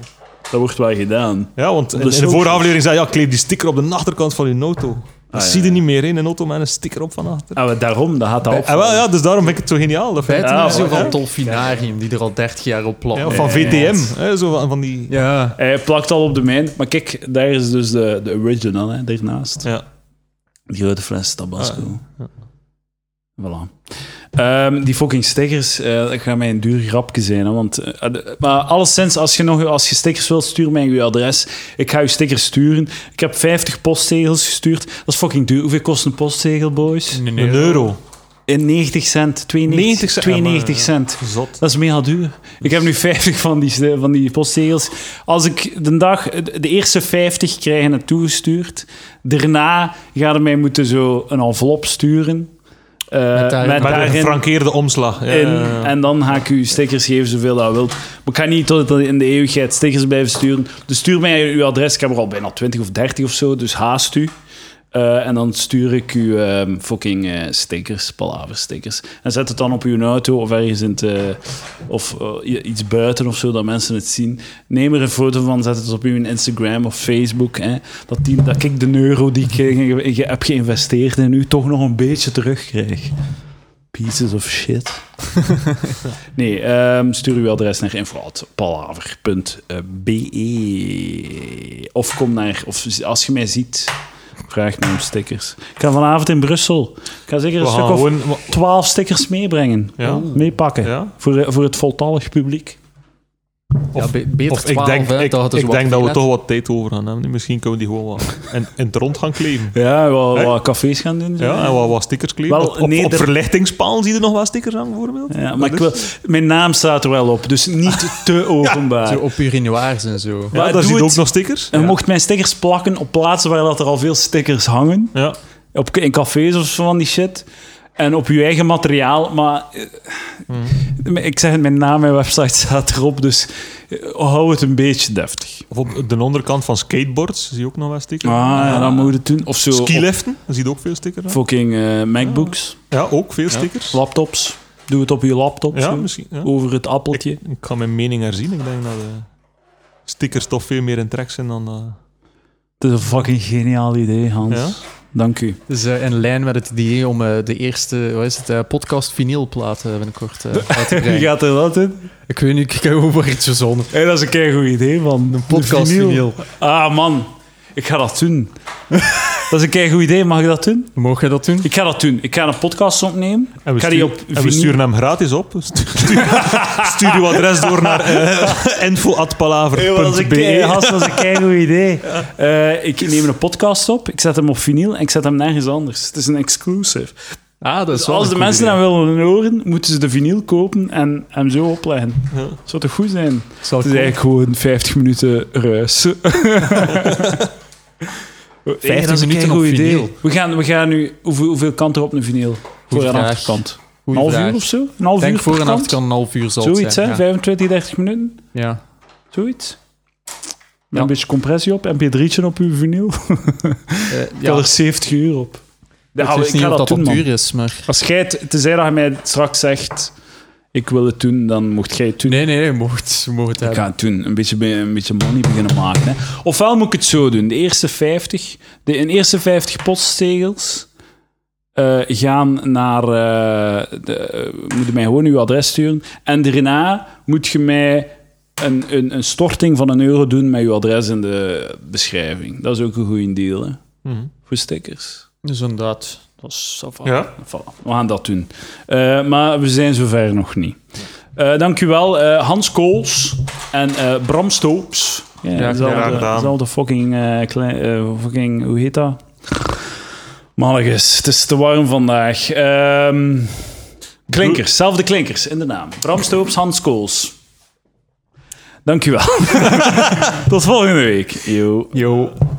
Speaker 1: Dat wordt wel gedaan.
Speaker 2: Ja, want in,
Speaker 1: de
Speaker 2: in de
Speaker 1: socials.
Speaker 2: vorige aflevering zei je, ja, kleef die sticker op de achterkant van je auto. Dat
Speaker 1: Ah, ja,
Speaker 2: zie je
Speaker 1: ja.
Speaker 2: niet meer in een auto met een sticker op van achter.
Speaker 1: Ah, wel, daarom, dat gaat dat op.
Speaker 2: En wel, ja, dus daarom vind ik het zo geniaal. Dat vind ik-
Speaker 3: Feiten
Speaker 1: Ja,
Speaker 3: is zo
Speaker 1: maar-
Speaker 3: van Dolfinarium, die er al 30 jaar op plat.
Speaker 2: ja, van VTM, hè, zo van, van die...
Speaker 3: Ja.
Speaker 1: Hij plakt al op de mijn. Maar kijk, daar is dus de, de original, hè, daarnaast.
Speaker 2: Ja.
Speaker 1: Die grote fles Tabasco.
Speaker 2: Ah,
Speaker 1: Voilà. Ehm, die fucking stickers eh, dat gaan mij een duur grapje zijn. Hè, want, eh, eh, maar alleszins, als je, nog, als je stickers wilt, stuur mij je adres. Ik ga je stickers sturen. Ik heb 50 postzegels gestuurd. Dat is fucking duur. Hoeveel kost een postzegel, boys?
Speaker 3: Een
Speaker 2: Een euro.
Speaker 1: In 90 cent. 92
Speaker 2: 90
Speaker 1: cent.
Speaker 2: Mm. cent.
Speaker 1: 92
Speaker 2: Ja, maar,
Speaker 1: cent.
Speaker 2: Zot.
Speaker 1: Dat is mega duur. Ik heb nu 50 van die, van die postzegels. Als ik de dag, de eerste 50 krijgen het toegestuurd. Daarna gaan ze mij moeten zo een envelop sturen. eh, met
Speaker 3: daarin-
Speaker 1: daarin,
Speaker 3: Met
Speaker 2: Met een gefrankeerde omslag. Ja,
Speaker 1: in.
Speaker 2: ja, ja.
Speaker 1: En dan ga ik u stickers geven zoveel dat wilt. Maar ik ga niet tot in de eeuwigheid stickers blijven sturen. Dus stuur mij uw adres. Ik heb er al bijna 20 of 30 of zo. Dus haast u. Eh, en dan stuur ik u ehm, fucking eh, stickers, palaverstickers. En zet het dan op uw auto of ergens in het... eh, of eh, i- iets buiten of zo, dat mensen het zien. Neem er een foto van, zet het op uw Instagram of Facebook. Hè, dat, die, dat ik de euro die ik eh, ge- ge- heb geïnvesteerd in u toch nog een beetje terugkrijg. Pieces of shit. nee, ehm, stuur uw adres naar info.palaver.be. eh, Of kom naar... Of als je mij ziet... Vraag me om stickers. Ik ga vanavond in Brussel. Ik ga zeker een
Speaker 2: We
Speaker 1: stuk
Speaker 2: gaan
Speaker 1: of
Speaker 2: gewoon... wa-
Speaker 1: 12 stickers meebrengen. Oh.
Speaker 2: Ja.
Speaker 1: Meepakken.
Speaker 2: Ja.
Speaker 1: Voor, voor het voltallig publiek.
Speaker 3: Ja,
Speaker 2: Of-
Speaker 3: be- beter
Speaker 2: Of
Speaker 3: 12,
Speaker 2: ik denk,
Speaker 3: hè,
Speaker 2: ik,
Speaker 3: dat het dus
Speaker 2: ik
Speaker 3: wat
Speaker 2: denk dat we
Speaker 3: freelance-
Speaker 2: toch wat tijd over gaan hebben. Misschien kunnen we die gewoon wat in, in het rond gaan kleven.
Speaker 1: Ja, wat,
Speaker 2: Hè?
Speaker 1: wat cafés gaan doen. zo.
Speaker 2: Ja, en wat, wat stickers kleven.
Speaker 1: Wel,
Speaker 2: op op,
Speaker 1: nee,
Speaker 2: op
Speaker 1: er-
Speaker 2: verlichtingspalen zie je nog wat stickers aan, bijvoorbeeld.
Speaker 1: Ja,
Speaker 2: Dat
Speaker 1: maar ik
Speaker 2: is-
Speaker 1: wil, mijn naam staat er wel op, dus niet te openbaar.
Speaker 3: Zo op urinoirs en zo.
Speaker 2: Ja,
Speaker 1: Ja,
Speaker 2: daar
Speaker 1: doe
Speaker 2: zie je
Speaker 1: het.
Speaker 2: ook nog stickers.
Speaker 1: En mocht mijn stickers plakken op plaatsen waar dat er al veel stickers hangen.
Speaker 2: Ja.
Speaker 1: Op, in cafés of zo van die shit. En op je eigen materiaal. Maar eh, ik zeg het, mijn naam en website staat erop. Dus eh, hou het een beetje deftig.
Speaker 2: Of op de onderkant van skateboards zie je ook nog wat stickers.
Speaker 1: Ah, ja, dan moet je het doen. Of zo. op
Speaker 2: Skiliften, daar zie je ook veel stickers aan.
Speaker 1: Fucking eh, MacBooks,
Speaker 2: Ja, ook veel stickers.
Speaker 1: laptops. Doe het op je laptop.
Speaker 2: Ah. Ja,
Speaker 1: zo.
Speaker 2: misschien. ja.
Speaker 1: Over het appeltje.
Speaker 2: Ik kan mijn mening herzien. Ik denk dat eh, stickers toch veel meer in trek zijn dan... eh,
Speaker 1: Het is een fucking geniaal idee, Hans.
Speaker 2: Ja?
Speaker 1: Dank u.
Speaker 3: Dus eh, in lijn met het idee om eh, de eerste, wat is het, eh, podcast vinylplaat eh, binnenkort eh, uit te brengen.
Speaker 1: gaat er dat in?
Speaker 3: Ik weet niet, ik heb over iets verzonnen.
Speaker 1: Hé, dat is een keer goed idee, man. Een
Speaker 3: Podcast vinyl.
Speaker 1: Ah, man. Ik ga dat doen. dat is een keer goed idee. Mag ik dat doen?
Speaker 3: Mogen we dat doen?
Speaker 1: Ik ga dat doen. Ik ga een podcast opnemen.
Speaker 2: En we,
Speaker 1: Ik ga die
Speaker 2: sturen-
Speaker 1: op
Speaker 2: en we
Speaker 1: vinyl-
Speaker 2: sturen hem gratis op. Stu- Stuur, stuur uw adres door naar eh
Speaker 1: Hey,
Speaker 2: info.palaver.be.
Speaker 1: gast, dat is een kei goed idee. Eh, ik neem een podcast op, ik zet hem op vinyl en ik zet hem nergens anders. Het is een exclusive.
Speaker 3: Ah, dat is
Speaker 1: Dus
Speaker 3: wel
Speaker 1: als
Speaker 3: een
Speaker 1: de
Speaker 3: goed
Speaker 1: mensen
Speaker 3: idee.
Speaker 1: dat willen horen, moeten ze de vinyl kopen en hem zo opleggen.
Speaker 2: Ja.
Speaker 1: Zou toch goed zijn?
Speaker 3: Zal
Speaker 1: Het is
Speaker 3: ik-
Speaker 1: eigenlijk gewoon 50 minuten ruis. 50 minuten
Speaker 3: minuten
Speaker 1: goed
Speaker 3: op
Speaker 1: idee.
Speaker 3: vinyl.
Speaker 1: We gaan, we gaan nu... Hoeveel, hoeveel kant er op een vinyl? Voor en
Speaker 3: vraag.
Speaker 1: achterkant. Een
Speaker 3: Goeie
Speaker 1: half
Speaker 3: vraag.
Speaker 1: uur of zo? Een half
Speaker 3: Ik denk
Speaker 1: uur per
Speaker 3: voor en
Speaker 1: kant?
Speaker 3: achter kan een half uur zal het
Speaker 1: Zoiets, hè?
Speaker 3: zijn. ja.
Speaker 1: 25, 30 minuten?
Speaker 3: Ja.
Speaker 1: Zoiets. Met
Speaker 3: Ja.
Speaker 1: een beetje compressie op, mp3'tje op uw vinyl. Ik
Speaker 3: Eh,
Speaker 1: had
Speaker 3: ja.
Speaker 1: er 70 uur op.
Speaker 3: Ik
Speaker 1: Nou,
Speaker 3: weet niet
Speaker 1: ga
Speaker 3: of dat
Speaker 1: doen,
Speaker 3: op
Speaker 1: man.
Speaker 3: duur is, maar...
Speaker 1: Als jij het, tenzij dat je mij straks zegt, ik wil het doen, dan mocht jij het doen.
Speaker 3: Nee, nee, nee, je mocht, je mocht het
Speaker 1: Ik
Speaker 3: hebben.
Speaker 1: ga het doen. Een beetje, be- een beetje money beginnen maken. Hè. Ofwel moet ik het zo doen. De eerste 50, de, in eerste 50 postzegels eh, gaan naar... eh de, eh, moet je mij gewoon uw adres sturen. En daarna moet je mij een, een, een storting van een euro doen met uw adres in de beschrijving. Dat is ook een goede deal, hè.
Speaker 2: Mhm.
Speaker 1: Voor stickers.
Speaker 3: Dus inderdaad.
Speaker 1: Dat is ça va.
Speaker 2: Ja.
Speaker 1: Voilà, we gaan dat doen. Eh, maar we zijn zover nog niet. Eh dankjewel, eh, Hans Kools en eh, Bram Stoops. Ja,
Speaker 3: graag
Speaker 1: dezelfde-
Speaker 2: gedaan.
Speaker 1: dezelfde fucking, eh, klein, eh, fucking, hoe heet dat? Mannetjes, het is te warm vandaag. Ehm, klinkers, zelfde klinkers in de naam. Bram Stoops, Hans Kools. Dankjewel. Tot volgende week. Yo.
Speaker 2: Yo.